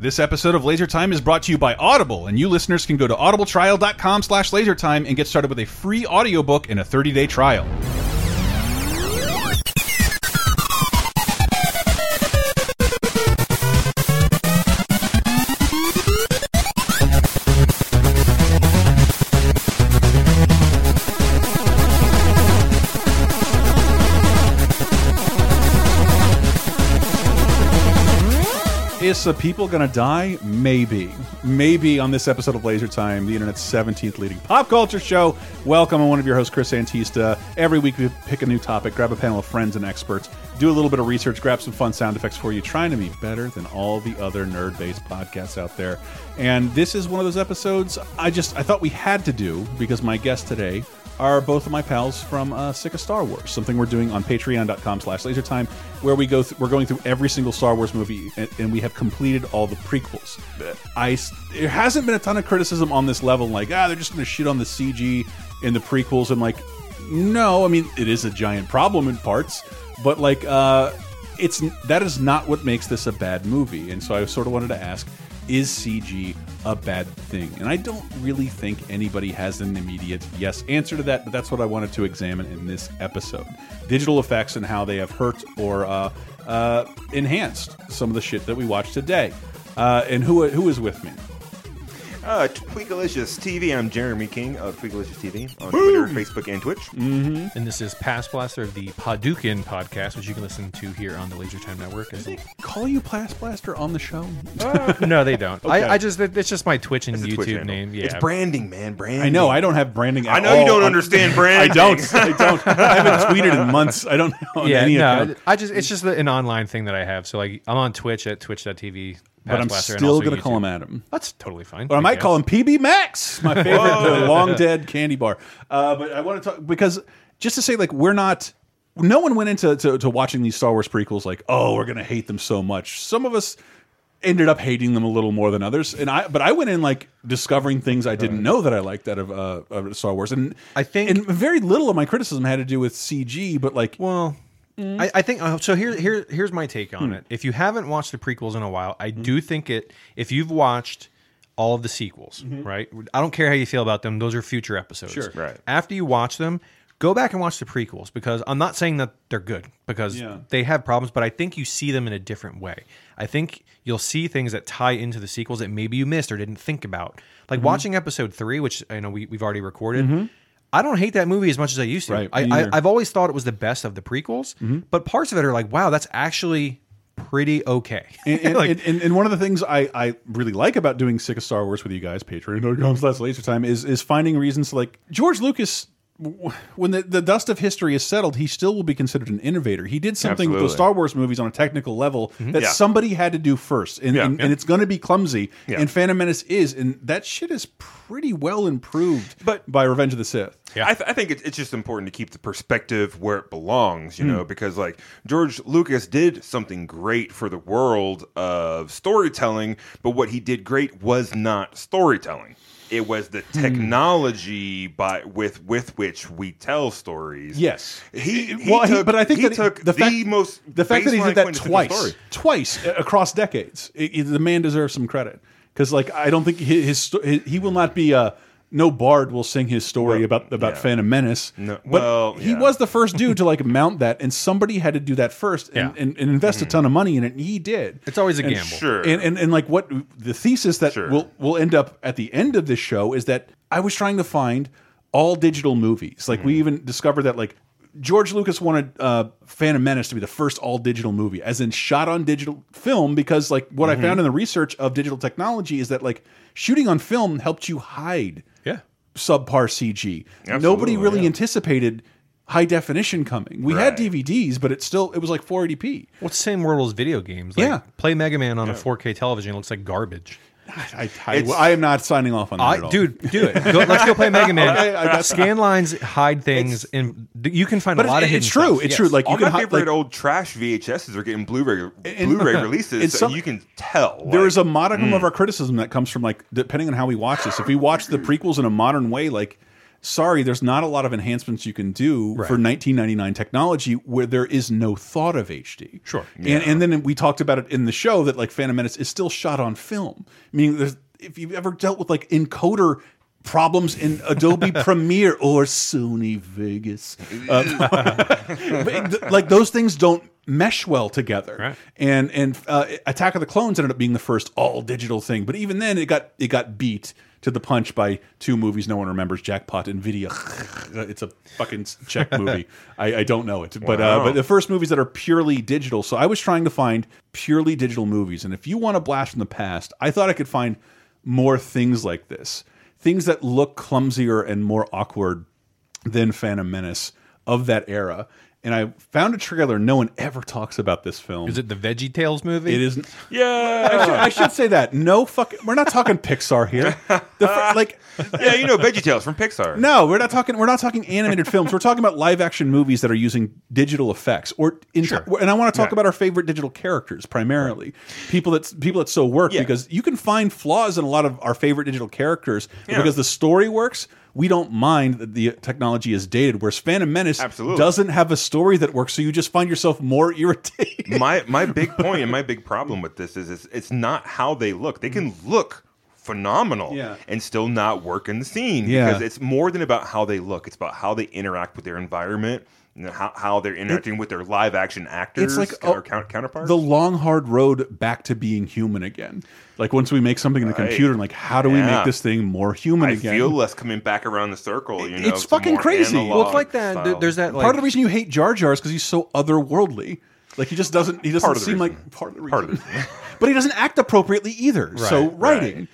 This episode of Laser Time is brought to you by Audible, and you listeners can go to audibletrial.com slash lasertime and get started with a free audiobook and a 30-day trial. Is the people gonna die? Maybe. Maybe on this episode of Laser Time, the internet's 17th leading pop culture show. Welcome. I'm one of your hosts, Chris Antista. Every week we pick a new topic, grab a panel of friends and experts, do a little bit of research, grab some fun sound effects for you, trying to be better than all the other nerd-based podcasts out there. And this is one of those episodes I just I thought we had to do because my guest today are both of my pals from uh, Sick of Star Wars, something we're doing on patreon.com slash lasertime, where we go th we're going through every single Star Wars movie, and, and we have completed all the prequels. I, s- there hasn't been a ton of criticism on this level, like, ah, they're just going to shit on the CG in the prequels. I'm like, no, I mean, it is a giant problem in parts, but like, uh, it's that is not what makes this a bad movie. And so I sort of wanted to ask, is CG a bad thing? And I don't really think anybody has an immediate yes answer to that, but that's what I wanted to examine in this episode: digital effects and how they have hurt or uh, uh, enhanced some of the shit that we watch today. Uh, and who who is with me? Uh, Tweakalicious TV. I'm Jeremy King of Tweakalicious TV on Twitter, Facebook, and Twitch. Mm-hmm. And this is Pass Blaster of the Padukin podcast, which you can listen to here on the Laser Time Network. As They call you Plast Blaster on the show? no, they don't. Okay. I, I just that- that's just my Twitch and It's a YouTube Twitch handle. name. Yeah, It's branding, man. Branding. I know I don't have branding. at I know you all don't on- understand I branding. don't. I don't. I haven't tweeted in months. I don't know on yeah. any No, account. I just it's just the- an online thing that I have. So like I'm on Twitch at twitch.tv. Pass But I'm Blaster, and still also gonna call YouTube. him Adam. That's totally fine. But I might call him PB Max, my favorite the long dead candy bar. Uh, but I want to talk because just to say, like, we're not. No one went into to, to watching these Star Wars prequels like, oh, we're gonna hate them so much. Some of us ended up hating them a little more than others, and I. But I went in like discovering things I didn't know that I liked out of, uh, of Star Wars, and I think- and very little of my criticism had to do with CG, but like, Well, Mm-hmm. I, I think uh, so. Here, here, here's my take Hmm. on it. If you haven't watched the prequels in a while, I Mm-hmm. do think it. If you've watched all of the sequels, right? I don't care how you feel about them; those are future episodes. Mm-hmm. Sure. Right. After you watch them, go back and watch the prequels because I'm not saying that they're good because Yeah. they have problems, but I think you see them in a different way. I think you'll see things that tie into the sequels that maybe you missed or didn't think about. Mm-hmm. Like watching episode three, which I know we, we've already recorded. I don't hate that movie as much as I used to. Right, I, me I, either. I've always thought it was the best of the prequels, Mm-hmm. but parts of it are like, wow, that's actually pretty okay. and, and, Like, and- and, and one of the things I, I really like about doing Sick of Star Wars with you guys, patreon.com slash laser time, is, is finding reasons to like George Lucas. w- When the, the dust of history is settled, he still will be considered an innovator. He did something with those Absolutely. Mm-hmm. Star Wars movies on a technical level that Yeah. somebody had to do first, and, Yeah. and, and it's going to be clumsy. Yeah. And Phantom Menace is, and that shit is pretty well improved But- by Revenge of the Sith. Yeah. I, th- I think it's, it's just important to keep the perspective where it belongs, you Hmm. know, because like George Lucas did something great for the world of storytelling, but what he did great was not storytelling. It was the Hmm. technology by with with which we tell stories. Yes. he, he well, he- took, but I think he that took the, the, fact, most the fact that he baseline did that quintessential twice, story. twice a- across decades, i- i- the man deserves some credit because, like, I don't think his, his, sto- his he will not be uh no bard will sing his story about about yeah. Phantom Menace. No, but well, he yeah. was the first dude to like mount that, and somebody had to do that first and, Yeah. and, and invest Mm-hmm. a ton of money in it. And he did. It's always a And- gamble. Sure. and and and like what the thesis that Sure. will will end up at the end of this show is that I was trying to find all digital movies. Like we even discovered that like George Lucas wanted uh, Phantom Menace to be the first all digital movie, as in shot on digital film, because like what I found in the research of digital technology is that like shooting on film helped you hide yeah. subpar CG. Nobody Absolutely, really yeah. anticipated high definition coming. We had Right. DVDs, but it still it was like 480p. What's the same world as video games? Like, Yeah. Play Mega Man on a 4K television. It looks like garbage. I, I, It's- I am not signing off on that at I, all. dude, do it. Go, let's go play Mega Man. Okay, I got- Scan lines hide things, and th- you can find a But lot it's, of hidden it's true. stuff. It's Yes. true. Like All you can my hi- favorite like, old trash VHSs are getting Blu-ray And- Blu-ray releases, and so some- you can tell. there like- is a Hmm. modicum of our criticism that comes from like depending on how we watch this. If we watch the prequels in a modern way, like sorry, there's not a lot of enhancements you can do Right. for 1999 technology where there is no thought of HD. Sure. And and then we talked about it in the show that like Phantom Menace is still shot on film. Meaning, there's if you've ever dealt with like encoder problems in Adobe Premiere or Sony Vegas, uh, but th- like those things don't mesh well together. Right. And and uh, Attack of the Clones ended up being the first all digital thing, but even then it got it got beat to the punch by two movies no one remembers: Jackpot and Video. it's a fucking Czech movie. I, I don't know it, but uh, Wow. but the first movies that are purely digital. So I was trying to find purely digital movies, and if you want a blast from the past, I thought I could find more things like this, things that look clumsier and more awkward than Phantom Menace of that era. And I found a trailer. No one ever talks about this film. Is it the Veggie Tales movie? It is. I should, Yeah, I should say that. No fucking. We're not talking Pixar here. The fir- like, yeah, you know VeggieTales from Pixar. no, we're not talking. We're not talking animated films. We're talking about live action movies that are using digital effects. Or in and I want to talk Yeah. about our favorite digital characters primarily. People that people that so work Yeah. because you can find flaws in a lot of our favorite digital characters but Yeah. because the story works. We don't mind that the technology is dated. Whereas Phantom Menace Absolutely. doesn't have a story that works, so you just find yourself more irritated. my my big point and my big problem with this is it's, it's not how they look. They can look phenomenal Mm. Yeah. and still not work in the scene Yeah. because it's more than about how they look. It's about how they interact with their environment and how, how they're interacting with their live action actors like, or oh, count, counterparts. the long hard road back to being human again. Like once we make something in the Right. computer, and like how do we Yeah. make this thing more human I again? feel less coming back around the circle. You know, it's to fucking more crazy. Well, it's well, it's analog like that. th- style. There's that. Like, part of the reason you hate Jar Jar is because he's so otherworldly. Like he just doesn't. He doesn't Uh, Part of the seem reason. like part of the reason. Part of the reason. but he doesn't act appropriately either. So right. writing.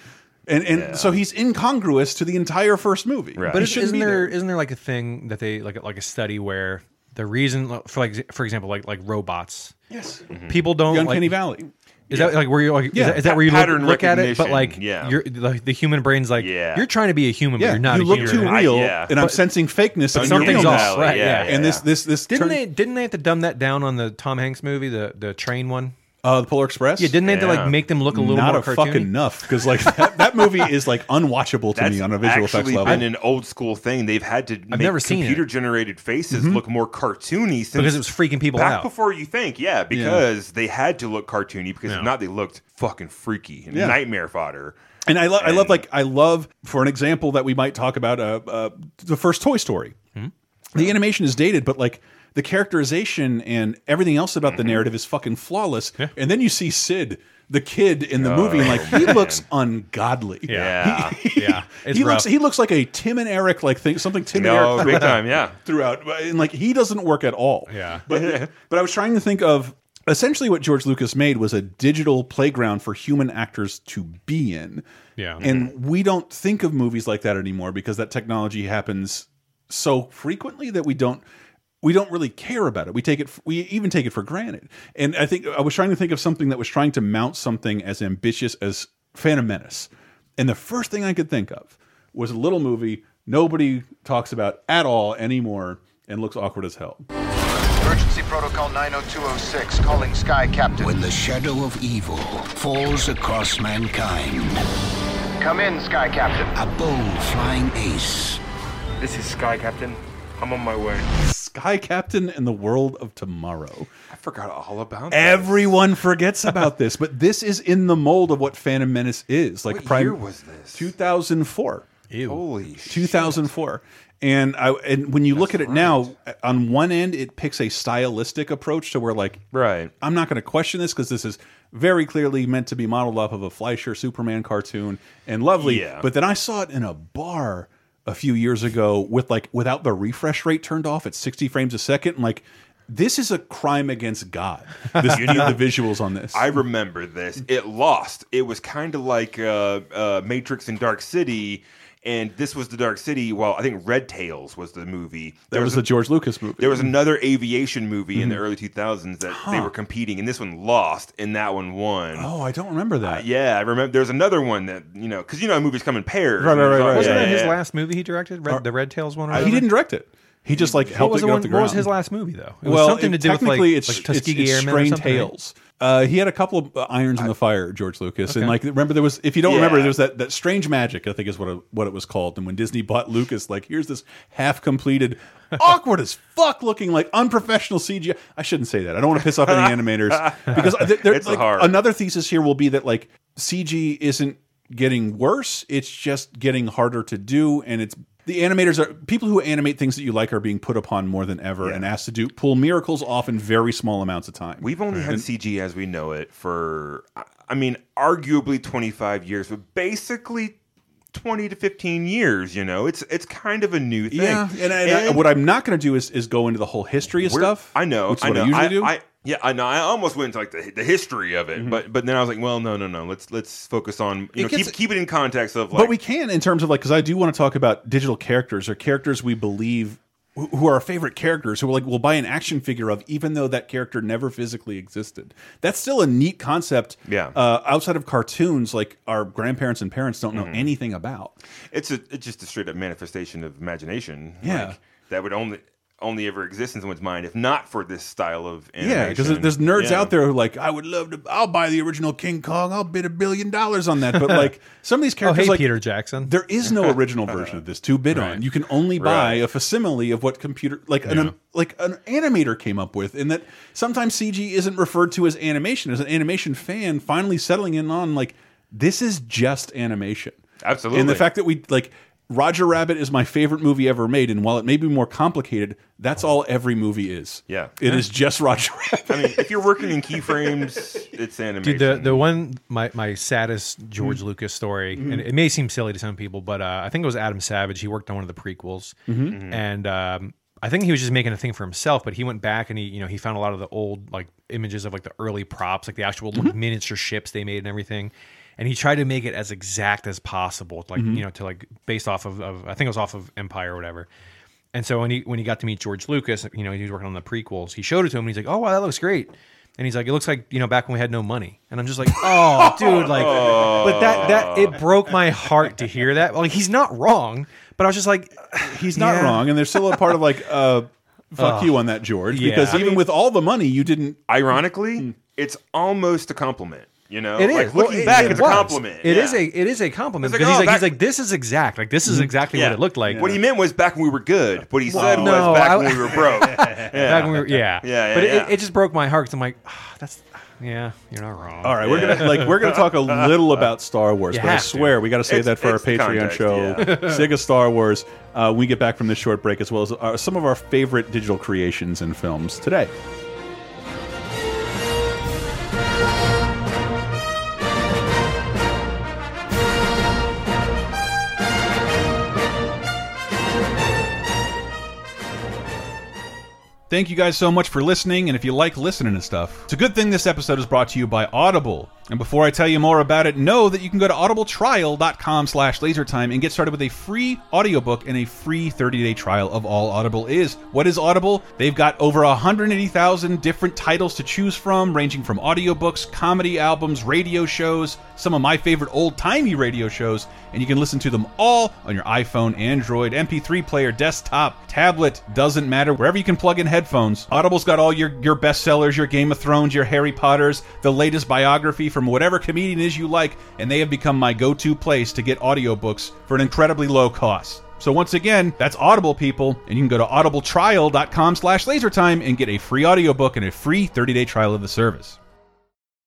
And, and so he's incongruous to the entire first movie. Right. He But is, shouldn't isn't be there isn't there like a thing that they like like a study where the reason for like for example like like robots Yes. Mm-hmm. people don't The Mm-hmm. like, Uncanny Valley. Is that like where you're like? Yeah. Is that, is that where you look, Pattern look at it? But recognition, like, yeah. you're, like the human brain's like, Yeah. you're trying to be a human, but Yeah. you're not. You a look human. too I- real, yeah. and I'm sensing fakeness. But Something's something's Uncanny off, off. Valley, right, yeah, And this this this Didn't turn- they? Didn't they have to dumb that down on the Tom Hanks movie, the the train one? uh, the Polar Express. Yeah, didn't they have to Yeah. like make them look a little not more a fucking cartoony? enough because like that, that movie is like unwatchable to That's me on a visual effects actually level. been an old school thing. They've had to make never seen it. computer generated faces Mm-hmm. look more cartoony since because it was freaking people back out. before you think, yeah, because they had to look cartoony because if not, they looked fucking freaky and Yeah. nightmare fodder. And I love, I love, And- like, I love for an example that we might talk about, uh, uh the first Toy Story. Hmm? The animation is dated, but like the characterization and everything else about Mm-hmm. the narrative is fucking flawless. And then you see Sid, the kid in the movie, and like he looks ungodly. Yeah, Oh, yeah, it's he rough. looks, he looks like a Tim and Eric, like thing, something Tim and Eric no, big time. Yeah, throughout, and like he doesn't work at all. Yeah. but but I was trying to think of essentially what George Lucas made was a digital playground for human actors to be in. Yeah. and we don't think of movies like that anymore because that technology happens so frequently that we don't. We don't really care about it. We take it. f- We even take it for granted. And I think I was trying to think of something that was trying to mount something as ambitious as Phantom Menace. And the first thing I could think of was a little movie nobody talks about at all anymore and looks awkward as hell. Emergency protocol 90206 calling Sky Captain. When the shadow of evil falls across mankind, Come in, Sky Captain. a bold flying ace This is Sky Captain. I'm on my way. Sky Captain and the World of Tomorrow. I forgot all about that. Everyone forgets about this, but this is in the mold of what Phantom Menace is. Like What prime, year was this? 2004. Holy shit. 2004. And I and when you look at it now, on one end it picks a stylistic approach to where like Right. I'm not going to question this because this is very clearly meant to be modeled off of a Fleischer Superman cartoon and lovely. Yeah. But then I saw it in a bar a few years ago with like without the refresh rate turned off at 60 frames a second. And like this is a crime against God. This, you need the visuals on this. I remember this. It lost. It was kind of like uh, uh, Matrix and Dark City, and this was the Dark City. Well, I think Red Tails was the movie. that There was a- the George Lucas movie. There was another aviation movie in the Mm-hmm. early 2000s that they were competing, and this one lost, and that one won. oh, I don't remember that. Yeah, I remember. There's another one that you know, because you know movies come in pairs. Right, right, right, right, Yeah, right. Wasn't that yeah, his yeah. last movie he directed? Red, the Red Tails one. Or he whatever? didn't direct it. He just like What helped it was, the get one, off the what ground. was his last movie though? It well, was something it- to do with like, technically it's, like it's- Tuskegee it's Airmen Strange or something. right? Tales. Uh, he had a couple of uh, irons in the fire, George Lucas, and like remember there was if you don't remember Yeah. there was that that Strange Magic I think is what it, what it was called, and when Disney bought Lucas, like here's this half completed, awkward as fuck looking like unprofessional CGI. I shouldn't say that. I don't want to piss off any animators because uh, there- there- It's like, hard. another thesis here will be that like CG isn't getting worse; it's just getting harder to do, and it's. The animators are people who animate things that you like are being put upon more than ever and asked to do pull miracles off in very small amounts of time. We've only had CG as we know it for, I- I mean, arguably 25 years, but basically 20 to 15 years. You know, it's it's kind of a new thing. Yeah, and, and, uh, I- what I'm not going to do is is go into the whole history of we're- stuff. I know. which is I what know. I usually do. Mm-hmm. I, yeah, I know. I almost went into like the, the history of it, but but then I was like, well, no, no, no. Let's let's focus on you know gets- keep keep it in context of like. but we can in terms of like because I do want to talk about digital characters or characters we believe who- who are our favorite characters who like we'll buy an action figure of even though that character never physically existed. That's still a neat concept. Yeah. Uh, outside of cartoons, like our grandparents and parents don't Mm-hmm. know anything about. it's a it's just a straight up manifestation of imagination. Yeah. like, that would only only ever exist in someone's mind if not for this style of animation. Yeah, because there's nerds Yeah. out there who are like, I would love to. I'll buy the original King Kong. I'll bid a billion dollars on that. But like some of these Oh, characters, hey, like Peter Jackson. there is no original version of this to bid on. You can only buy Right. a facsimile of what computer, like an like an animator came up with. In that sometimes CG isn't referred to as animation. As an animation fan, finally settling in on like this is just animation. Absolutely. and the fact that we like. Roger Rabbit is my favorite movie ever made, and while it may be more complicated, that's all every movie is. Yeah. it is just Roger Rabbit. I mean, if you're working in keyframes, it's animation. Dude, the the one my my saddest George Lucas story, and it may seem silly to some people, but uh, I think it was Adam Savage. He worked on one of the prequels, and um, I think he was just making a thing for himself. But he went back and he you know he found a lot of the old like images of like the early props, like the actual miniature ships they made and everything. And he tried to make it as exact as possible, like you know, to like based off of, of I think it was off of Empire or whatever. And so when he when he got to meet George Lucas, you know, he was working on the prequels. He showed it to him, and he's like, "Oh wow, that looks great." And he's like, "It looks like you know back when we had no money." And I'm just like, "Oh, dude, like, but that that Oh. it broke my heart to hear that. Like, he's not wrong, but I was just like, He's not Yeah. wrong, and there's still a part of like, uh, fuck you on that, George, yeah. because I even with all the money, you didn't. Ironically, Hmm. it's almost a compliment. You know, It is like looking Well, it- back, it it's was. a compliment. It is Yeah. a it is a compliment It's like, because oh, he's like he's back- Mm-hmm. like this is exact. Like this is exactly what it looked like. What he meant was back when we were good. What he said was no, back I- when we were broke. Back when we were, yeah. Yeah, yeah, But it- yeah. It, it just broke my heart because I'm like, "Ah, that's yeah, you're not wrong. All right, we're gonna like we're gonna talk a little about Star Wars, You but I have to. swear we got to save It's- that for our it's Patreon the context, show, yeah. Sega Star Wars. Uh, when we get back from this short break, as well as our, some of our favorite digital creations and films today. Thank you guys so much for listening, and if you like listening to stuff, it's a good thing this episode is brought to you by Audible. And before I tell you more about it, know that you can go to audibletrial.com slash lasertime and get started with a free audiobook and a free 30-day trial of all Audible is. What is Audible? They've got over 180,000 different titles to choose from, ranging from audiobooks, comedy albums, radio shows, some of my favorite old-timey radio shows, and you can listen to them all on your iPhone, Android, MP3 player, desktop, tablet, doesn't matter, wherever you can plug in headphones. Audible's got all your, your bestsellers, your Game of Thrones, your Harry Potters, the latest biography from whatever comedian is you like, and they have become my go to place to get audiobooks for an incredibly low cost. So once again, that's Audible people, and you can go to audibletrial.com slash lasertime and get a free audiobook and a free 30-day trial of the service.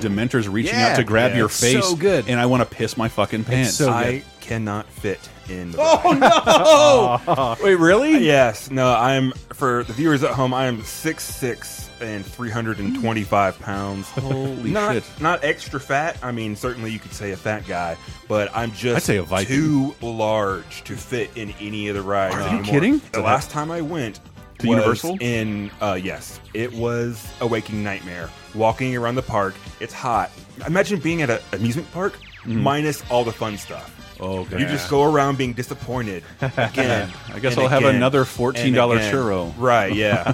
Dementors reaching Yeah. out to grab Yeah. your It's face. so good. And I want to piss my fucking pants. so I- I cannot fit in. The Oh! Wait, really? Yes, no, I'm for the viewers at home. I am six six and three hundred and twenty five pounds. Holy not, shit. Not extra fat. I mean, certainly you could say a fat guy, but I'm just I'd say a Viking. too large to fit in any of the rides. Are you kidding? The last time I went. To was Universal? in uh, yes, it was a waking nightmare. Walking around the park, it's hot. Imagine being at an amusement park minus all the fun stuff. Okay. You just go around being disappointed again. I guess and I'll have again, another and $14 again. churro. Right? Yeah.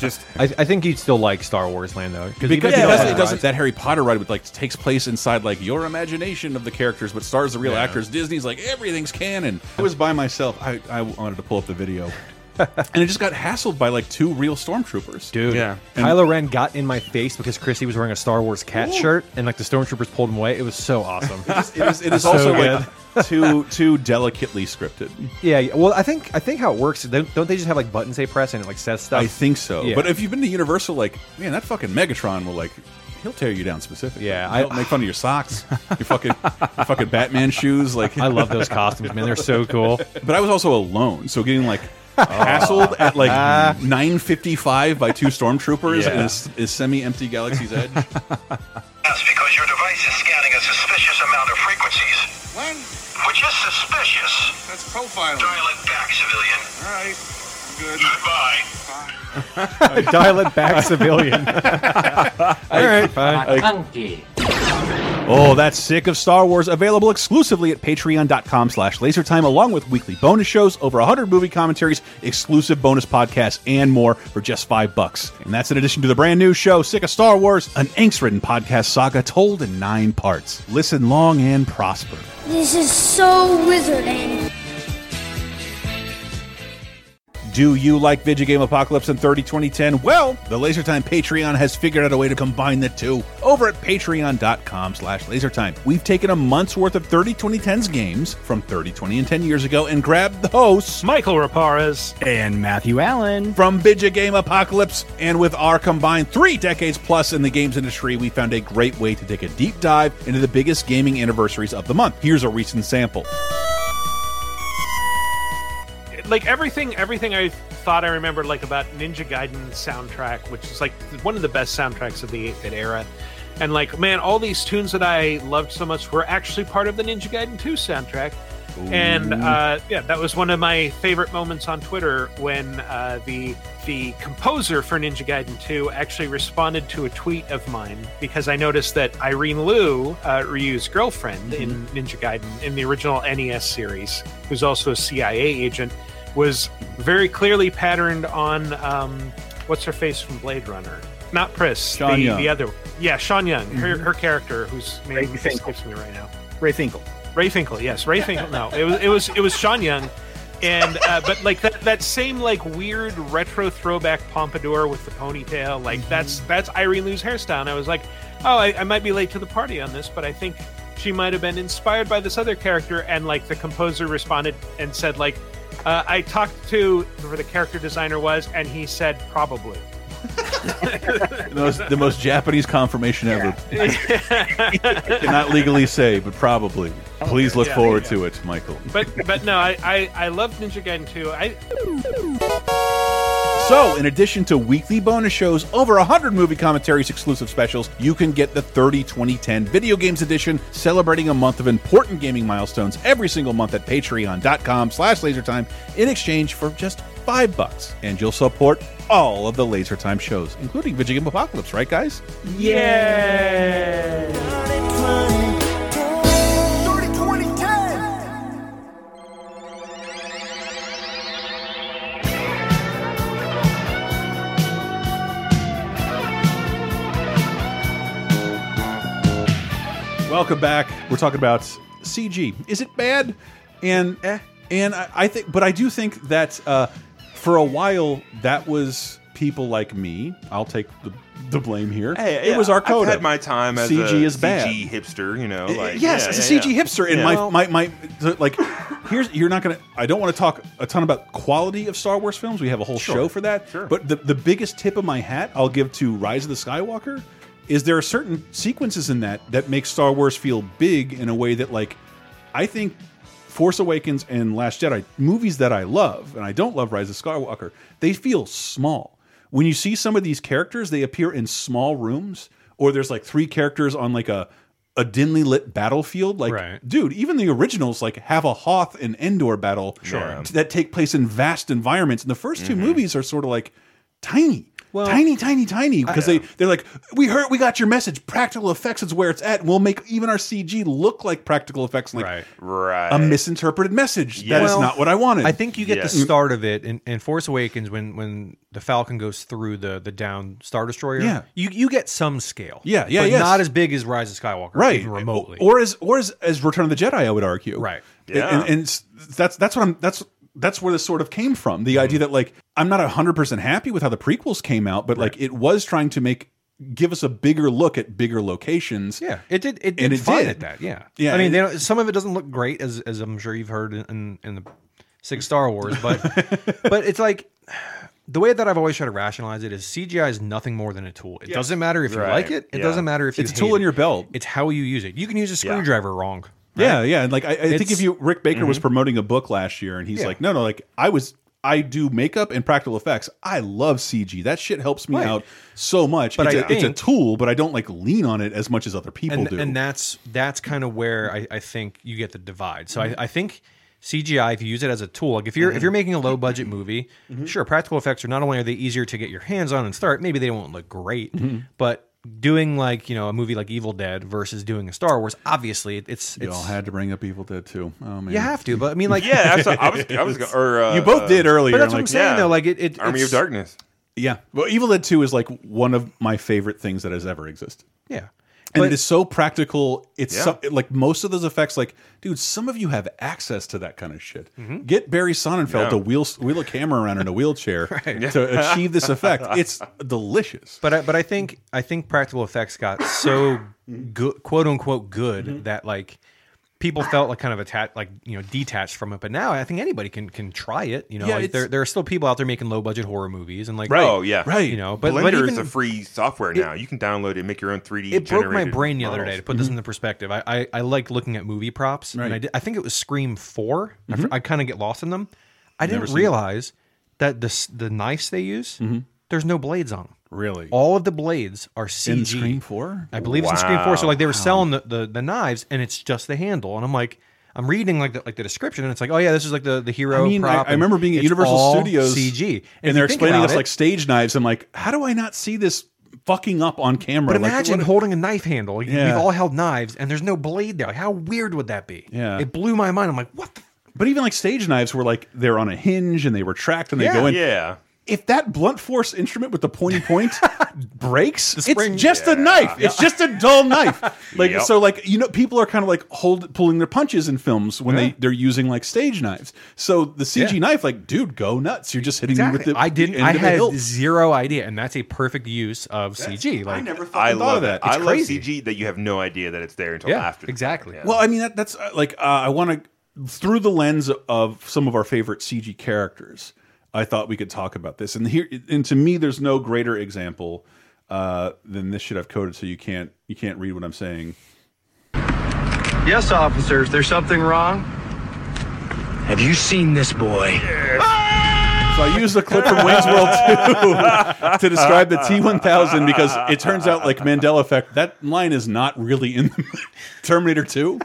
just I, I think you'd still like Star Wars Land though, because Because Yeah, it doesn't, yeah. it doesn't- that Harry Potter ride with like takes place inside like your imagination of the characters, but stars the real actors. Disney's like everything's canon. I was by myself. I, I wanted to pull up the video, and it just got hassled by like two real stormtroopers. Dude, Yeah. Kylo Ren got in my face because Chrissy was wearing a Star Wars cat shirt, and like the stormtroopers pulled him away. It was so awesome. it is, it is So also like too too delicately scripted. yeah, yeah, well, I think I think how it works. Don't don't they just have like buttons they press and it like says stuff? I think so. Yeah. But if you've been to Universal, like man, that fucking Megatron will like. He'll tear you down specifically. Yeah, I I- will make fun of your socks, your fucking, your fucking Batman shoes. Like I love those costumes, man. They're so cool. but I was also alone, so getting like hassled at like Ah. nine fifty five by two stormtroopers in a s- a, semi empty Galaxy's Edge. That's because your device is scanning a suspicious amount of frequencies. When? Which is suspicious. That's profiling. Dial it back, civilian. All right. Good. Goodbye. Dial it back, civilian. All right, fine. Oh, that's sick of Star Wars. Available exclusively at patreon.com slash lasertime, along with weekly bonus shows, over 100 movie commentaries, exclusive bonus podcasts, and more for just five bucks. And that's in addition to the brand new show, Sick of Star Wars, an angst-ridden podcast saga told in nine parts. Listen long and prosper. This is so wizarding. Do you like Video Game Apocalypse in 30 2010? Well, the Lasertime Patreon has figured out a way to combine the two over at patreon.com slash lasertime. We've taken a month's worth of 30 2010's games from 30, 20, and 10 years ago and grabbed the hosts Michael Raparez and Matthew Allen. from Video Game Apocalypse, and with our combined three decades plus in the games industry, we found a great way to take a deep dive into the biggest gaming anniversaries of the month. Here's a recent sample. Like everything, everything I thought I remembered, like about Ninja Gaiden soundtrack, which is like one of the best soundtracks of the 8-bit era. And like, man, all these tunes that I loved so much were actually part of the Ninja Gaiden 2 soundtrack. And uh, yeah, that was one of my favorite moments on Twitter when uh, the the composer for Ninja Gaiden 2 actually responded to a tweet of mine because I noticed that Irene Liu, uh, Ryu's girlfriend in Mm-hmm. Ninja Gaiden in the original NES series, who's also a CIA agent, was very clearly patterned on um, what's her face from Blade Runner. Not Pris, Sean the, Young. Mm-hmm. the other, yeah, Sean Young, her, her character, whose name escapes me right now. Ray Finkel. Ray Finkel, yes, Ray Finkel. No, it was it was it was Sean Young, and uh, but like that that same like weird retro throwback pompadour with the ponytail, like that's that's Irene Liu's hairstyle. And I was like, oh, I, I might be late to the party on this, but I think she might have been inspired by this other character. And like the composer responded and said like, uh, I talked to whoever the character designer was, and he said probably. The most, the most Japanese confirmation ever. I cannot legally say, but probably. Please look Yeah, forward yeah. to it, Michael. But but no, I I, I love Ninja Gaiden 2. I So, in addition to weekly bonus shows, over 100 movie commentaries, exclusive specials, you can get the 30 2010 Video Games Edition, celebrating a month of important gaming milestones every single month at patreon.com slash lasertime in exchange for just five bucks. And you'll support all of the Lasertime shows, including Video Game Apocalypse, right, guys? Welcome back. We're talking about CG. Is it bad? And eh, and I, I think, but I do think that uh, for a while that was people like me. I'll take the, the blame here. it yeah, was our I've code. had my time as CG a is bad. CG hipster, you know. Y- Like, yes, yeah, as a yeah, CG yeah. hipster, and Yeah. my, my my like, here's you're not gonna. I don't want to talk a ton about quality of Star Wars films. We have a whole show for that. sure. But the the biggest tip of my hat I'll give to Rise of the Skywalker is there are certain sequences in that that make Star Wars feel big in a way that like I think Force Awakens and Last Jedi, movies that I love, and I don't love Rise of Skywalker, they feel small. When you see some of these characters, they appear in small rooms, or there's like three characters on like a a dimly lit battlefield. Like, Right. dude, even the originals like have a Hoth and Endor battle Sure. t- that take place in vast environments. And the first two movies are sort of like tiny. tiny, tiny, tiny, because they they're like, we heard, we got your message. Practical effects is where it's at. We'll make even our CG look like practical effects. Like Right. Right. a misinterpreted message. That is Well, not what I wanted. I think you get Yes. the start of it in, in Force Awakens when when the Falcon goes through the the down Star Destroyer. Yeah. you you get some scale. Yeah, yeah, but yes. not as big as Rise of Skywalker, right even remotely. or as or as, as return of the jedi i would argue Right. yeah Yeah. and, and s- that's that's what i'm that's that's where this sort of came from the Mm-hmm. idea that like i'm not 100% happy with how the prequels came out but like it was trying to make give us a bigger look at bigger locations yeah, it did. It did And it fine did. at that. Yeah, Yeah, I mean, it- they don't, some of it doesn't look great, as as I'm sure you've heard in in, in the six Star Wars, but but it's like. The way that I've always tried to rationalize it is CGI is nothing more than a tool. It doesn't matter if you like it. It Yeah. doesn't matter if you it's a hate tool in it. your belt It's how you use it. You can use a screwdriver wrong. Yeah, yeah. And like I, I think if It's- Mm-hmm. you Rick Baker was promoting a book last year and he's Yeah. like, No, no, like I was I do makeup and practical effects. I love CG. That shit helps me Right. out so much. But it's, I a- it's a think- tool, but I don't like lean on it as much as other people and, do. and that's that's kind of where I, I think you get the divide. So I, I think CGI, if you use it as a tool, like if you're if you're making a low budget movie, sure, practical effects are not only are they easier to get your hands on and start, maybe they won't look great, but doing like you know a movie like Evil Dead versus doing a Star Wars, obviously it, it's Y'all it's had to bring up Evil Dead too. Oh man. you have to, but I mean like yeah, that's what I was. I was. Or uh, You both uh, did earlier. but and, that's what I'm like, saying yeah. though. Like it, it Army it's- of Darkness. Yeah. Well, Evil Dead 2 is like one of my favorite things that has ever existed. yeah. And But- it is so practical. It's Yeah. so- like most of those effects, like, dude, some of you have access to that kind of shit. Mm-hmm. Get Barry Sonnenfeld Yeah. to wheel, wheel a camera around in a wheelchair to achieve this effect. It's delicious. But I, but I think I think practical effects got so Mm-hmm. good, quote unquote good that like people felt like kind of attached, like you know, detached from it. But now I think anybody can can try it. You know, Yeah, like there it's- there are still people out there making low budget horror movies and like Oh yeah. Right. you know, but Blender but even is a free software now. you can download it, and make your own 3D. it broke my generated brain the other models. day to put this into perspective. I, I, I like looking at movie props, Mm-hmm. Right. Mm-hmm. and I, did, I think it was Scream 4 I fr- I, kind of get lost in them. I Never didn't seen it. realize that the s- the knives they use, there's no blades on them. Really? All of the blades are CG. in Scream 4? I believe it's in Scream Four. So like they were selling the, the the knives, and it's just the handle. And I'm like, I'm reading like the, like the description, and it's like, oh yeah, this is like the the hero. I mean, I, prop, I and remember being at it's Universal all Studios CG, and, if they're you think explaining about this it- like stage knives. I'm like, how do I not see this fucking up on camera? But Like, imagine what- holding a knife handle. Like, Yeah. We've all held knives, and there's no blade there. Like, How weird would that be? Yeah. it blew my mind. I'm like, what? the but even like stage knives were like they're on a hinge and they retract and they Yeah. go in. Yeah. if that blunt force instrument with the pointy point breaks, spring- it's just a knife. It's just a dull knife. Like Yep. so, like you know, people are kind of like hold pulling their punches in films when they they're using like stage knives. So the CG Yeah. knife, like, dude, go nuts! You're just hitting me with the. I didn't. end I of the had hilt. zero idea, and that's a perfect use of CG. Like, I never fucking I thought love of that. that. I It's love crazy. CG that you have no idea that it's there until yeah, after. exactly. Well, I mean, that, that's uh, like uh, I want to through the lens of some of our favorite CG characters. I thought we could talk about this, and here, and to me, there's no greater example uh, than this shit I've coded, so you can't you can't read what I'm saying. Yes, officers, there's something wrong. Have you seen this boy? So I used a clip from Wayne's World 2 to describe the T1000 because it turns out, like Mandela effect, that line is not really in Terminator 2.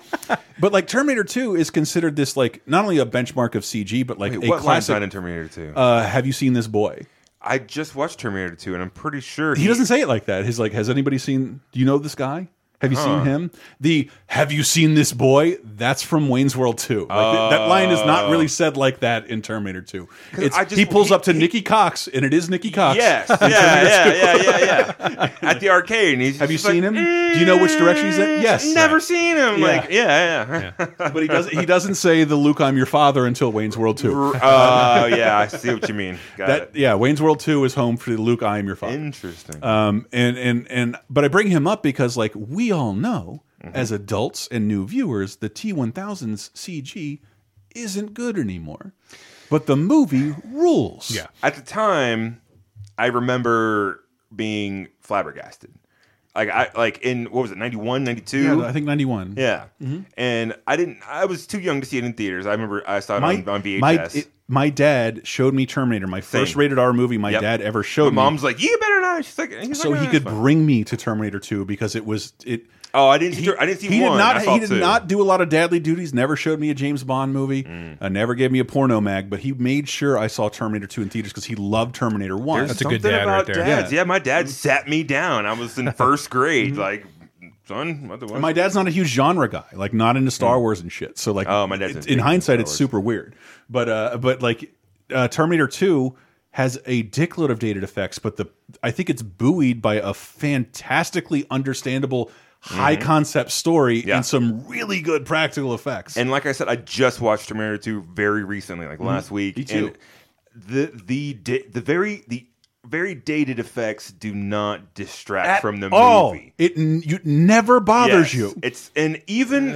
But like Terminator 2 is considered this like not only a benchmark of CG, but like Wait, a what line's classic. not in Terminator 2? uh, have you seen this boy? I just watched Terminator 2, and I'm pretty sure He doesn't say it like that. He's like, "Has anybody seen? Do you know this guy? Have you seen him?" The "Have you seen this boy?" That's from Wayne's World Two. Like, th- that line is not really said like that in Terminator Two. It's, Oh. I just- he pulls he- up to Nikki Cox, and it is Nikki Cox. Yes. Yeah, yeah, yeah, yeah, yeah. At the arcade, and he's Have you just like, Mm, seen him? Do you know which direction he's in? Yes. Never seen him. Yeah. Like, yeah, yeah. but he doesn't. He doesn't say the Luke, I'm your father until Wayne's World Two. Oh, uh, yeah. I see what you mean. Got That it. yeah, Wayne's World Two is home for the Luke, I am your father. Interesting. Um, and and and but I bring him up because like we all know Mm-hmm. as adults and new viewers, the T1000's CG isn't good anymore, but the movie rules. Yeah. At the time, I remember being flabbergasted. Like I like in what was it 91, 92? yeah I think Mm-hmm. ninety one. Yeah. And I didn't. I was too young to see it in theaters. I remember I saw it my on, on VHS. my it, my dad showed me Terminator, my first rated R movie my Yep. dad ever My showed me. mom's like, you better not. She's like, he's so like, he "Nah, could it's fine." bring me to Terminator 2 because it was it Oh, I didn't. see I didn't see he one. did I not saw he did two. not do a lot of dadly duties never showed me a james bond movie Mm. uh, never gave me a porno mag but he made sure i saw terminator 2 in theaters because he loved terminator 1 There's a good something dad right about there. Dads. Yeah. Mm-hmm. Yeah. my dad sat me down. I was in first grade. like, son, what the what? And my dad's not a huge genre guy, like not into Star Wars and shit. So like, Mm. Oh, my dad's it- a big in hindsight, Star it's Wars. super weird. But uh, but like, uh, Terminator Two has a dickload of dated effects, but the I think it's buoyed by a fantastically understandable. High concept story Mm-hmm. Yeah. and some really good practical effects. And like I said, I just watched Terminator 2 very recently, like last week. Mm-hmm. Me too. And the the da- the very the very dated effects do not distract from the all movie. Oh, it n- you, it never bothers Yes. you. It's and even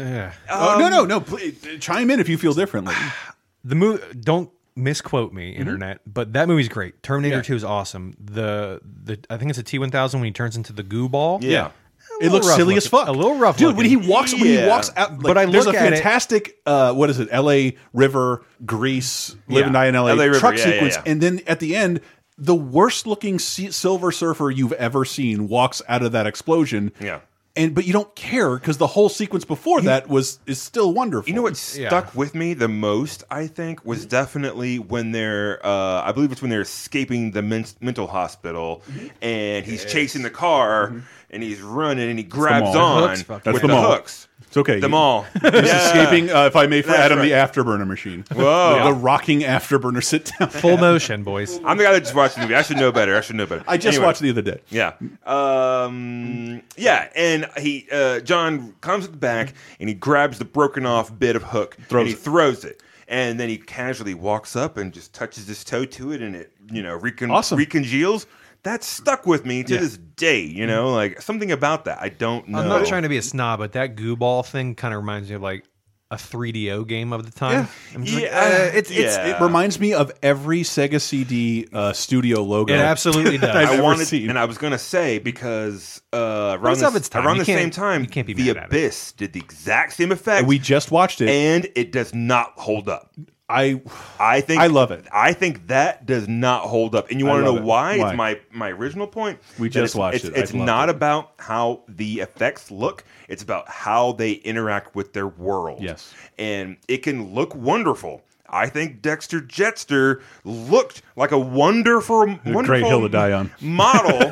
oh, no, no, no. Please, chime in if you feel differently. the movie don't misquote me Mm-hmm. internet but that movie's great terminator 2 is awesome the the i think it's a t1000 when he turns into the goo ball yeah. It little looks rough silly as looking. fuck. A little rough dude. When he looking. walks, when he Yeah. walks out, like, But I there's a look at it- fantastic, uh, what is it? L.A. River, Greece, live Yeah. and die in L.A. LA River, truck yeah, yeah, sequence, yeah. and then at the end, the worst looking si- Silver Surfer you've ever seen walks out of that explosion. Yeah. and but you don't care because the whole sequence before that was is still wonderful. You know what stuck with me the most, I think, Mm-hmm. was definitely when they're, uh, I believe it's when they're escaping the men- mental hospital Mm-hmm. and he's chasing the car and he's running and he grabs mall. on Hooks, fuck with That's the, the mall. hooks. It's okay. The mall. He's escaping, uh, if I may, for That's Adam, right. the afterburner machine. Whoa. the, the rocking afterburner sit down. full motion boys I'm the guy that just watched the movie. I should know better. I should know better. I just Anyway. watched the other day. Yeah. Um, yeah. And he, uh, John comes at the back and he grabs the broken off bit of hook Throws and he it. throws it. And then he casually walks up and just touches his toe to it and it, you know, recon- Awesome. recongeals. That stuck with me to Yeah. this day, you know, like something about that. I don't know. i'm not trying to be a snob but that goo ball thing kind of reminds me of like a 3do game of the time I'm just like, Yeah, uh, it's, It's, yeah. It reminds me of every Sega CD uh, studio logo. it absolutely does I've I ever wanted, seen. and I was gonna say because uh, But around, it's the, of its time. around You the can't- same time, you can't be the mad at it. Abyss did the exact same effect. And we just watched it. and it does not hold up. I I think I love it. I think that does not hold up. And you want to love know it. why? Why? It's my my original point. We that just it's, watched it's, it. I It's loved not it. about how the effects look. It's about how they interact with their world. Yes. and it can look wonderful. I think Dexter Jetster looked like a wonderful, wonderful hill to die on. model,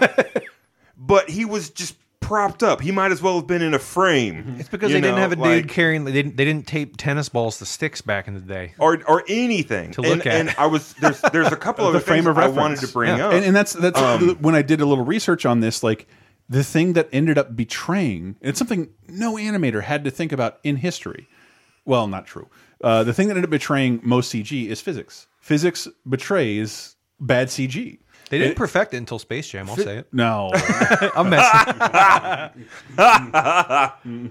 but he was just propped up. He might as well have been in a frame. Mhm. it's because you they didn't know, have a dude like- carrying they didn't, they didn't tape tennis balls to sticks back in the day or or anything to look and, at. And I was there's there's a couple of the frame of reference I wanted to bring Yeah. up, and, and that's that's the- when I did a little research on this. Like the thing that ended up betraying it's something no animator had to think about in history. Well, not true. Uh, the thing that ended up betraying most CG is physics. Physics betrays bad CG. they didn't perfect it until space jam i'll say it No, i'm messing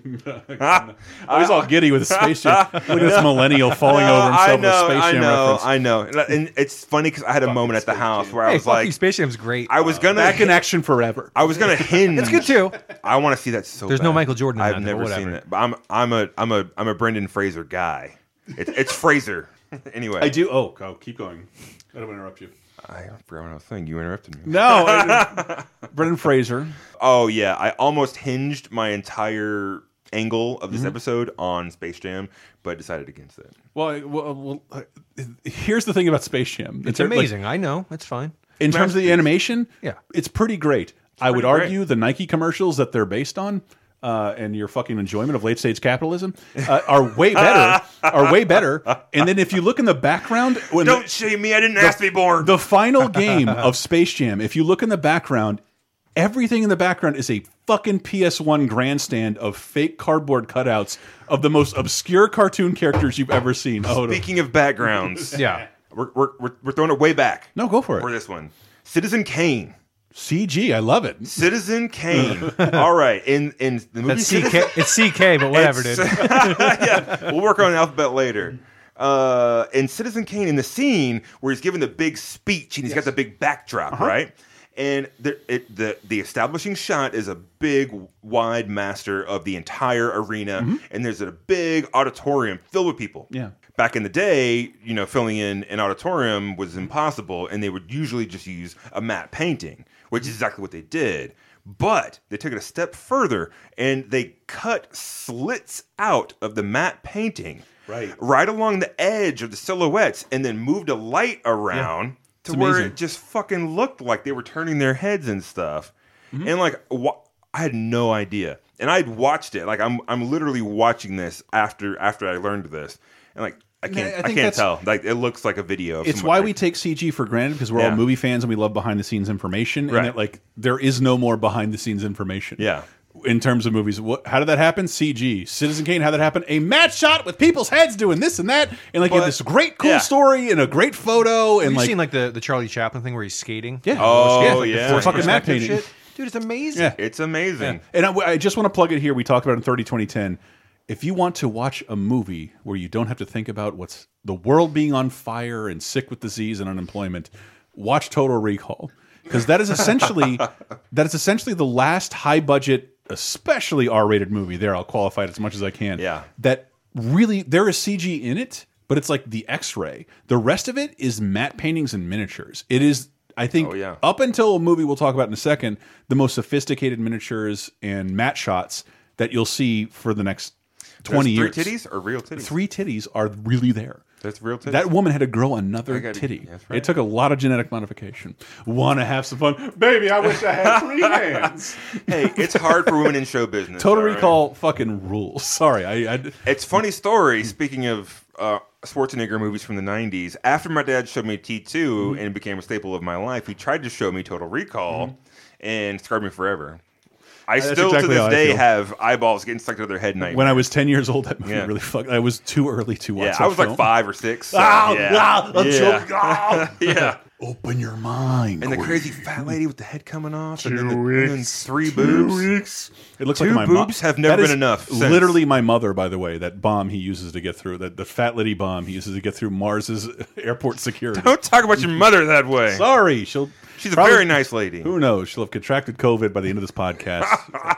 I was all giddy with a spaceship. Look at this millennial falling over himself I with a know, Space I Jam know, reference. I know, and, uh, and it's funny because I had a moment at the house where I hey was fuck like, you space jam's great I was gonna, Back in action forever. I was gonna hinge. it's good too I want to see that so. There's bad. no Michael Jordan in I've that, but never seen whatever. that. But I'm I'm a I'm a I'm a Brendan Fraser guy. It's it's Fraser. Anyway, I do. Oh, go keep going. I don't want to interrupt you. I forgot what I was saying. You interrupted me. No, I- Brendan Fraser. Oh yeah, I almost hinged my entire angle of this Mm-hmm. episode on Space Jam, but decided against it. Well, I- well, well, uh, here's the thing about Space Jam. it's like, amazing i know it's fine in terms of the animation, Yeah. it's pretty great. I would great. argue the Nike commercials that they're based on. Uh, and your fucking enjoyment of late stage capitalism uh, are way better. are way better. And then if you look in the background, when the- Don't shame me. I didn't ask to be born. The final game of Space Jam, if you look in the background, everything in the background is a fucking PS1 grandstand of fake cardboard cutouts of the most obscure cartoon characters you've ever seen. Oh, no. Speaking of backgrounds, yeah we're, we're, we're, we're throwing it way back. no, go for for it. this one, Citizen Kane. CG, I love it. Citizen Kane. All right, in in the movie That's Citizen- CK. It's CK, but whatever, dude. yeah, we'll work on alphabet later. Uh, in Citizen Kane, in the scene where he's given the big speech and he's got the big backdrop, right? And the, it, the the establishing shot is a big, wide master of the entire arena, and there's a big auditorium filled with people. Yeah. Back in the day, you know, filling in an auditorium was impossible, and they would usually just use a matte painting, which is exactly what they did. But they took it a step further, and they cut slits out of the matte painting Right. right along the edge of the silhouettes and then moved a light around to It's where amazing. it just fucking looked like they were turning their heads and stuff. Mm-hmm. And like wa- I had no idea. And I'd watched it. Like I'm I'm literally watching this after after I learned this. And like I I can't I, think can't that's- tell. Like it looks like a video. of It's someone- why we take CG for granted because we're Yeah. all movie fans and we love behind the scenes information. Right. And that, like, there is no more behind the scenes information. Yeah. In terms of movies, what, how did that happen? CG. Citizen Kane, how did that happen? A match shot with people's heads doing this and that. And, like, you But- have this great, cool yeah. story and a great photo. And, You've like, seen like the, the Charlie Chaplin thing where he's skating. Yeah. Oh, Like, the yeah. forward Fucking matte perspective painting. Dude, it's amazing. Yeah. It's amazing. And I, I just want to plug it here. We talked about it in 30 2010. If you want to watch a movie where you don't have to think about what's the world being on fire and sick with disease and unemployment, watch Total Recall because that is essentially that is essentially the last high budget, especially R rated movie. There, I'll qualify it as much as I can. Yeah. that really there is CG in it, but it's like the X ray. The rest of it is matte paintings and miniatures. It is. I think Oh, yeah. up until a movie we'll talk about in a second, the most sophisticated miniatures and matte shots that you'll see for the next There's 20 three years. titties or real titties? Three titties are really there. That's real titties. That woman had to grow another I gotta- titty. that's right. It took a lot of genetic modification. Want to have some fun? Baby, I wish I had three hands. hey, it's hard for women in show business. Total all right? Recall fucking rules. Sorry. I, I It's funny Mm-hmm. story. Speaking of uh, Schwarzenegger movies from the '90s, after my dad showed me T2 Mm-hmm. and it became a staple of my life, he tried to show me Total Recall and scarred me forever. I still Mm-hmm. exactly to how I this day feel. have eyeballs getting stuck to their head night. when I was 10 years old, that movie Yeah. really fucked. I was too early to watch yeah, that I was like film. five or six. so, Ah, yeah. ah, a yeah. joke. Ah. yeah. Open your mind. And the Queen. crazy fat lady with the head coming off, and then, the, and then three boobs. It looks Two like my mo- boobs have That never been is enough since. Literally, my mother, by the way, that bomb he uses to get through that the fat lady bomb he uses to get through Mars's airport security. Don't talk about your mother that way. Sorry, she'll. She's a probably- very nice lady. Who knows? She'll have contracted COVID by the end of this podcast.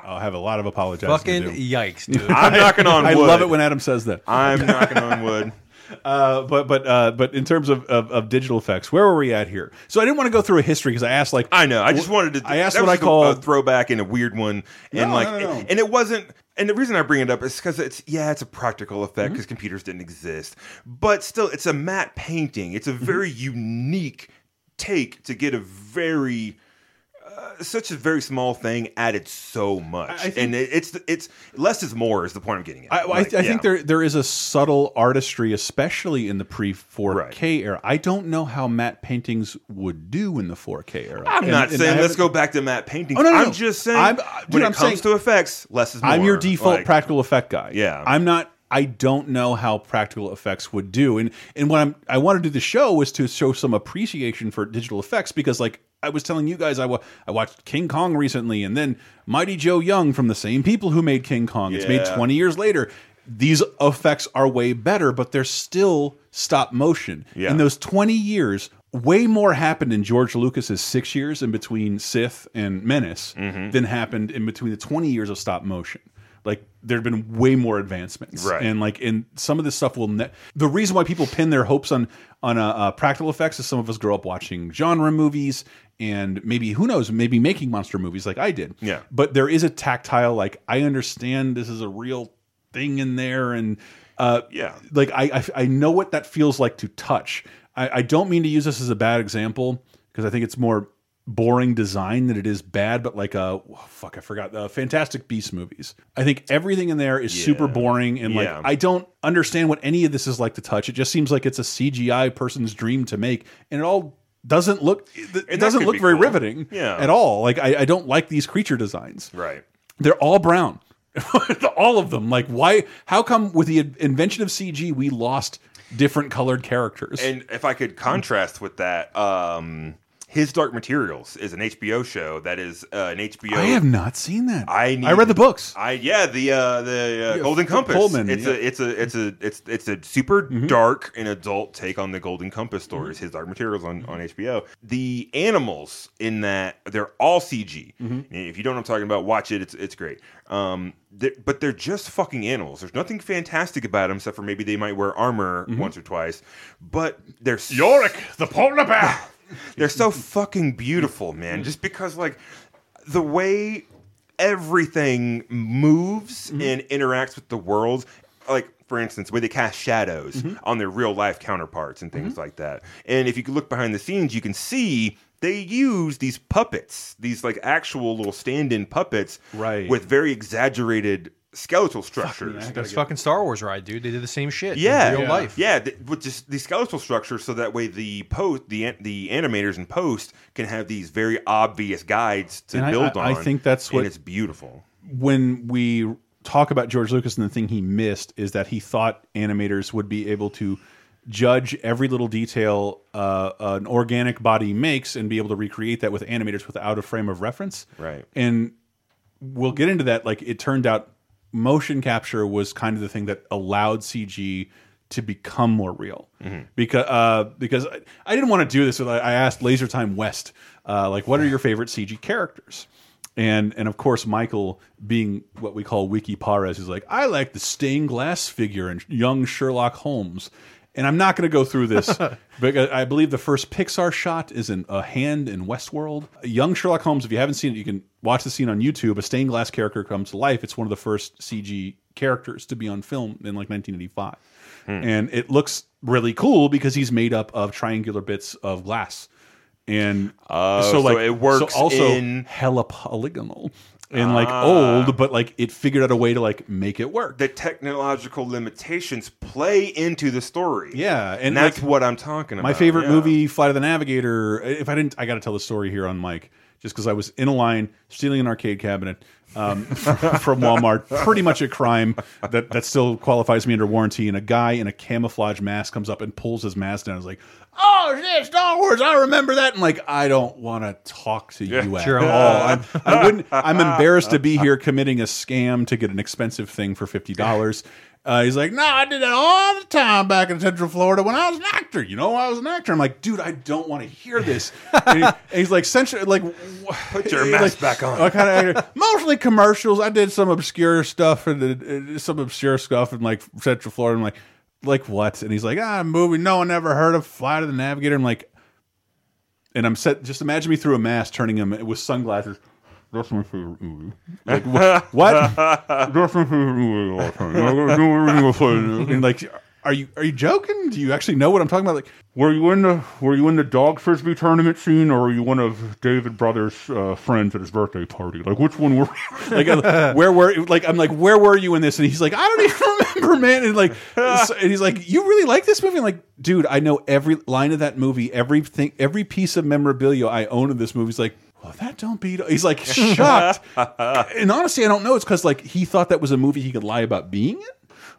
I'll have a lot of apologizing Fucking to do. yikes, dude. I'm knocking on I wood. love it when Adam says that. I'm knocking on wood. Uh, but but uh, but in terms of, of of digital effects, where were we at here? So I didn't want to go through a history because I asked like I know. I just wanted to. I asked that what was I just a- call a throwback and a weird one, and No, like, no, no, no. and it wasn't. And the reason I bring it up is because it's yeah, it's a practical effect Mm-hmm. because computers didn't exist, but still, it's a matte painting. It's a Mm-hmm. very unique take to get a very uh, such a very small thing added so much, think- and it, it's it's less is more is the point I'm getting at. I, I- Like, I yeah. think there there is a subtle artistry, especially in the pre 4K era. I don't know how matte paintings would do in the 4K era. I'm And- not and saying I let's haven't- go back to matte paintings. Oh, no, no, I'm no. just saying I'm- uh, dude, when it I'm comes saying- to effects, less is more. I'm your default Like, practical effect guy. Yeah. I'm not. I don't know how practical effects would do. And and what I'm I want to do the show was to show some appreciation for digital effects because like I was telling you guys I wa I watched King Kong recently and then Mighty Joe Young from the same people who made King Kong. It's made Yeah. 20 years later. These effects are way better, but they're still stop motion. Yeah. In those 20 years, way more happened in George Lucas's six years in between Sith and Menace Mm-hmm. than happened in between the 20 years of stop motion. Like there had been way more advancements, Right. And like, and some of this stuff will. Ne the reason why people pin their hopes on on uh, uh, practical effects is some of us grow up watching genre movies, and maybe who knows, maybe making monster movies like I did. Yeah. But there is a tactile. Like I understand this is a real thing in there, and uh, Yeah. like I, I I know what that feels like to touch. I, I don't mean to use this as a bad example because I think it's more boring design than it is bad. But like uh oh, fuck, I forgot the Fantastic Beast movies. I think everything in there is super boring and Yeah. like I don't understand what any of this is like to touch. It just seems like it's a CGI person's dream to make, and it all doesn't look it, that doesn't could look be very cool. riveting Yeah. at all. Like I, I don't like these creature designs right. they're all brown all of them like why how come with the invention of cg we lost different colored characters And if I could contrast with that, um, His Dark Materials is an HBO show that is uh, an HBO. I have not seen that. I need, I read the books. I yeah the uh, the uh, Yeah, Golden F- Compass. Pullman, it's yeah. Mm-hmm. a it's a it's a it's it's a super dark and adult take on the Golden Compass stories. His Dark Materials Mm-hmm. on on HBO. The animals in that they're all CG. Mm-hmm. And If you don't know what I'm talking about, watch it. It's it's great. Um, they're- but they're just fucking animals. There's nothing fantastic about them except for maybe they might wear armor Mm-hmm. once or twice. But they're Yorick the polar bear. they're so fucking beautiful, Mm-hmm. man. Just because like the way everything moves and interacts with the world like for instance where they cast shadows on their real life counterparts and things like that and if you could look behind the scenes you can see they use these puppets these like actual little stand-in puppets Right. with very exaggerated skeletal structures That's fucking Star Wars ride, dude. They did the same shit. in yeah, real yeah. life. Yeah, th- with just the skeletal structure, so that way the post, the an- the animators and post can have these very obvious guides to And I- build I- I on. think that's what- and it's beautiful. when we talk about George Lucas and the thing he missed is that he thought animators would be able to judge every little detail uh, an organic body makes and be able to recreate that with animators without a frame of reference. Right. And we'll get into that. Like it turned out, motion capture was kind of the thing that allowed CG to become more real. Because uh, because I, I didn't want to do this. So I I asked Laser Time West, uh, like, what are your favorite CG characters? And and of course, Michael, being what we call Wiki Pares, is like, I like the stained glass figure in young Sherlock Holmes. And I'm not going to go through this, but I believe the first Pixar shot is in a hand in Westworld. Young Sherlock Holmes, if you haven't seen it, you can watch the scene on YouTube. A stained glass character comes to life. It's one of the first CG characters to be on film in like 1985. Hmm. And it looks really cool because he's made up of triangular bits of glass. And Oh, so it works so also in- Ah. hella polygonal and like old, but like it figured out a way to like make it work. The technological limitations play into the story. Yeah, and, and, that's like, what I'm talking about. My favorite yeah. movie, Flight of the Navigator. If I didn't, I got to tell the story here on mic, just because I was in a line stealing an arcade cabinet um, from Walmart. Pretty much a crime that that still qualifies me under warranty. And a guy in a camouflage mask comes up and pulls his mask down. I was like, "Oh shit, Star Wars! I remember that." And like, I don't want to talk to you at Sure. all. I'm, I wouldn't. I'm embarrassed to be here committing a scam to get an expensive thing for fifty dollars. Uh, he's like, no, I did that all the time back in Central Florida when I was an actor. You know, I was an actor. I'm like, dude, I don't want to hear this. and, he- and he's like, central, like, put your mask back on. kind of actor. mostly commercials. I did some obscure stuff and uh, some obscure stuff in like Central Florida. I'm like, like what? And he's like, ah, a movie. No one ever heard of Flight of the Navigator. I'm like, and I'm set. Just imagine me through a mask, turning him with sunglasses. That's my favorite movie. Like wh- what? That's my favorite movie of all time. I don't know everything about Flight of the Navigator. And like, are you are you joking? Do you actually know what I'm talking about? Like, were you in the were you in the dog frisbee tournament scene, or were you one of David Brothers' uh, friends at his birthday party? Like, which one were? like, I'm- where were? Like, I'm like, where were you in this? And he's like, I don't even remember, man. And like, so- and he's like, you really like this movie? I'm like, dude, I know every line of that movie, everything, every piece of memorabilia I own of this movie. He's like, well, that don't beat. He's like shocked. and honestly, I don't know. It's because like he thought that was a movie he could lie about being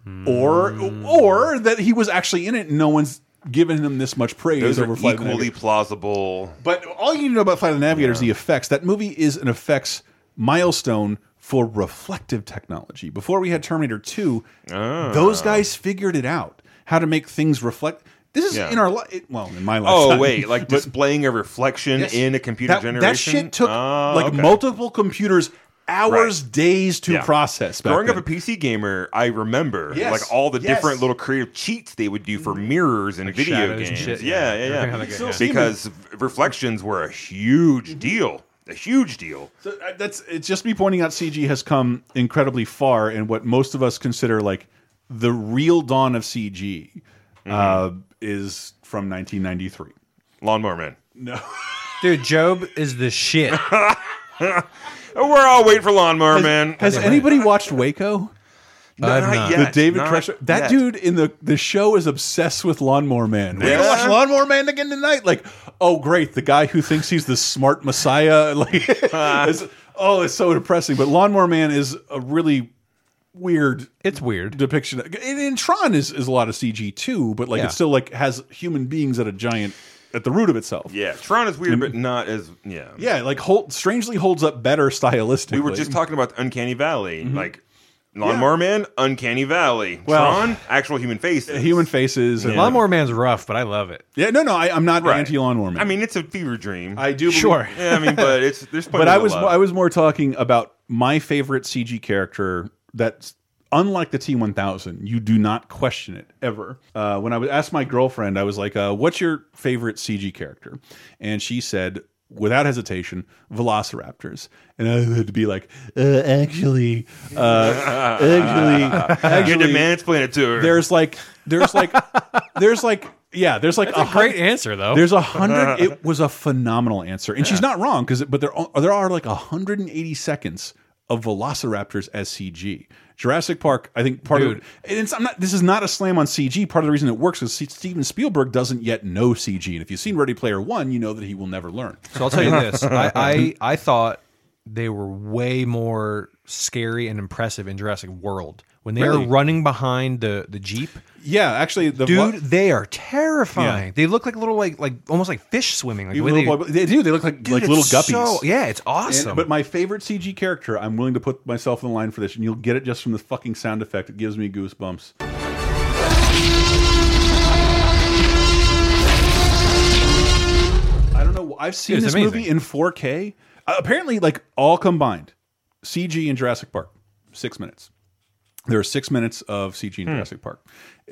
in, or or that he was actually in it. and No one's given him this much praise Those are over Flight of the equally Navigator. plausible. But all you need to know about Flight of the Navigator is the effects. That movie is an effects milestone for reflective technology. Before we had Terminator 2, Ah. those guys figured it out how to make things reflect. This is Yeah. in our life. Well, in my life. Oh wait, like displaying a reflection Yes. in a computer that, generation. That shit took Ah, like okay. multiple computers, hours, days to Yeah. process. back Growing then. up a PC gamer, I remember Yes. like all the Yes. Mm. different little creative cheats they would do for mirrors and video shadows games. and shit, Yeah, yeah. yeah, Everything yeah. had, like, a- Still see Because reflections were a huge Mm-hmm. deal, a huge deal. So uh, that's it's just me pointing out CG has come incredibly far in what most of us consider like the real dawn of CG Mm-hmm. uh, is from 1993. Lawnmower Man. Dude, Job is the shit. Oh, We're all waiting for Lawnmower Man. Has anybody watched Waco? Not I've not. yet, The David not Crusher. That yet. dude in the the show is obsessed with Lawnmower Man. We're gonna watch Yeah. Lawnmower Man again tonight. Like, oh great, the guy who thinks he's the smart messiah. Like, it's- oh, it's so depressing. But Lawnmower Man is a really weird It's weird. depiction. And, and Tron is, is a lot of CG too, but like Yeah. it still like has human beings at a giant at the root of itself. Yeah, Tron is weird, but not as yeah. Yeah, like hold, strangely holds up better stylistically. We were just talking about the Uncanny Valley, Mm-hmm. like Lawnmower Man, Uncanny Valley, Well- Tron, actual human face, human faces. And Lawnmower Man's rough, but I love it. Yeah, no, no, I, I'm not Right. anti lawnmower man. I mean, it's a fever dream. I do believe- Sure. yeah, I mean, but it's there's but plenty I to was love. I was more talking about my favorite CG character that's unlike the T1000 you do not question it ever uh, when I was asked my girlfriend I was like uh, what's your favorite CG character and she said without hesitation velociraptors and I had to be like uh, actually uh, actually you had to actually mansplain it to her. there's like there's like there's like yeah there's like a Great hun- answer though. there's a hundred. it was a phenomenal answer, and she's not wrong because. But there are, there are like hundred and eighty seconds of Velociraptors as CG. Jurassic Park, I think part of Dude. and it's, I'm not. This is not a slam on CG. Part of the reason it works is Steven Spielberg doesn't yet know CG, and if you've seen Ready Player One, you know that he will never learn. So I'll tell you this: I, I I thought they were way more scary and impressive in Jurassic World when they Really? are running behind the the jeep. Yeah, actually, the Dude, Velo- they are terrifying. Yeah. They look like little like like almost like fish swimming. Like the even way little they, boy- they do. They look like like Dude, little it's guppies. so- yeah, it's And- awesome. but my favorite CG character, I'm willing to put myself in the line for this, and you'll get it just from the fucking sound effect. It gives me goosebumps. I don't know. I've seen Dude, it's this amazing. movie in 4K. Uh, apparently, like all combined, CG and Jurassic Park, six minutes. There are six minutes of CG in Jurassic Park.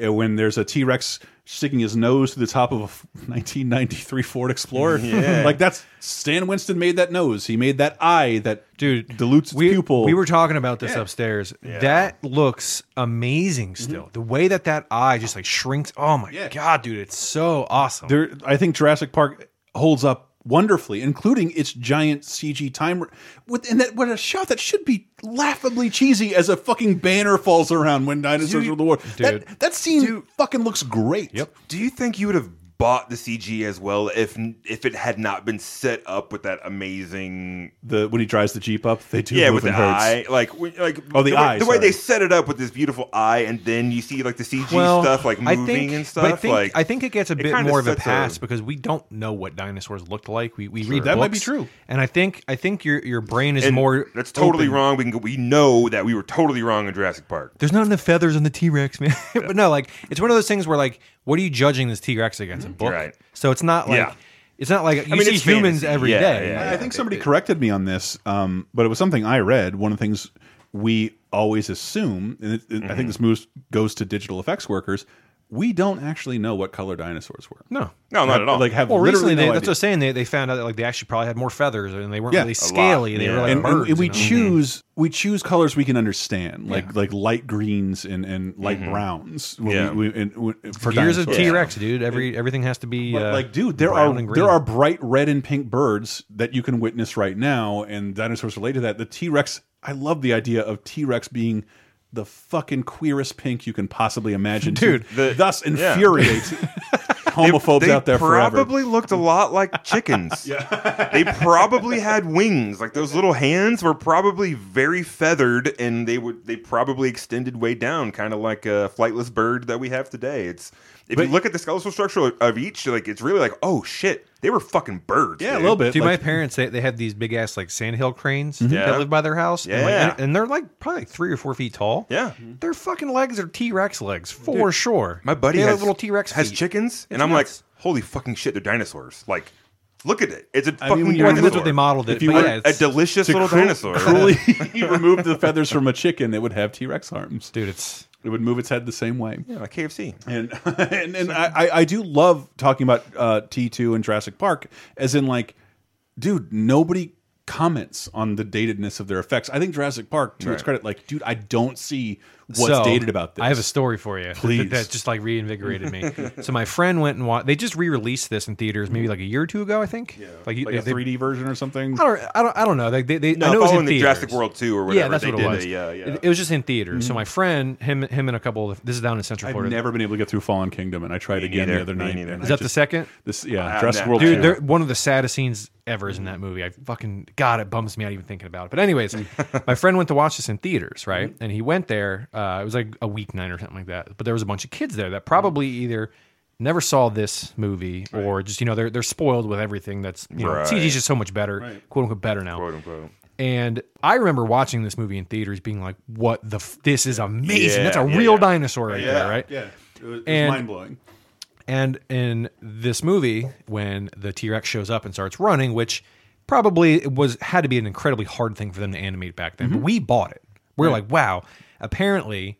Uh, When there's a T Rex sticking his nose to the top of a f- 1993 Ford Explorer, like that's Stan Winston made that nose. He made that eye that Dude, dilutes its we, pupil. We were talking about this upstairs. That looks amazing. Mm-hmm. Still, the way that that eye just like shrinks. Oh my Yeah. god, dude, it's so awesome. there. I think Jurassic Park holds up wonderfully, including its giant CG timer. With and that what a shot that should be laughably cheesy as a fucking banner falls around when dinosaurs Dude. rule the world. That Dude. that scene fucking looks great. Yep. Do you think you would have bought the CG as well if if it had not been set up with that amazing The when he drives the jeep up, they do yeah move with the in herds. eye like when- like Oh, the way, eye, the way sorry. they set it up with this beautiful eye and then you see like the CG stuff like I moving think- and but stuff I think, like I think it gets a bit kinda more of a sets a- pass because we don't know what dinosaurs looked like. We, we read That might be books, true. and I think I think your your brain is and more. that's totally open. wrong. We can go, we know that we were totally wrong in Jurassic Park. There's not enough feathers on the T Rex, man. but no, like it's one of those things where like, what are you judging this T Rex against? A Mm-hmm. book. Right. So it's not like Yeah. it's not like you mean, see it's humans fantasy. every day. Yeah, yeah, I think somebody corrected me on this, um, but it was something I read. One of the things we always assume, and it, it- Mm-hmm. I think this moves goes to digital effects workers, we don't actually know what color dinosaurs were. No. No, not at all. Like have Oh, Well, literally recently they, no that's idea. what I'm saying. They, they found out that like they actually probably had more feathers and they weren't Yeah, really a lot. scaly. They Yeah. were like and, and- birds. and we you know? choose we choose colors we can understand, like like light greens and, and light browns. when Yeah. we, we, and, we, for Years Mm-hmm. of dinosaurs. T Rex, dude. Every everything has to be But, uh, like, dude, there brown are and green. there are bright red and pink birds that you can witness right now, and dinosaurs relate to that. The T Rex, I love the idea of T Rex being the fucking queerest pink you can possibly imagine, Dude, to the- thus infuriates homophobes they out there forever. probably looked a lot like chickens. They probably had wings. Like those little hands were probably very feathered, and they would they probably extended way down, kind of like a flightless bird that we have today. It's if But- you look at the skeletal structure of- of each, like it's really like oh shit, they were fucking birds. yeah, a dude. little bit. Dude, like- my parents they, they have these big ass like sandhill cranes Yeah. that live by their house. And, like, Yeah. and, and they're like probably like three or four feet tall. Yeah. Their fucking legs are T Rex legs for sure. My buddy they has have little T Rex has feet. chickens, and It's I'm nuts. like, holy fucking shit, they're dinosaurs. Like, look at it. It's a I mean, fucking when you're Well, in that's dinosaur. what they modeled it. If you but were yeah, a it's, delicious to little cruel- dinosaur. Cruelly remove the feathers from a chicken, it would have T Rex arms. dude, it's It would move its head the same way. Yeah, like KFC. and and, and I, I- I do love talking about uh, T two and Jurassic Park, as in like, dude, nobody comments on the datedness of their effects. I think Jurassic Park, to its Right. credit, like, dude, I don't see what's so, dated about this. I have a story for you. Please. That, that just like reinvigorated me. so my friend went and watched. They just re-released this in theaters maybe like a year or two ago, I think. Yeah. Like, like they, a three D version or something. I don't, I don't, I don't know. Like they, they, No, I know it was in following the Jurassic theaters. World 2 or whatever, Yeah, that's they what did it was. a- yeah, yeah. It, it was just in theaters. So my friend, him, him, and a couple. of This is down in Central Mm-hmm. I've Florida. never been able to get through Fallen Kingdom, and I tried again neither. the other Me night. neither. and is I that the just- second? This, yeah, I'm Jurassic not- World. Dude, two. Dude, they're, one of the saddest scenes ever is in that movie. I fucking God, it bums me out even thinking about it. But anyways, Mm. my friend went to watch this in theaters, right? Mm-hmm. Mm. And he went there. Uh, it was like a weeknight or something like that. But there was a bunch of kids there that probably either never saw this movie or just you know they're they're spoiled with everything that's you know Right. CG's just so much better quote unquote better now quote unquote. and I remember watching this movie in theaters being like what the f- this is amazing Yeah, that's a yeah, real yeah. dinosaur right yeah, there right Yeah, it was, it was And- mind blowing. and in this movie, when the T Rex shows up and starts running, which probably was had to be an incredibly hard thing for them to animate back then, Mm-hmm. but we bought it. We are like, wow. Apparently,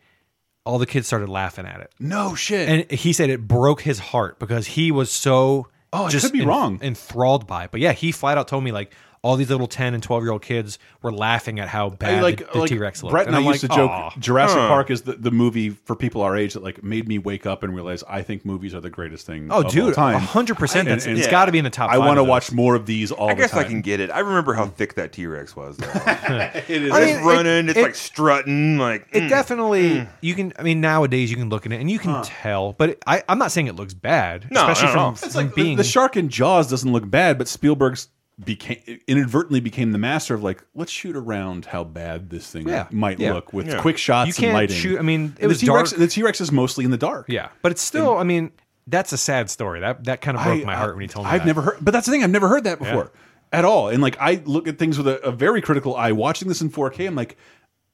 all the kids started laughing at it, No shit. and he said it broke his heart because he was so Oh, I could be wrong. enthralled by it. But yeah, he flat out told me like. All these little ten and twelve year old kids were laughing at how I bad the- like the like T Rex looked. Brett and, I I'm used like, to joke "Aw." Jurassic Park is the, the movie for people our age that like made me wake up and realize I think movies are the greatest thing. Oh, of all dude, time. hundred percent. And- That's and it's got to be in the top. I five want to of those. watch more of these all I the guess I time. can get it. I remember how thick that T Rex was. Though. It is. it's mean, it- running. it's it- like strutting. Like It mm. definitely you can. I mean, nowadays you can look at it and you can tell. But it, I, I'm not saying it looks bad, No, especially not at all. from, It's it's from like the- being the, shark in Jaws doesn't look bad, but Spielberg's became inadvertently became the master of like let's shoot around how bad this thing Yeah, might yeah. look with Yeah. quick shots and You can't lighting. shoot- I mean, it the was T-Rex, dark. The T Rex is mostly in the dark. yeah. But it's still. I mean, that's a sad story. That that kind of broke I- my heart when you told me. I've that. never heard, but that's the thing. I've never heard that before at all. And like, I look at things with a, a very critical eye. Watching this in 4K, I'm like,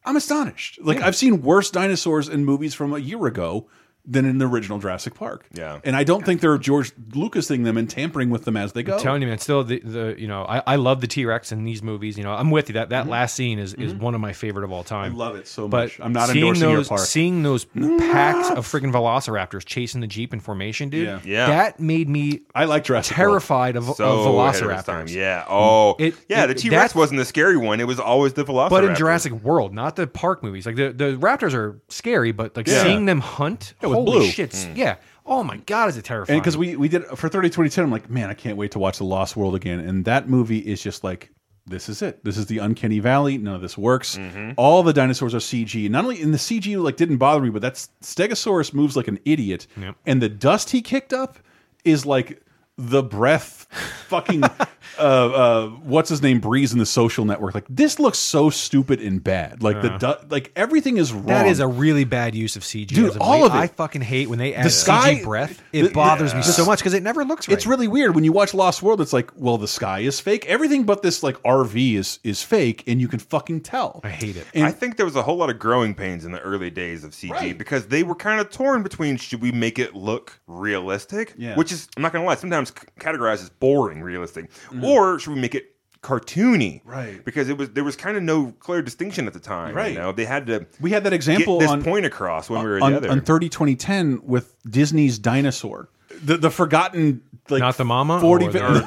I'm astonished. Like, I've seen worse dinosaurs in movies from a year ago than in the original Jurassic Park. Yeah. and I don't think they're George Lucasing them and tampering with them as they go. telling you, man. Still, the, the you know, I, I love the T Rex in these movies. You know, I'm with you. That that last scene is is one of my favorite of all time. Mm-hmm. I love it so But much. I'm not seeing endorsing those, your park. Seeing those packs of freaking velociraptors chasing the jeep in formation, dude. Yeah. Yeah. That made me I like Jurassic World. terrified of, of so ahead of its time. velociraptors. Yeah. Oh, It- yeah. it- the T that's- Rex wasn't the scary one. It was always the Velociraptor. But in Jurassic World, not the park movies. Like the, the raptors are scary, but like Yeah. seeing them hunt, with holy blue. Mm. shit! Yeah. Oh my god, is it terrifying? And because we we did for 30 2010, I'm like, man, I can't wait to watch The Lost World again. And that movie is just like, this is it. This is the uncanny valley. None of this works. Mm-hmm. All the dinosaurs are CG. Not only in the CG, like didn't bother me, but that Stegosaurus moves like an idiot, Yep. and the dust he kicked up is like the breath fucking uh, uh what's his name breeze in the social network like this looks so stupid and bad like the du like everything is wrong that is a really bad use of CG. Dude, as all late. of it. I fucking hate when they add sky- CG breath. the- It the- bothers me the so s- much because it never looks right. It's really weird when you watch Lost World. It's like, well, the sky is fake. Everything but this like RV is is fake, and you can fucking tell. I hate it. And I think there was a whole lot of growing pains in the early days of CG Right. because they were kind of torn between should we make it look realistic, Yeah. which is I'm not gonna lie, sometimes c- categorized as boring realistic, or should we make it cartoony, Mm-hmm. Right. Because it was there was kind of no clear distinction at the time, Right. You know, they had to we had that example get this on point across when we were on, together. on thirty twenty ten with Disney's Dinosaur, the the forgotten like Not the mama forty. or the- Uh, or the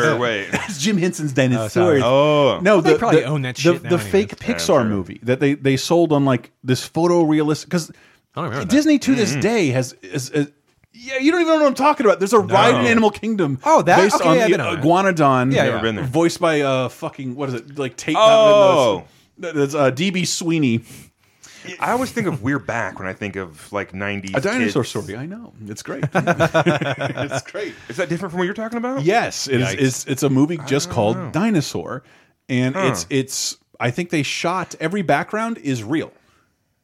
show, or wait, It's Jim Henson's dinosaur. Oh. no, They the- probably the- own that the- shit The, now anyways. fake Yeah, I'm Pixar sure. movie that they they sold on like this photorealistic because I don't remember that. Mm-hmm. Disney to this day has is. is yeah, you don't even know what I'm talking about. There's a ride in Animal Kingdom. Oh, that- based okay, on yeah, I've the been on that. Iguanodon. Yeah, Never yeah. been there. Voiced by uh fucking what is it like Tate? Oh. that's, that's uh, DB Sweeney. I always think of We're Back when I think of like 90s. A dinosaur kids. story. I know it's great. it's great. Is that different from what you're talking about? Yes, it is, it's it's a movie Oh. just called Dinosaur, and it's it's I think they shot every background is real,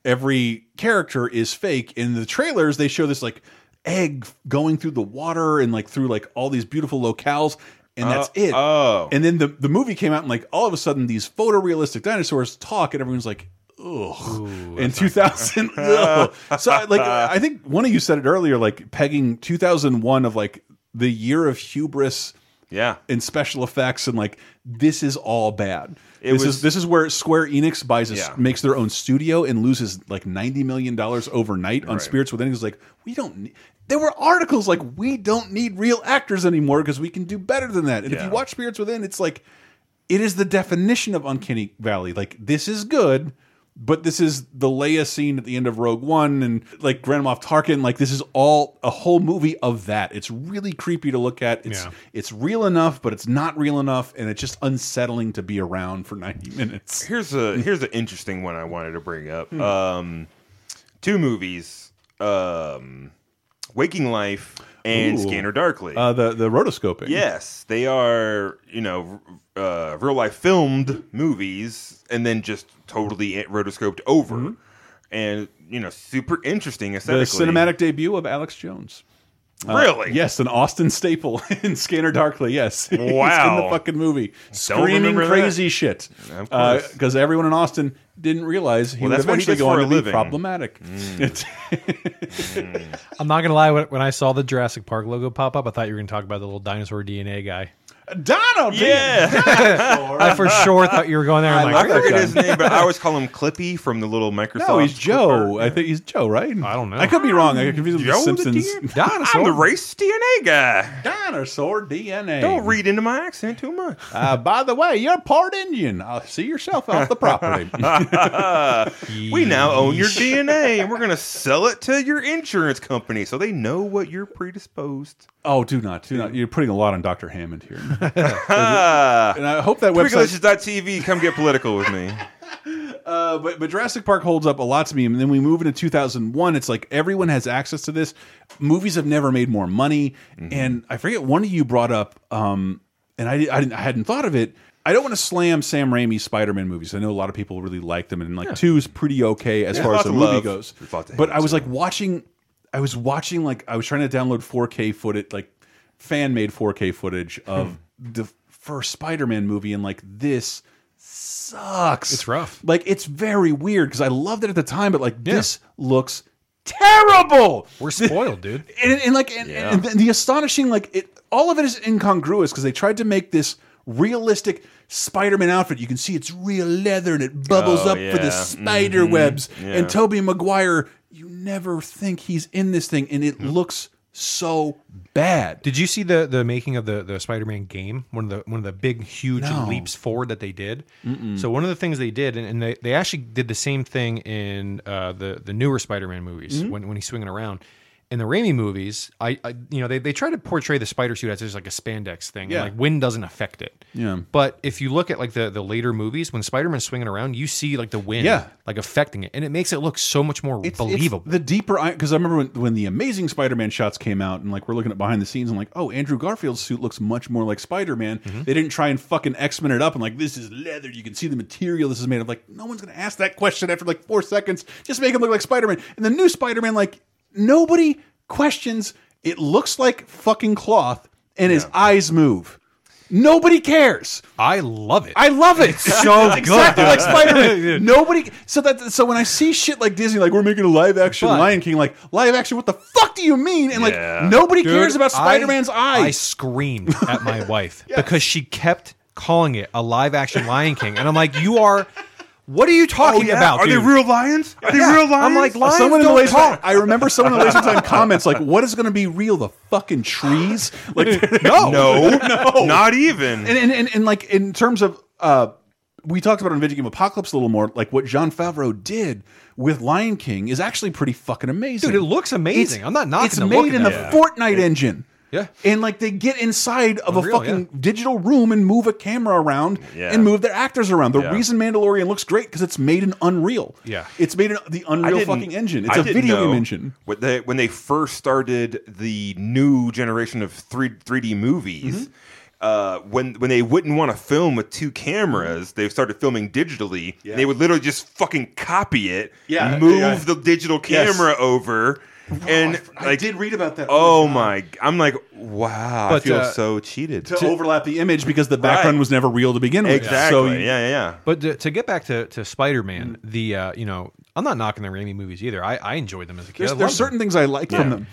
every character is fake. In the trailers, they show this like egg going through the water and like through like all these beautiful locales, and that's it. oh. and then the the movie came out and like all of a sudden these photorealistic dinosaurs talk, and everyone's like. Ugh. in 2000 ugh. so I- like i think one of you said it earlier like pegging 2001 of like the year of hubris Yeah. and special effects and like this is all bad It this was- is this is where square enix buys a, Yeah. makes their own studio and loses like 90 million dollars overnight on Right. spirits within it's like we don't need there were articles like we don't need real actors anymore because we can do better than that and if Yeah. you watch spirits within it's like it is the definition of uncanny valley like this is good but this is the Leia scene at the end of Rogue One and like Grand Moff Tarkin like this is all a whole movie of that it's really creepy to look at it's Yeah. it's real enough but it's not real enough and it's just unsettling to be around for 90 minutes Here's a here's an interesting one I wanted to bring up. Hmm. Um, two movies, um, Waking Life and Ooh. Scanner Darkly. uh, the the rotoscoping yes, they are you know r- uh, real life filmed movies, and then just totally it- rotoscoped over, and you know super interesting Hmm. the uh, aesthetically. cinematic debut of Alex Jones Really? Yes, an Austin staple in Scanner Darkly. Yes, He's in Wow. the fucking movie, screaming remember that. crazy shit. Of course. Because everyone in Austin didn't realize he Well, would that's what he eventually does go for on a to be living. Mm. problematic. It's- I'm not gonna lie. When when I saw the Jurassic Park logo pop up, I thought you were gonna talk about the little dinosaur DNA guy. Donald, Yeah. I for sure thought you were going there. I'm I I like, love that forget guy. his name, but I always call him Clippy from the little Microsoft. No, he's Joe. Clipper. I think he's Joe, right? I don't know. I could be wrong. I could confuse him with Joe the the Simpsons. DNA? Dinosaur, I'm the race DNA guy. dinosaur DNA. Don't read into my accent too much. Uh, by the way, you're part Indian. I'll see yourself off the property. We now own your DNA, and we're gonna sell it to your insurance company so they know what you're predisposed. oh, do not, do not. You're putting a lot on Dr. Hammond here, Ah, and I hope that website. Freakalicious.tv, come get political with me. Uh, but, but Jurassic Park holds up a lot to me. And then we move into 2001. It's like everyone has access to this. Movies have never made more money. Mm-hmm. And I forget one of you brought up, um, and I, I, didn't, I hadn't thought of it. I don't want to slam Sam Raimi's Spider-Man movies. I know a lot of people really like them, and like two is pretty okay as There's far as lots the to movie love, goes. there's lots to But hate, I was like watching, I was watching like I was trying to download 4K footage, like fan made 4K footage of Hmm. the first Spider-Man movie, and like this sucks. It's rough. Like it's very weird because I loved it at the time, but like this looks terrible. we're spoiled, dude. And, and like and, and the astonishing like it, all of it is incongruous because they tried to make this realistic Spider-Man outfit. You can see it's real leather and it bubbles Oh, up for the yeah. spider Mm-hmm. webs. Yeah. And Toby Maguire, you never think he's in this thing, and it looks so bad. Did you see the the making of the the Spider-Man game? One of the one of the big huge No. leaps forward that they did. So one of the things they did, and, and they, they actually did the same thing in uh, the the newer Spider-Man movies Mm-hmm. when, when he's swinging around. In the Raimi movies, I, I you know they, they try to portray the spider suit as just like a spandex thing. Yeah. And like wind doesn't affect it. Yeah. But if you look at like the the later movies, when Spider-Man's swinging around, you see like the wind, Yeah. like affecting it, and it makes it look so much more believable. the deeper I because I remember when, when the Amazing Spider-Man shots came out and like we're looking at behind the scenes and like oh Andrew Garfield's suit looks much more like Spider-Man. They didn't try and fucking X-Men it up and like this is leather. You can see the material this is made of. Like no one's gonna ask that question after like four seconds. Just make him look like Spider-Man. And the new Spider-Man like nobody questions. It looks like fucking cloth and his eyes move. Nobody cares. I love it. I love it. so exactly like Spider Man. Nobody. So that. So when I see shit like Disney, like we're making a live action But- Lion King, like live action. What the fuck do you mean? And Yeah. like nobody Dude, cares about I- Spider Man's I eyes. screamed at my wife because she kept calling it a live action Lion King, and I'm like, "You are, what Oh, are you talking about, Are dude? they real lions? Are Yeah. they real lions? I'm like, lions someone in the don't laser talk. I remember someone in the laser time comments like, "What is going to be real? The fucking trees? Like, no, no, no, not even. and, and, and, and like in terms of uh we talked about it on video game apocalypse a little more like what john favreau did with lion king is actually pretty fucking amazing Dude, it looks amazing. I'm not knocking it's the look made at in the that. a fortnite engine Yeah. and like they get inside of a Unreal, fucking yeah. digital room and move a camera around Yeah. and move their actors around. The Yeah. reason Mandalorian looks great because it's made in Unreal. Yeah. it's made in the Unreal didn't- fucking engine. It's I a didn't video game know engine. What they, when they first started the new generation of three three D Mm-hmm. movies, uh, when when they wouldn't want to film with two cameras, they started filming digitally. and They would literally just fucking copy it, Yeah, move yeah. the digital Yes. camera over, and I like, did read about that. Oh my! g- I'm like, wow! I But, feel uh, so cheated. To, overlap the image because the background Right. was never real to begin with. exactly. So you- yeah, yeah, yeah. But to, to get back to, to Spider Man, Mm. the uh, you know, I'm not knocking the Raimi movies either. I, I enjoyed them as a kid. There's, I there's loved certain them. things I like from them.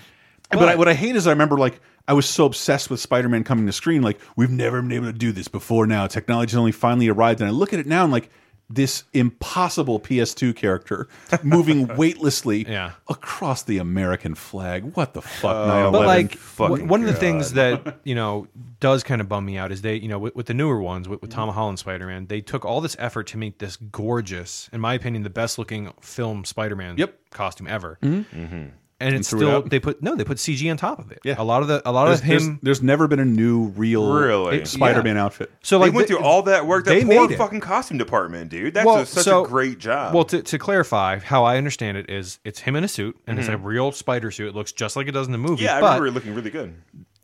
But, I, what I hate is I remember like I was so obsessed with Spider-Man coming to screen. Like we've never been able to do this before. Now technology's only finally arrived, and I look at it now and like this impossible PS2 character moving weightlessly Yeah. Oh. across the American flag. What the fuck? 9/11? But like fucking one one of the things that you know does kind of bum me out is they you know with, with the newer ones with, with Mm-hmm. Tom Holland Spider Man they took all this effort to make this gorgeous in my opinion the best looking film Spider Man Yep. costume ever Mm-hmm. and it's threw it still out. they put no they put CG on top of it Yeah. a lot of the a lot there's, of him there's, there's never been a new real Really? Spider-Man outfit. so they like went the- through all that work. That they poor made it. fucking costume department, dude. That's a, such so- a great job. Well, to, to clarify, how I understand it is it's him in a suit and it's a real spider suit. It looks just like it does in the Mm-hmm. movie. yeah, I but remember it looking really good.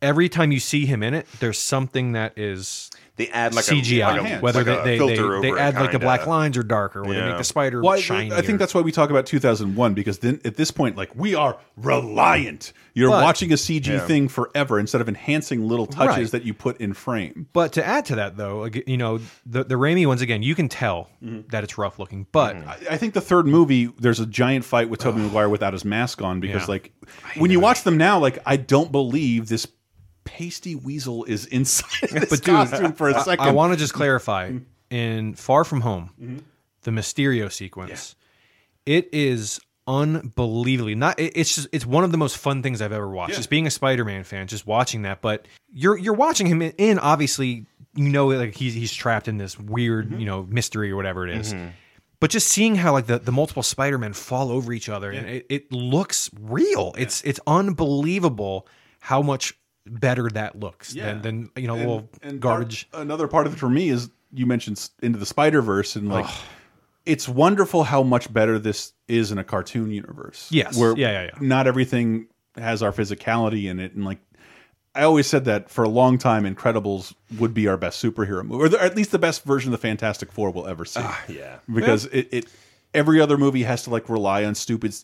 every time you see him in it, there's something that is they add like CGI, a, like a whether like a they, they, filter they, they over it, add like the kinda. black lines are darker, or they Yeah. make the spider Well, I- shiny. I think that's why we talk about 2001 because then at this point, like we are reliant. You're But- watching a CG Yeah. thing forever instead of enhancing little touches Right. that you put in frame. But to add to that, though, ag- you know, the the Raimi ones again, you can tell Mm-hmm. that it's rough looking, but I, I think the third movie, there's a giant fight with Tobey Maguire without his mask on because, Yeah. like, when you watch them now, like I don't believe this pasty weasel is inside this But, dude, costume for a second. I want to just clarify in Far From Home, Mm-hmm. the Mysterio sequence, it is unbelievably not it- it's just it's one of the most fun things I've ever watched. Just being a Spider-Man fan, just watching that, but you're you're watching him in, in obviously you know like he's he's trapped in this weird, Mm-hmm. you know, mystery or whatever it is. But just seeing how like the, the multiple Spider-Men fall over each other and it, it looks real. It's it's unbelievable how much better that looks Yeah. than than you know And- little and part- garbage another part of it for me is you mentioned s- into the Spider Verse and like. It's wonderful how much better this is in a cartoon universe. Yes. where Yeah, yeah, yeah. not everything has our physicality in it, and like I always said that for a long time, Incredibles would be our best superhero movie, or, the, or at least the best version of the Fantastic Four we'll ever see. Yeah. because it, it every other movie has to like rely on stupid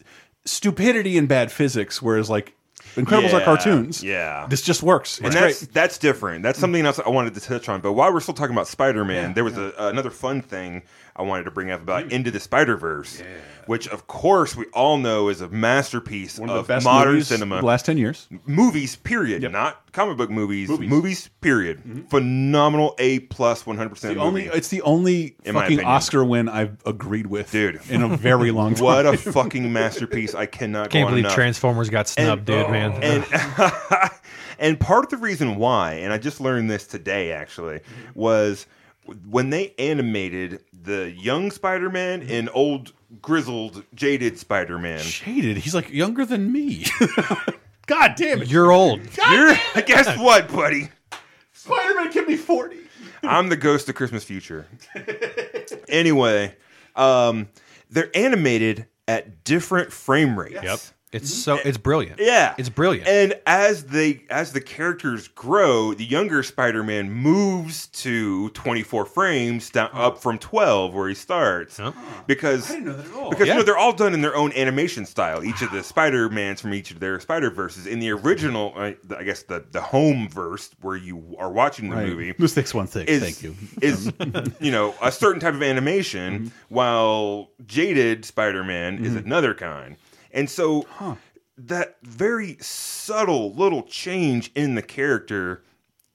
stupidity and bad physics, whereas like Incredibles are Yeah, cartoons. yeah. this just works. And It's that's great. that's different. That's something else I wanted to touch on. But while we're still talking about Spider Man, there was a, another fun thing I wanted to bring up about Into the Spider Verse, which of course we all know is a masterpiece One of, of the best modern movies cinema. of the last ten years. movies period not comic book movies movies, period phenomenal a plus 100% The movie. only it's the only In my fucking opinion. Oscar win I've agreed with, Dude. in a very long time. what a fucking masterpiece i cannot go Can't on believe enough. oh, Transformers got snubbed, dude, man. And, and part of the reason why, and I just learned this today actually, was when they animated the young Spider Man and old, grizzled, jaded Spider Man. Shaded. He's like younger than me. God damn it! You're old. Guess what, buddy? Spider Man can be forty. I'm the ghost of Christmas future. anyway, um, they're animated at different frame rates. Yep. It's so it's brilliant. Yeah, It's brilliant. And as they as the characters grow, the younger Spider-Man moves to 24 frames down, up from 12 where he starts. Huh. Because didn't know that at all. because you Yeah. know they're all done in their own animation style. Each of the Spider-Mans from each of their Spider-Verses in the original I, I guess the the home verse where you are watching the movie Mistakes one thing. is Thank you. Mm-hmm. is you know a certain type of animation, while jaded Spider-Man is another kind, and so that very subtle little change in the character.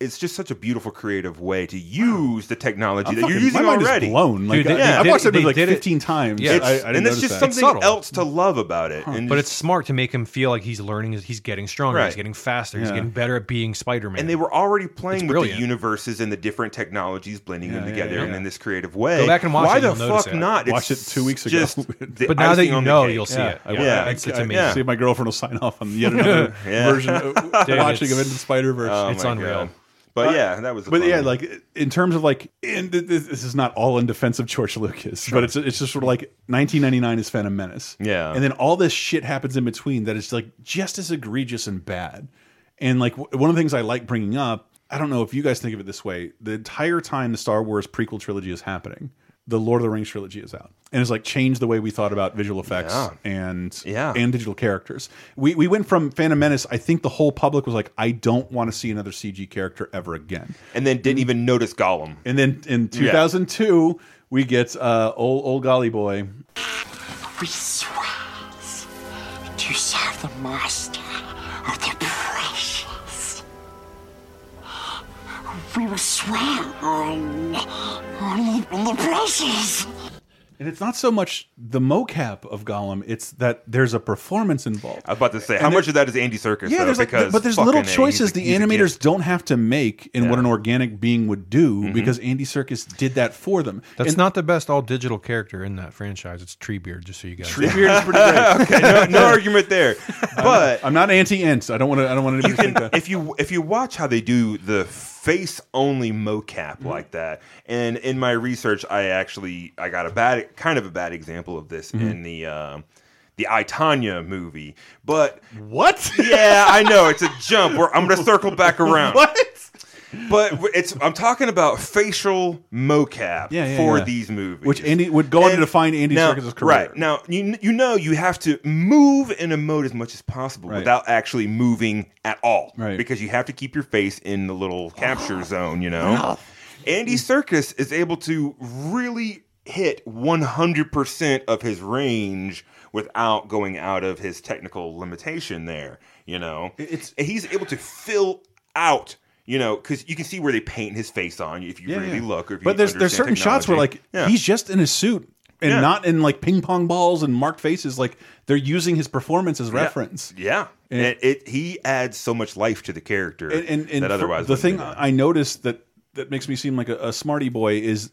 is just such a beautiful creative way to use the technology that Fucking- you're using my mind already. is blown. Like Dude, they- I, they have did watched it- that movie they like did it- fifteen times. Yeah. I, I It's- didn't and it's notice just that. something subtle. else to love about it. And But just- it's smart to make him feel like he's learning, he's getting stronger, he's Right. getting faster, he's Yeah. getting better at being Spider-Man. and they were already playing with the brilliant. universes and the different technologies, blending them yeah, together yeah. and in this creative way. Go back and watch Why it, the you'll notice fuck it. not? Watched it two weeks ago. just the but now that icing you on the know, cake. you'll see it. I- Yeah, yeah, it's, it's I- amazing. See if my girlfriend will sign off on yet another Yeah. version of watching of it's- Into the Spider Verse. Oh It's my unreal. God. But yeah, that was. a But fun yeah, one. like in terms of like, in, th- th- this is not all in defense of George Lucas, but it's it's just sort of like 1999 is Phantom Menace, Yeah. and then all this shit happens in between that is like just as egregious and bad. And like w one of the things I like bringing up, I don't know if you guys think of it this way: the entire time the Star Wars prequel trilogy is happening, the Lord of the Rings trilogy is out, and it's like changed the way we thought about visual effects Yeah. and Yeah. and digital characters. We we went from Phantom Menace. I think the whole public was like, I don't want to see another CG character ever again. and then didn't even notice Gollum. And then in 2002, we get uh, old old golly boy. We swives to serve the master of the precious. We will swear on, on, the- on the precious. And it's not so much the mocap of Gollum; it's that there's a performance involved. I was about to say, how And much of that is Andy Circus? yeah, though, there's like, because but there's little fucking A, choices he's a- the he's a animators kid. don't have to make in what Yeah. Mm-hmm. an organic being would do because Andy Circus did that for them. That's and not the best all digital character in that franchise. It's Treebeard, just so you guys. know. Treebeard is pretty great. no, no argument there. But I'm not anti-ants. I don't want to. I don't want anybody to think that. if you if you watch how they do the face only mocap Mm-hmm. like that, and in my research, I actually I got a bad kind of a bad example of this Mm-hmm. in the um, the I Tanya movie. But What? yeah, I know it's a jump. Where I'm going to circle back around. what? but it's I'm talking about facial mocap Yeah, yeah, for yeah. these movies, Which Andy- would go on to define Andy now, Serkis's career. Right now, you you know you have to move and emote as much as possible Right. without actually moving at all, Right. Because you have to keep your face in the little capture zone, you know. Andy Circus is able to really hit 100% of his range without going out of his technical limitation there, you know. It's- And he's able to fill out you know, because you can see where they paint his face on if you Yeah, really yeah. look. Or if you but there's there's certain understand shots where like technology. Yeah. he's just in a suit and Yeah. not in like ping pong balls and marked faces. Like they're using his performance as reference. Yeah. And it, he adds so much life to the character And, and, and that for- otherwise the wouldn't thing be there. I noticed that that makes me seem like a, a smarty boy is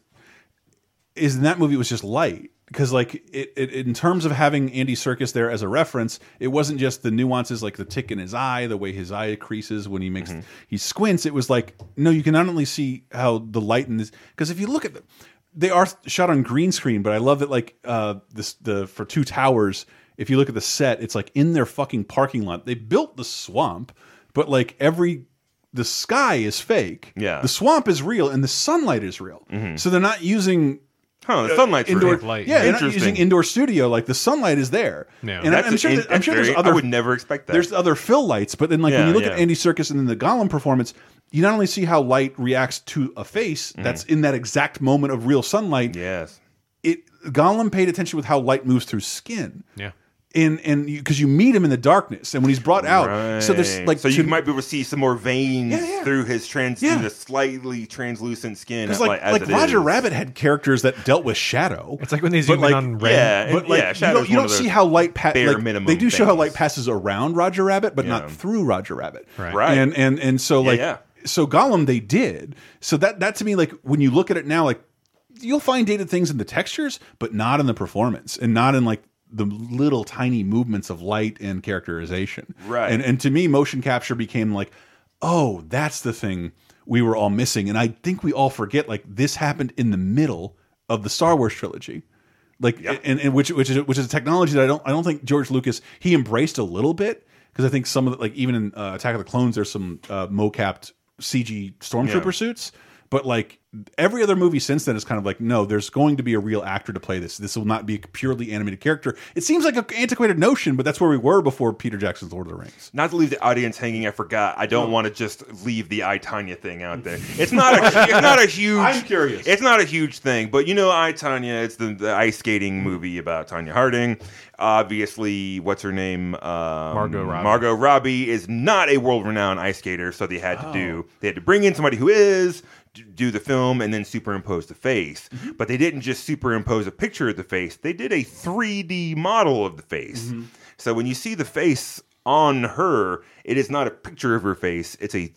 is in that movie it was just light because like it, it in terms of having Andy Circus there as a reference, it wasn't just the nuances like the tick in his eye, the way his eye creases when he makes he squints. It was like no, you can not only see how the light in this because if you look at them, they are shot on green screen, but I love that like uh this the for two towers. If you look at the set, it's like in their fucking parking lot. They built the swamp, but like every the sky is fake. Yeah. The swamp is real and the sunlight is real. So they're not using Huh, the sunlight's indoor real. light. Yeah, they're not Interesting. using indoor studio. Like the sunlight is there. Yeah. and That's- I'm sure. that- I'm that's sure very- there's other. I would never expect that. There's other fill lights, but then like when Yeah, you look yeah. at Andy Circus and then the Gollum performance, you not only see how light reacts to a face Mm-hmm. that's in that exact moment of real sunlight. yes. It Gollum paid attention with how light moves through skin. Yeah. And and because you, meet him in the darkness, and when he's brought out, so there's Right. like so you to- might be able to see some more veins Yeah, yeah. through his trans, Yeah. through the slightly translucent skin. Because uh, like as like it Roger is. Rabbit had characters that dealt with shadow. It's like when they But, zoom like, in on Ren. yeah, and- but like yeah, you Shadow's don't, you one don't of see those how light pa- bare like, minimum they do show how things. light passes around Roger Rabbit, but not Yeah. through Roger Rabbit. Right. Right. And and and so Yeah, like yeah. so Gollum they did. So that that to me like when you look at it now like you'll find dated things in the textures, but not in the performance and not in like the little tiny movements of light and characterization. Right. And and to me motion capture became like oh, that's the thing we were all missing and I think we all forget like this happened in the middle of the Star Wars trilogy like and, and which which is which is a technology that I don't I don't think George Lucas he embraced a little bit because I think some of the, like even in uh, Attack of the Clones there's some uh, mocapped CG stormtrooper Yeah. suits, but like every other movie since then is kind of like no, there's going to be a real actor to play this. This will not be a purely animated character. It seems like an antiquated notion, but that's where we were before Peter Jackson's Lord of the Rings. Not to leave the audience hanging, I forgot. I don't want to just leave the I Tanya thing out there. It's not a it's not a huge. I'm curious. It's not a huge thing, but you know, I Tanya. It's the, the ice skating movie about Tanya Harding. Obviously, what's her name? Um, Margot Robbie. Margot Robbie is not a world renowned ice skater, so they had to Oh. do they had to bring in somebody who is. d- Do the film and then superimpose the face, Mm-hmm. but they didn't just superimpose a picture of the face. They did a 3D model of the face. Mm-hmm. So when you see the face on her, it is not a picture of her face; it's a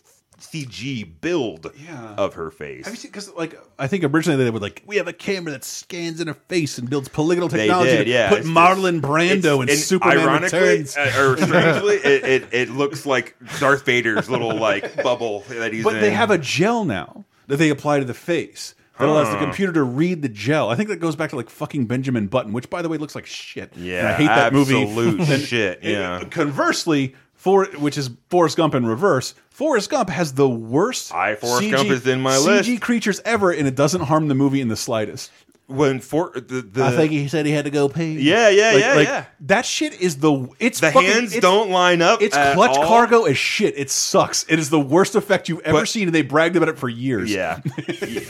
CG build Yeah. of her face. Have you seen? Because like I think originally they would like we have a camera that scans in her face and builds polygonal technology. They did, to yeah. Put It's- Marlon it's- Brando in and Superman ironically, Returns. uh, or strangely, it, it, it looks like Darth Vader's little like bubble that he's But in. they have a gel now that they apply to the face that allows the computer to read the gel. I think that goes back to like fucking Benjamin Button, which by the way looks like shit. And yeah. I hate that movie. Absolute shit. And Yeah. Conversely, for which is Forrest Gump in reverse. Forrest Gump has the worst I, Forrest CG, Gump is in my CG list. creatures ever, and it doesn't harm the movie in the slightest. when for the, the I think he said he had to go pee. Yeah, yeah, Like- yeah, like, yeah. That shit is the it's the fucking- hands it's- don't line up. It's at clutch all. cargo as shit. It sucks. It is the worst effect you've ever But- seen, and they bragged about it for years. Yeah.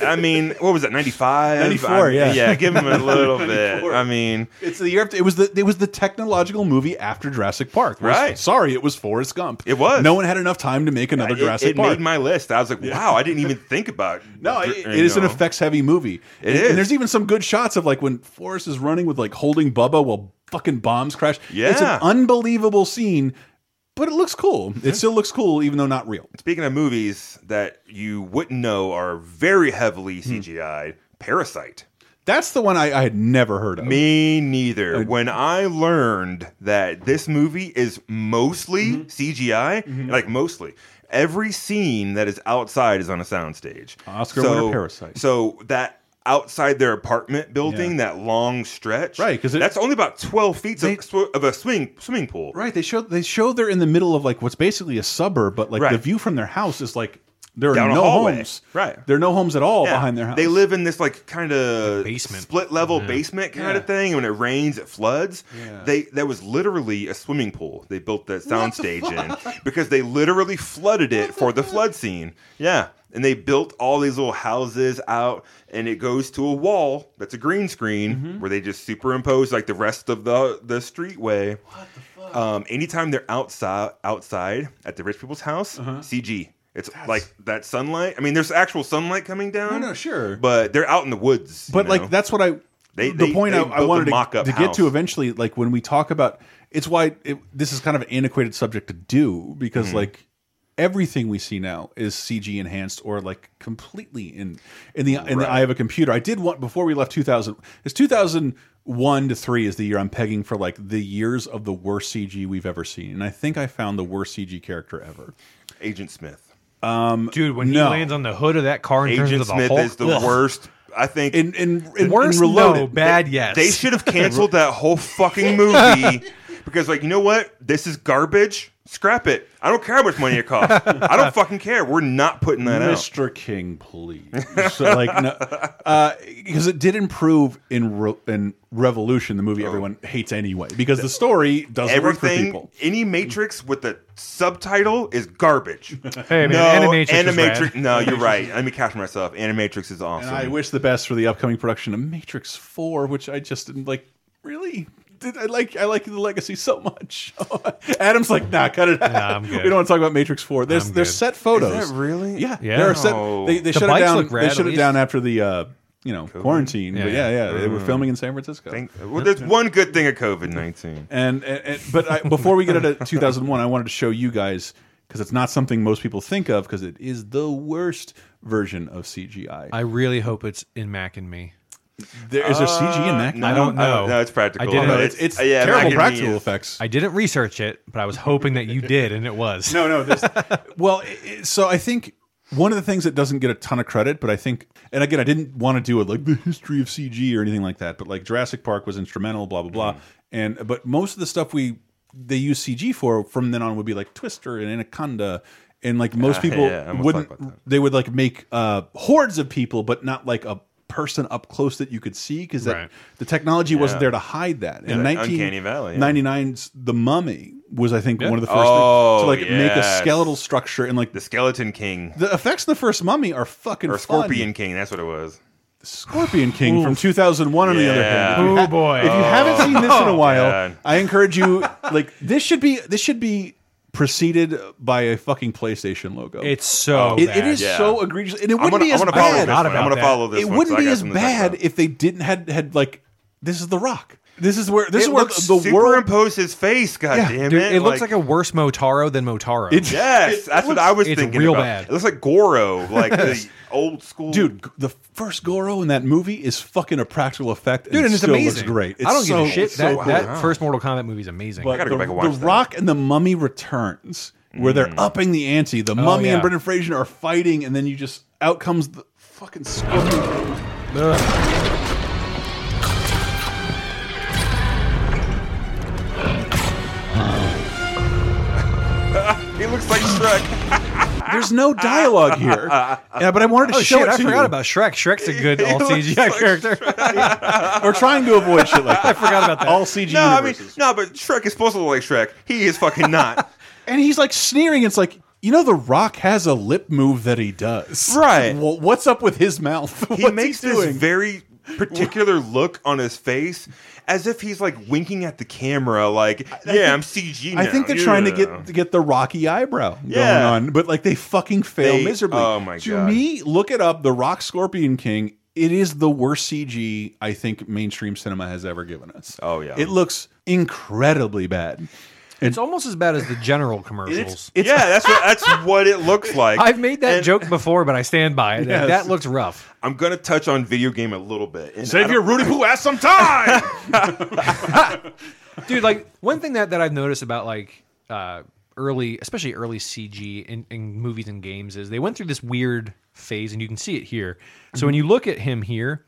I mean, what was that, 95? 94, I- yeah. Yeah, give him a little bit. 94. I mean, It's the year after. It was the it was the technological movie after Jurassic Park. Whereas- Right. Sorry, it was Forrest Gump. It was. No one had enough time to make another it, Jurassic it Park. made my list. I was like, wow, I didn't even think about no, it- you it is an know. effects heavy movie. and, is. And there's even some good shots of like when Forrest is running with like holding Bubba while fucking bombs crash. It's Yeah. an unbelievable scene, but it looks cool. It still looks cool, even though not real. Speaking of movies that you wouldn't know are very Hmm. heavily CGI'd, Parasite. That's the one I, I had never heard of. Me neither. When I learned that this movie is mostly Mm-hmm. CGI, like mostly every scene that is outside is on a soundstage. Oscar winner Parasite. So that outside their apartment building, Yeah. that long stretch, Right, 'cause it- that's only about twelve feet They- of, sw- of a swimming swimming pool. Right. They show they show they're in the middle of like what's basically a suburb, but like the Right. view from their house is like There are Down a no hallway. homes. Right. There are no homes at all Yeah. behind their house. They live in this like kind of basement. split level basement kind Yeah. of thing. When it rains, it floods. Yeah. They that was literally a swimming pool. They built that soundstage in because they literally flooded it for the flood scene. Yeah. And they built all these little houses out, and it goes to a wall that's a green screen Mm-hmm. where they just superimpose like the rest of the the streetway. What the fuck? Um, anytime they're outside outside at the rich people's house, Uh-huh. CG. It's like that sunlight. I mean, there's actual sunlight coming down. no, sure. But they're out in the woods. you But like know? that's what I. They- the they- point they I, built I a wanted to, mock-up to get to house. eventually, like when we talk about, it's why it, this is kind of an antiquated subject to do because Hmm. like everything we see now is CG enhanced or like completely in in the in the eye of a computer. I did want before we left 2000. It's 2001 to three is the year I'm pegging for like the years of the worst CG we've ever seen, and I think I found the worst CG character ever. Agent Smith. Dude, when No. he lands on the hood of that car and turns Agent into the Smith Hulk, is the ugh. worst. I think In in, in Worst, in reloaded, no, bad, yes. they should have canceled that whole fucking movie because, like, you know what? This is garbage. Scrap it. I don't care how much money it costs. I don't fucking care. We're not putting that out. Mr. King, please. so, like, no, because it did improve in Re in Revolution, the movie everyone hates anyway, because the story doesn't work for Oh. Everything, people. any Matrix with the subtitle is garbage. Hey, man, Animatrix is rad. No, you're right. Let me catch myself. Animatrix is awesome. And I wish the best for the upcoming production of Matrix Four, which I just didn't like. Really, did I like? I like the legacy so much. Adam's like, nah, cut it out. Nah, I'm good. We don't want to talk about Matrix Four. There's I'm there's good. set photos. Is that really? Yeah, Yeah. There are set. No. They, they The shut it bikes down. look rad, They shut at it least. down after the uh, you know quarantine. But yeah, yeah, they Mm. were filming in San Francisco. Thank- well, there's one good thing of COVID 19. And, and, and but I, before we get into 2001, I wanted to show you guys because it's not something most people think of because it is the worst version of CGI. I really hope it's in Mac and me. there, is there CG in Mac? No, now? I don't know. No, it's practical. I didn't- No, But it's it's uh, yeah, terrible Mac and practical me is- effects. I didn't research it, but I was hoping that you did, and it was. no, no. There's, well, i- i- so I think one of the things that doesn't get a ton of credit, but I think, and again, I didn't want to do it like the history of CG or anything like that, but like Jurassic Park was instrumental, blah blah blah, Mm-hmm. and but most of the stuff we they use CG for from then on would be like Twister and Anaconda. And like most people Ah, yeah, I almost wouldn't, thought about that. they would like make uh, hordes of people, but not like a person up close that you could see because Right. the technology wasn't there to hide that. And like Uncanny Valley, yeah. 1999's The Mummy was, I think, one of the first Oh, things to like make a yes. skeletal structure and like The Skeleton King. the effects in the first Mummy are fucking or fun. Scorpion King. That's what it was. Scorpion King from 2001. On the other Yeah. Oh, hand, If you ha- Oh, boy. if you haven't seen this in a while, God. I encourage you. Like this should be this should be preceded by a fucking PlayStation logo. It's so Oh, It- it bad. is Yeah. so egregious, and it I'm wouldn't gonna, be I'm as gonna follow bad. this. One. Not I'm gonna about follow this. it one, so wouldn't I be got as something to talk bad about. if they didn't had had like this is the Rock. This is where this is it where looks the world. superimpose his face. God Yeah, damn Dude, it! it looks like, a worse Motaro than Motaro. It- yes. that's what I was it's thinking. real about. bad. It looks like Goro, like the old school Dude, g- the first Goro in that movie is fucking a practical effect. Dude, and it's still Looks amazing. great. It's I don't so, give a shit. it's That, so cool. that first Mortal Kombat movie is amazing. But gotta the, go back and watch the that. Rock and the Mummy returns, where they're upping the ante. The Mummy and Mm. Oh, yeah. Brendan Fraser are fighting, and then you just out comes the fucking scorpion. He looks like Shrek. There's no dialogue here, yeah, but I wanted to Ah. oh show shit! it I to forgot you. about Shrek. Shrek's a good all looks CGI like character. We're trying to avoid shit like that. I forgot about that. All CG No, I mean, universes. no, but Shrek is supposed to look like Shrek. He is fucking not. and he's like sneering. It's like. You know, The Rock has a lip move that he does. Right. Well, what's up with his mouth? he What's makes he this doing? very particular look on his face as if he's like winking at the camera, like, yeah, I'm CG. I now. think they're trying to Yeah. get to get the rocky eyebrow going Yeah. on, but like they fucking fail They- miserably. oh my to God. me, look it up. The Rock Scorpion King. It is the worst CG I think mainstream cinema has ever given us. Oh, yeah. it looks incredibly bad. It's almost as bad as the general commercials. It's yeah, that's what that's what it looks like. I've made that And joke before, but I stand by it. Yes. That looks rough. I'm gonna touch on video game a little bit. And I Save don't- your Rudy Poo ass some time. dude like one thing that, that i've noticed about like uh early especially early cg in, in movies and games is they went through this weird phase and you can see it here so when Mm-hmm. you look at him here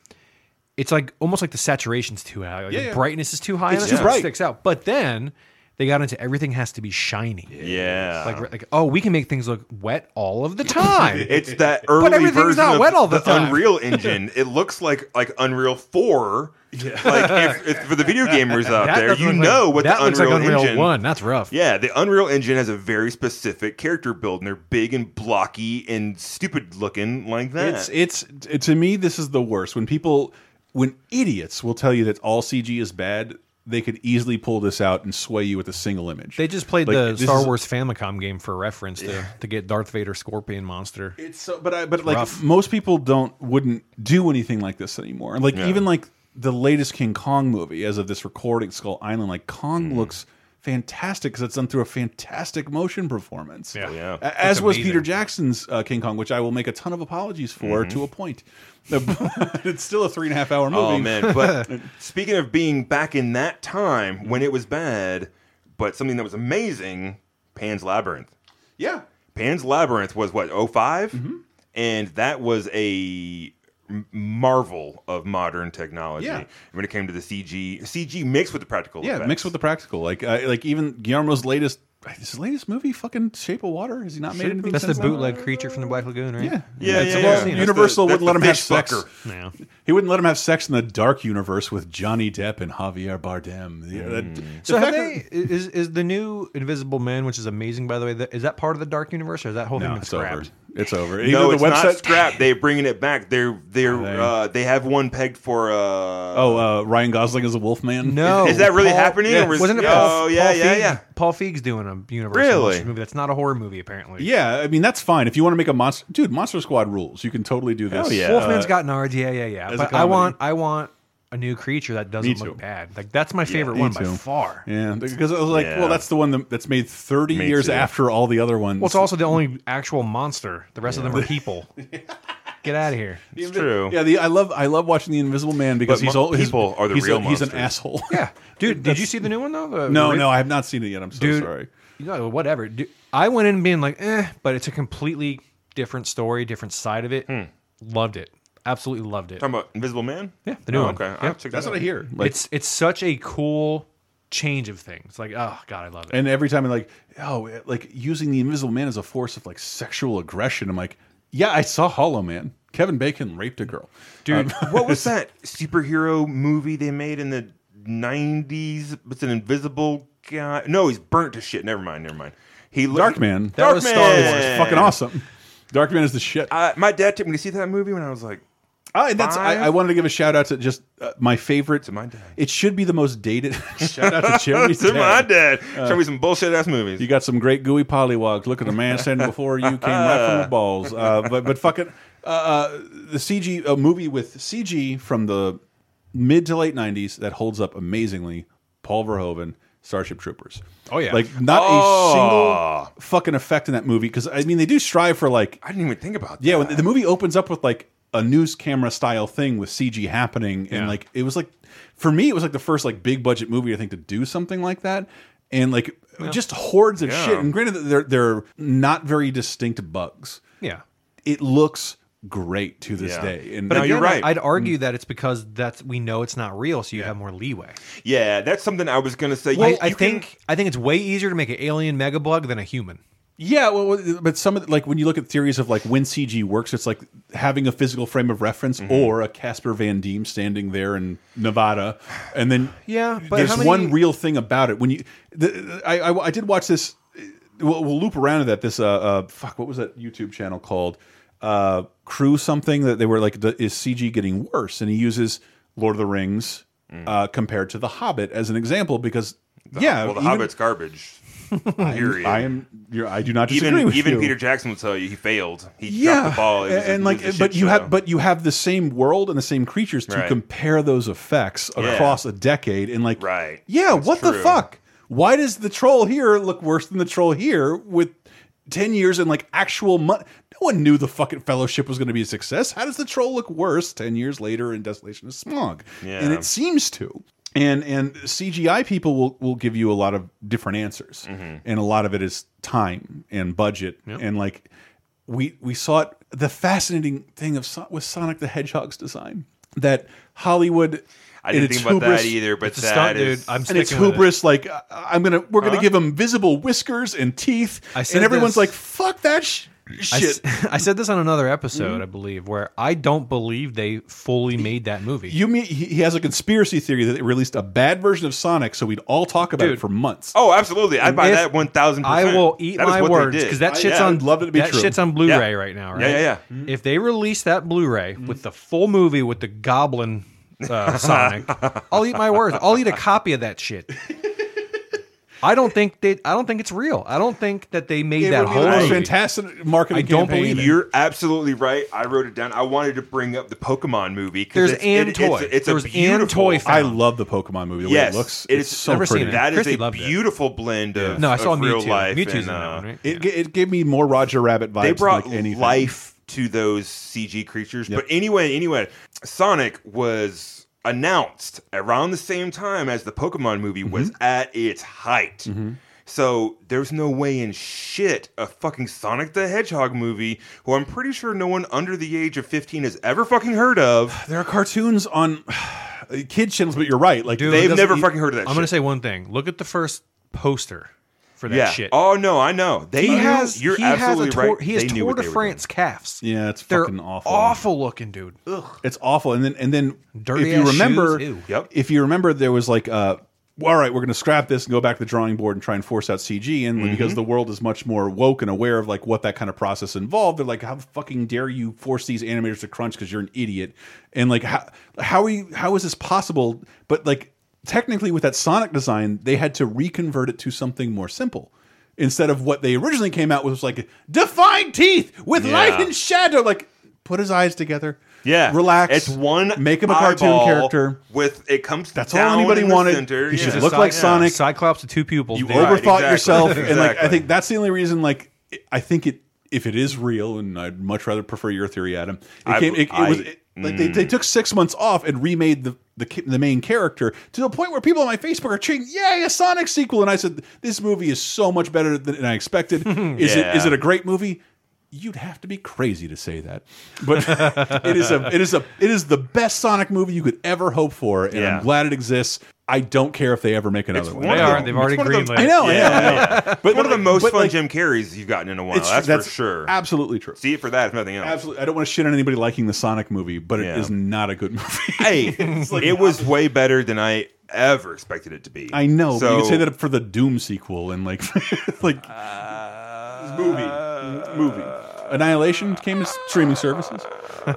it's like almost like the saturation's too high like Yeah, the yeah. brightness is too high It's and too it bright. sticks out but then they got into everything has to be shiny. Yeah. Like, like oh, we can make things look wet all of the time. It's that early everything's version not of wet all the time. Unreal Engine. It looks like like Unreal Four. Like if, if, for the video gamers out That there, doesn't you look like- know what that the looks Unreal, like Unreal Engine. One. That's rough. Yeah, the Unreal Engine has a very specific character build, and they're big and blocky and stupid looking like that. It's it's t- to me this is the worst when people when idiots will tell you that all CG is bad. They could easily pull this out and sway you with a single image. They just played Like, the this Star is- Wars Famicom game for reference to, to get Darth Vader Scorpion monster. It's so, but I, but like rough. most people don't wouldn't do anything like this anymore. And like Yeah. even like the latest King Kong movie, as of this recording, Skull Island, like Kong looks fantastic because it's done through a fantastic motion performance. Yeah. yeah. A- As was amazing. Peter Jackson's uh, King Kong, which I will make a ton of apologies for to a point. But it's still a three and a half hour movie. Oh man! But speaking of being back in that time when it was bad, but something that was amazing, Pan's Labyrinth. Yeah. Pan's Labyrinth was what 5 Mm-hmm. and that was a m- marvel of modern technology Yeah. when it came to the CG CG mixed with the practical. Yeah, effects. mixed with the practical. Like uh, like even Guillermo's latest his latest movie, fucking Shape of Water, has he not made anything That's the since then? bootleg creature from the Black Lagoon, right? Yeah. Yeah, It's- yeah, well, yeah. That's the- Universal wouldn't that's let the him have fish sex. fucker. Yeah. He wouldn't let him have sex in the dark universe with Johnny Depp and Javier Bardem. Yeah, that- Mm. the So have fact they, is is the new Invisible Man, which is amazing by the way, that, is that part of the Dark Universe or is that whole that- thing no, been it's scrapped? over. It's over. Either No, the it's not website. scrapped. They're bringing it back. They're they're Are they? uh, they have one pegged for. Uh, oh, uh, Ryan Gosling is a Wolfman. No, Is- is that really happening, or was- wasn't it? yeah. Paul, Oh, yeah, Paul yeah, Feig, yeah. Paul Feig's doing a Universal Really? Monsters movie that's not a horror movie apparently. Yeah, I mean that's fine. If you want to make a monster, dude, Monster Squad rules. You can totally do this. Hell yeah. Wolfman's got Nards. Yeah, yeah, yeah. a But I comedy. want I want a new creature that doesn't too. look bad. Like that's my favorite me one by too. far. Yeah, because I was like, Yeah. well, that's the one that, that's made thirty Me years too. after all the other ones. Well, it's also the only actual monster. The rest of them are people. Get out of here. it's true. yeah. The, I love I love watching the Invisible Man because But he's mo- all his, people are the he's real a, He's an monsters. asshole. Yeah, dude. Did you see the new one though? The- no, the- no, I have not seen it yet. I'm so dude. sorry. You know, whatever. Dude, I went in being like, eh, but it's a completely different story, different side of it. Hmm. Loved it. Absolutely loved it. Talking about Invisible Man. Yeah, the new oh, one. Okay, Yeah. I'll check That's that what out. I hear. Like, it's it's such a cool change of things. Like, oh god, I love it. And every time I'm like, oh, like using the Invisible Man as a force of like sexual aggression. I'm like, yeah, I saw Hollow Man. Kevin Bacon raped a girl. Um, Um, dude. what was that superhero movie they made in the '90s? It's an invisible guy. No, he's burnt to shit. Never mind. Never mind. He looked- Dark Man. That was Star Wars. Darkman! Fucking awesome. Dark Man is the shit. Uh, my dad took me to see that movie when I was like, I, that's, I, Five? I wanted to give a shout out to just uh, my favorite. To my dad. It should be the most dated. shout out to Jeremy's "To my dad. dad, show me some bullshit ass movies." You got some great gooey pollywogs. Look at the man standing before you came right from the balls. Uh, but but fucking uh, uh, the CG a movie with CG from the mid to late '90s that holds up amazingly. Paul Verhoeven, Starship Troopers. Oh, yeah. like not Oh. a single fucking effect in that movie because I mean they do strive for like I didn't even think about that. yeah, when the movie opens up with like a news camera style thing with CG happening, and like it was like for me, it was like the first like big budget movie I think to do something like that, and like just hordes of Yeah. shit. And granted, that they're they're not very distinct bugs. yeah. It looks great to this Yeah. day. And But No, you're Again, I- right. I'd Mm. argue that it's because that's we know it's not real, so you have more leeway. yeah, that's something I was gonna say. I- You- I, you can- think I think it's way easier to make an alien megabug than a human. Yeah, well, well, but some of the, like when you look at theories of like when CG works, it's like having a physical frame of reference Mm-hmm. or a Casper Van Diem standing there in Nevada, and then Yeah, but there's how many- one real thing about it. When you, the, I, I I did watch this. We'll, we'll loop around to that. This uh, uh fuck, what was that YouTube channel called? Uh, Crew something that they were like, the, is CG getting worse? And he uses Lord of the Rings uh, compared to The Hobbit as an example because. yeah, well, Mm. the even- Hobbit's garbage. Period. I am. You're, I do not disagree even with even you Peter Jackson will tell you he failed. He dropped yeah, the ball. It and, was a- and, it was like, but a shit you show. have but you have the same world and the same creatures to Right. compare those effects Yeah. across a decade, and like, Right. Yeah, That's what the true. fuck? Why does the troll here look worse than the troll here with ten years and like actual money? No one knew the fucking fellowship was going to be a success. How does the troll look worse ten years later in Desolation of Smog? Yeah. and it seems to. And and CGI people will, will give you a lot of different answers, Mm-hmm. and a lot of it is time and budget and like we we saw it. The fascinating thing of Son- was Sonic the Hedgehog's design that Hollywood. I in didn't its think about hubris- that either, but It's a that stunt, is- dude. I'm and it's sticking with it. hubris. Like I- I'm gonna, we're gonna give him visible whiskers and teeth, I said and everyone's this. like, "Fuck that sh I s- shit." I said this on another episode, Mm-hmm. I believe, where I don't believe they fully made that movie. you mean he he has a conspiracy theory that they released a bad version of Sonic, so we'd all talk about it Dude. for months. Oh, absolutely. I buy if- that 1000%. I will eat That is my what they words did. because that I- shit's yeah, on I'd love it to be that true. shit's on Blu-ray Yeah. right now, right? Yeah, yeah, Mm-hmm. yeah. If they release that Blu-ray with the full movie with the Goblin uh, Sonic, I'll eat my words. I'll eat a copy of that shit. I don't think they. I don't think it's real. I don't think that they made It that would be the whole. most movie. fantastic marketing. I don't campaign. believe it. You're absolutely right. I wrote it down. I wanted to bring up the Pokemon movie. 'cause There's it's, Ann it- it's- Toy. It's, There was a Ann beautiful Toy I found. love the Pokemon movie. The Yes, way it looks, it it's, is- so Never seen pretty. it. That is Christy a loved it. beautiful blend of No, I saw of real Mewtwo. life. Mewtwo's in and, that uh, one, right? It, g- it gave me more Roger Rabbit vibes. They than, brought like anything. life to those CG creatures. But anyway, anyway, Sonic was announced around the same time as the Pokemon movie was Mm-hmm. at its height. So there's no way in shit a fucking Sonic the Hedgehog movie, who I'm pretty sure no one under the age of 15 has ever fucking heard of. There are cartoons on kid channels, but you're right. Like it They've doesn't- never it- fucking heard of that. e- I'm gonna shit. say one thing. Look at the first poster for that yeah. shit. Oh no, I know. They he knew- has. You're he absolutely has a tour, right. He has They knew Tour what de they were France calves. Yeah, it's They're fucking awful. Awful looking, dude. Ugh. It's awful. And then and then Dirty if you ass remember, shoes, ew. Yep. if you remember, there was like uh. All right, we're going to scrap this and go back to the drawing board and try and force out CG. Mm-hmm. And because the world is much more woke and aware of like what that kind of process involved, they're like, "How fucking dare you force these animators to crunch because you're an idiot?" And like, how how are you? How is this possible? But like, technically, with that Sonic design, they had to reconvert it to something more simple. Instead of what they originally came out with was like defined teeth with light and shadow. Like, put his eyes together. Yeah, relax. It's one. Make him a cartoon eyeball character. With it comes. That's all down anybody in the wanted. Center. He yeah. should look like Sonic. Cyclops with two pupils. You dude. You Right, overthought exactly, yourself, and like I exactly. think that's the only reason. Like, I think it if it is real, and I'd much rather prefer your theory, Adam. It I- came. It, it I- Mm. was it- like they, they took six months off and remade the. The, ki- the main character to the point where people on my Facebook are cheering, "Yay, a Sonic sequel!" And I said, "This movie is so much better than I expected." is it is Yeah. it a great movie? You'd have to be crazy to say that, but it is a it is a it is the best Sonic movie you could ever hope for, and Yeah. I'm glad it exists. I don't care if they ever make another one. one They of are. the- They've already it's one of greenlit. the- it. I know, I know, I know. But one of the most Oh, but, fun like, Jim Carrey's you've gotten in a while. It's- That's, for sure. Absolutely true. See it for that, if nothing else. absolutely. I don't want to shit on anybody liking the Sonic movie, but Yeah. it is not a good movie. Hey, it was way better than I ever expected it to be. I know. but So you could say that for the Doom sequel and like, like movie, movie. Annihilation came to streaming services.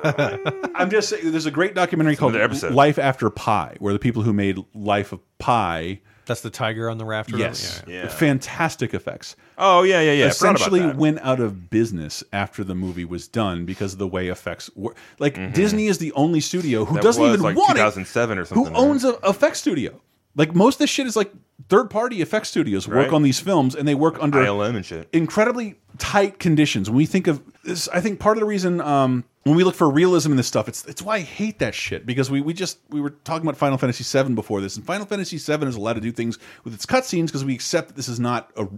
I'm just saying. There's a great documentary called Another episode. "Life After Pi," where the people who made "Life of Pi," That's the tiger on the raft. or yes, whatever? Yeah. fantastic effects. Oh yeah, yeah, yeah. I forgot about essentially that. went out of business after the movie was done because of the way effects were. Like Disney is the only studio who Mm-hmm. That doesn't was even like want it. 2007 or Who something. right? owns a effects studio? Like most of this shit is like third party effects studios work Right. on these films and they work under ILM and shit? incredibly tight conditions. When we think of this, I think part of the reason um, when we look for realism in this stuff, it's it's why I hate that shit because we we just we were talking about Final Fantasy VII before this, and Final Fantasy VII is allowed to do things with its cutscenes because we accept that this is not a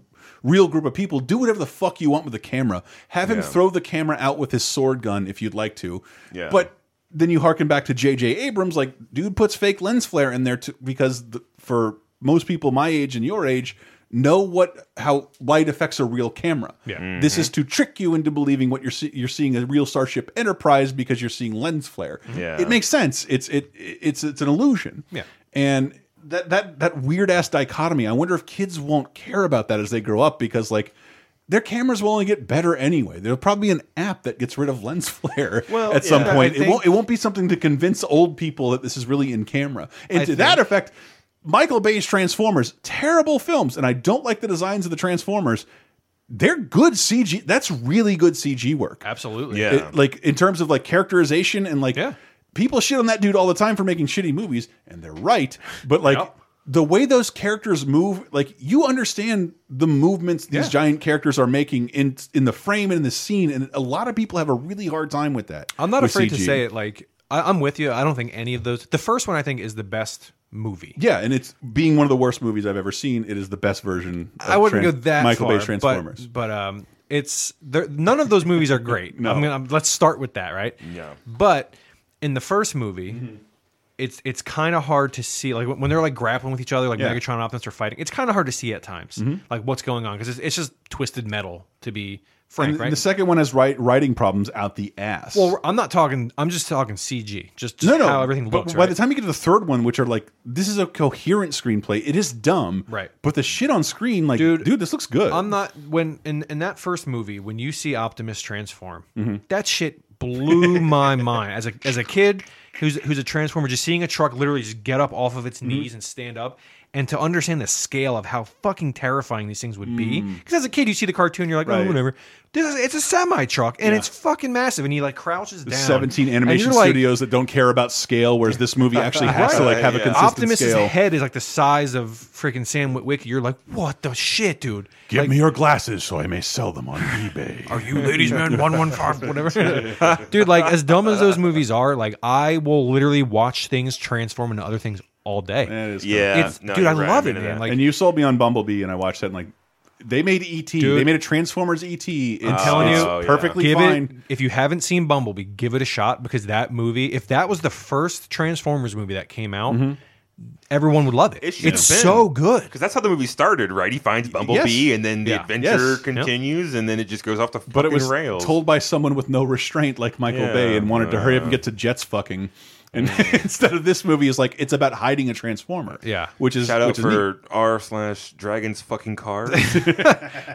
real group of people. Do whatever the fuck you want with the camera. Have him Yeah. throw the camera out with his sword gun if you'd like to. Yeah. but. Then you harken back to J.J. Abrams, like dude puts fake lens flare in there to, because the, for most people my age and your age know what how light affects a real camera. Yeah. Mm-hmm. This is to trick you into believing what you're see you're seeing a real Starship Enterprise because you're seeing lens flare. Mm-hmm. Yeah. It makes sense. It's it it's it's an illusion. Yeah. And that that that weird ass dichotomy. I wonder if kids won't care about that as they grow up because like their cameras will only get better anyway. There'll probably be an app that gets rid of lens flare Well, at some yeah. point. I It think- won't it won't be something to convince old people that this is really in camera. And I to that think- effect, Michael Bay's Transformers, terrible films, and I don't like the designs of the Transformers. They're good CG. That's really good CG work. Absolutely. Yeah. It- like in terms of like characterization and like Yeah. people shit on that dude all the time for making shitty movies, and they're right. But like Yep. the way those characters move, like you understand the movements these Yeah. giant characters are making in in the frame and in the scene, and a lot of people have a really hard time with that. I'm not with afraid to CG. say it. Like I, I'm with you. I don't think any of those. The first one I think is the best movie. Yeah, and it's being one of the worst movies I've ever seen. It is the best version. Of I wouldn't Tran- go that Michael far, Bay Transformers. but, but um, it's there. None of those movies are great. um, No. I'm gonna, I'm, let's start with that, right? Yeah. But in the first movie, it's it's kind of hard to see like when when they're like grappling with each other, like Yeah. Mm-hmm. Megatron and Optimus are fighting. It's kind of hard to see at times like what's going on because it's, it's just twisted metal to be frank, And right? The second one has write, writing problems out the ass. well, I'm not talking. I'm just talking CG. Just, just no, no. how everything but looks. by right? the time you get to the third one, which are like, this is a coherent screenplay. It is dumb, Right. But the shit on screen, like, dude, Dude, this looks good. I'm not when in in that first movie when you see Optimus transform, Mm-hmm. that shit blew my mind as a as a kid who's who's a transformer just seeing a truck literally just get up off of Mm-hmm. its knees and stand up and to understand the scale of how fucking terrifying these things would be because as a kid you see the cartoon you're like Mm. Right. oh whatever this is, it's a semi truck and it's fucking massive and he like crouches down 17 and animation you're like, studios that don't care about scale, whereas this movie actually has to like have a Yeah. consistent Optimus's scale. head is like the size of freaking Sam Witwicky. You're like, what the shit, dude? Give Like, me your glasses so I may sell them on eBay. Are you ladies man 115 whatever dude like as dumb as those movies are like i will literally watch things transform into other things all day That is cool. Yeah, It's- no, dude i you're right. love I'm it into man that. like and you sold me on Bumblebee, and I watched that. And like, they made ET. They made a Transformers ET. It's, telling it's you, Oh, yeah. perfectly give fine. it if you haven't seen bumblebee give it a shot because that movie if that was the first transformers movie that came out everyone would love it, Mm-hmm. It should it's have been. so good Because that's how the movie started, right? He finds Bumblebee, Yes. and then the Yeah. adventure Yes. continues, and then it just goes off the fucking but it was rails. told by someone with no restraint like Michael Yeah, Mm. Bay and wanted to hurry up and get to Jets fucking. And instead of this movie is like it's about hiding a transformer. Yeah. which is Shout out which is neat. for r slash dragons fucking car.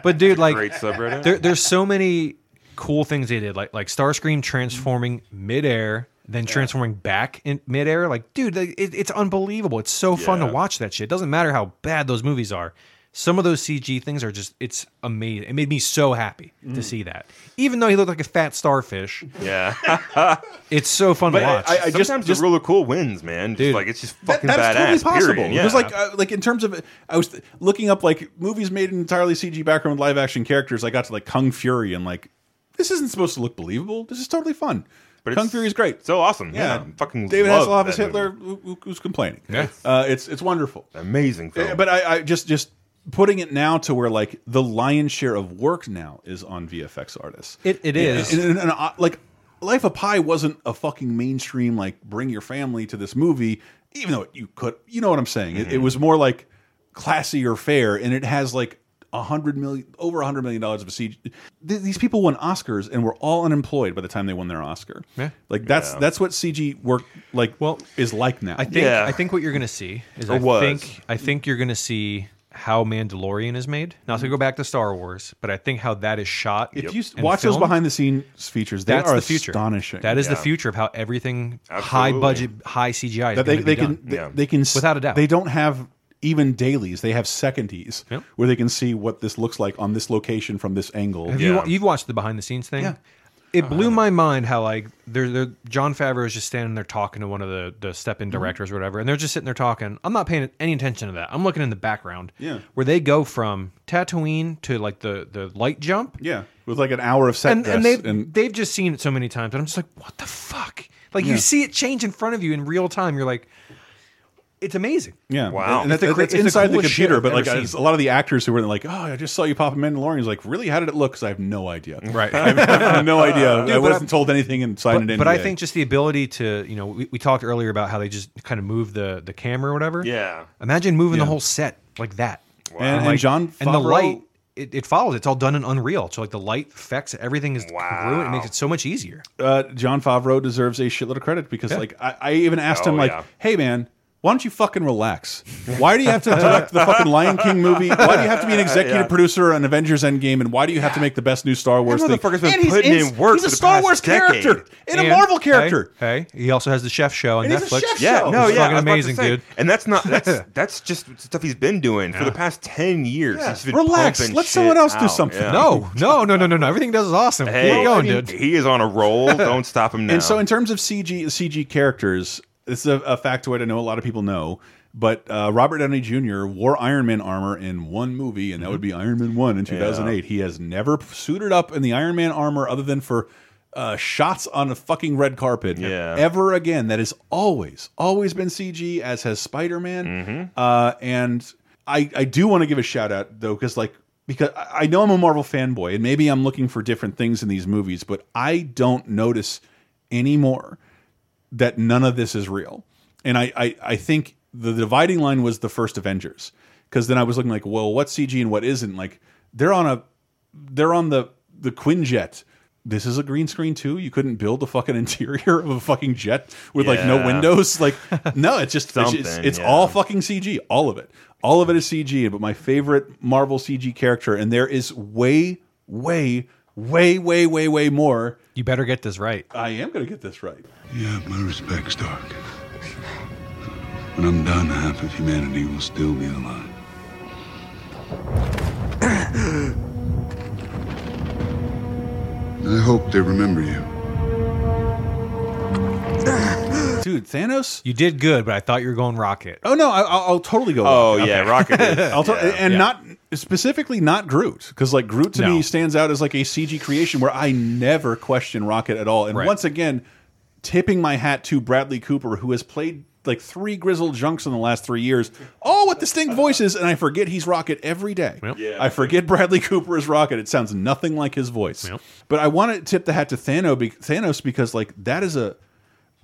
but dude like Great subreddit. there, there's so many cool things they did, like like Starscream transforming midair, then transforming back in midair. Like, dude, like, it, it's unbelievable. It's so fun to Yeah. watch that shit. It doesn't matter how bad those movies are. Some of those CG things are just, it's amazing. It made me so happy Mm. to see that. Even though he looked like a fat starfish, yeah. it's so fun to watch. I- I just- Sometimes the just- rule of cool wins, man. Just Dude. like it's just That, fucking that badass. is totally possible. Period. Yeah. Because like uh, like in terms of I was th- looking up like movies made in entirely CG background with live action characters. I got to like Kung Fury and like this isn't supposed to look believable. This is totally fun. But Kung it's Fury is great. So awesome. Yeah. yeah, I fucking David love Hasselhoff that is Hitler. Who, who- who's complaining? Yeah. uh, it's it's wonderful. movie. Amazing film. Yeah, but I, I just just putting it now to where like the lion's share of work now is on VFX artists. It- it is. And- and- and, uh, like Life of Pi wasn't a fucking mainstream like bring your family to this movie, even though you could. You know what I'm saying? It, Mm-hmm. it was more like classy or fair, and it has like. A hundred million, over a hundred million dollars of a siege. Th these people won Oscars and were all unemployed by the time they won their Oscar. Yeah. like that's that's what CG work like well is like now. I think Yeah. I think what you're gonna see is Or I was. think I think you're gonna see how Mandalorian is made. Not to go back to Star Wars, but I think how that is shot. Mm. If you s- and watch those filmed, behind the scenes features, they that's are the future. astonishing. That is the Yeah. future of how everything high Absolutely. budget, high CGI is that they, gonna be they can done. they, Yeah. they can s- Without a doubt. They don't have even dailies; they have secondies Yep. where they can see what this llooks like on this location from this angle. Have Yeah. Uh-huh. you wa- you've watched the behind the scenes thing? Yeah. It blew my mind how like they're, they're John Favreau is just standing there talking to one of the the step Mm-hmm. in directors or whatever, and they're just sitting there talking. I'm not paying any attention to that. I'm looking in the background. Yeah. Where they go from Tatooine to like the the light jump. Yeah, with like an hour of set And, dress and they've and they've just seen it so many times, and I'm just like, what the fuck? Like Yeah. you see it change in front of you in real time. You're like, it's amazing. Yeah. Wow. And that's, It's the cra- that's it's the inside the coolest shit computer, I've but like ever it's a seen. lot of the actors who were like, "Oh, I just saw you pop in Mandalorian." Is like, really? How did it look? Because I have no idea. Right. I have- I have no idea. I but wasn't I- told anything and signed an But, but I NDA. think just the ability to, you know, we, we talked earlier about how they just kind of move the the camera or whatever. yeah. Imagine moving Yeah. the whole set like that. and, and Like, John and the Favreau- light, it, it follows. It's all done in Unreal. So like the light effects, everything is congruent. It makes Wow. it so much easier. uh, John Favreau deserves a shitload of credit because, like, I, I even asked him, Oh, like, yeah. "Hey, man, why don't you fucking relax? Why do you have to direct the fucking Lion King movie? Why do you have to be an executive producer on Avengers Endgame? And why do you have to make the best new Star Wars thing?" motherfucker's been And he's putting in- in work He's a for the Star past Wars decade. character and, a And- Marvel character. Hey, hey, he also has the chef show on And he's a Netflix. chef Yeah, show. no, It's yeah, fucking I was about to amazing, say. dude. And that's not that's that's just stuff he's been doing for the past ten years. Yeah. He's been Relax. pumping Let shit someone else do out. something. Yeah. No, no, no, no, no, no. Everything he does is awesome. hey, Keep going, I mean, dude. He is on a roll. Don't stop him now. And so, in terms of CG CG characters, this is a, a factoid I know a lot of people know. But uh, Robert Downey Jr. wore Iron Man armor in one movie, and that would be Iron Man One in two thousand eight. He has never suited up in the Iron Man armor other than for uh, shots on a fucking red carpet. Yeah. Ever again, that has always always been CG, as has Spider Man. Uh, and I I do want to give a shout out though, because like because I I know I'm a Marvel fanboy, and maybe I'm looking for different things in these movies, but I don't notice anymore that none of this is real. And I, I, I think the dividing line was the first Avengers. Because then I was looking like, well, what's CG and what isn't? Like they're on a they're on the the Quinjet. This is a green screen too. You couldn't build the fucking interior of a fucking jet with like no Yeah. windows. Like no, it's just it's, it's, Something, it's yeah. all fucking CG. All of it. All of it is CG. But my favorite Marvel CG character, and there is way, way, way, way, way, way more. You better get this right. I am gonna get this right. You have my respect, Stark. When I'm done, half of humanity will still be alive. I hope they remember you. Dude, Thanos. You did good, but I thought you were going rocket. Oh no, I, I'll, I'll totally go. with Oh it. yeah, Rocket. Is, I'll tell- yeah, and yeah. not specifically not Groot because like Groot to No. me stands out as like a CG creation where I never question Rocket at all. And Right. once again, tipping my hat to Bradley Cooper who has played like three grizzled junks in the last three years, all with distinct voices, and I forget he's Rocket every day. Yep. Yeah. I forget Bradley Cooper is Rocket. It sounds nothing like his voice. Yep. But I want to tip the hat to Thanos, be Thanos because like that is a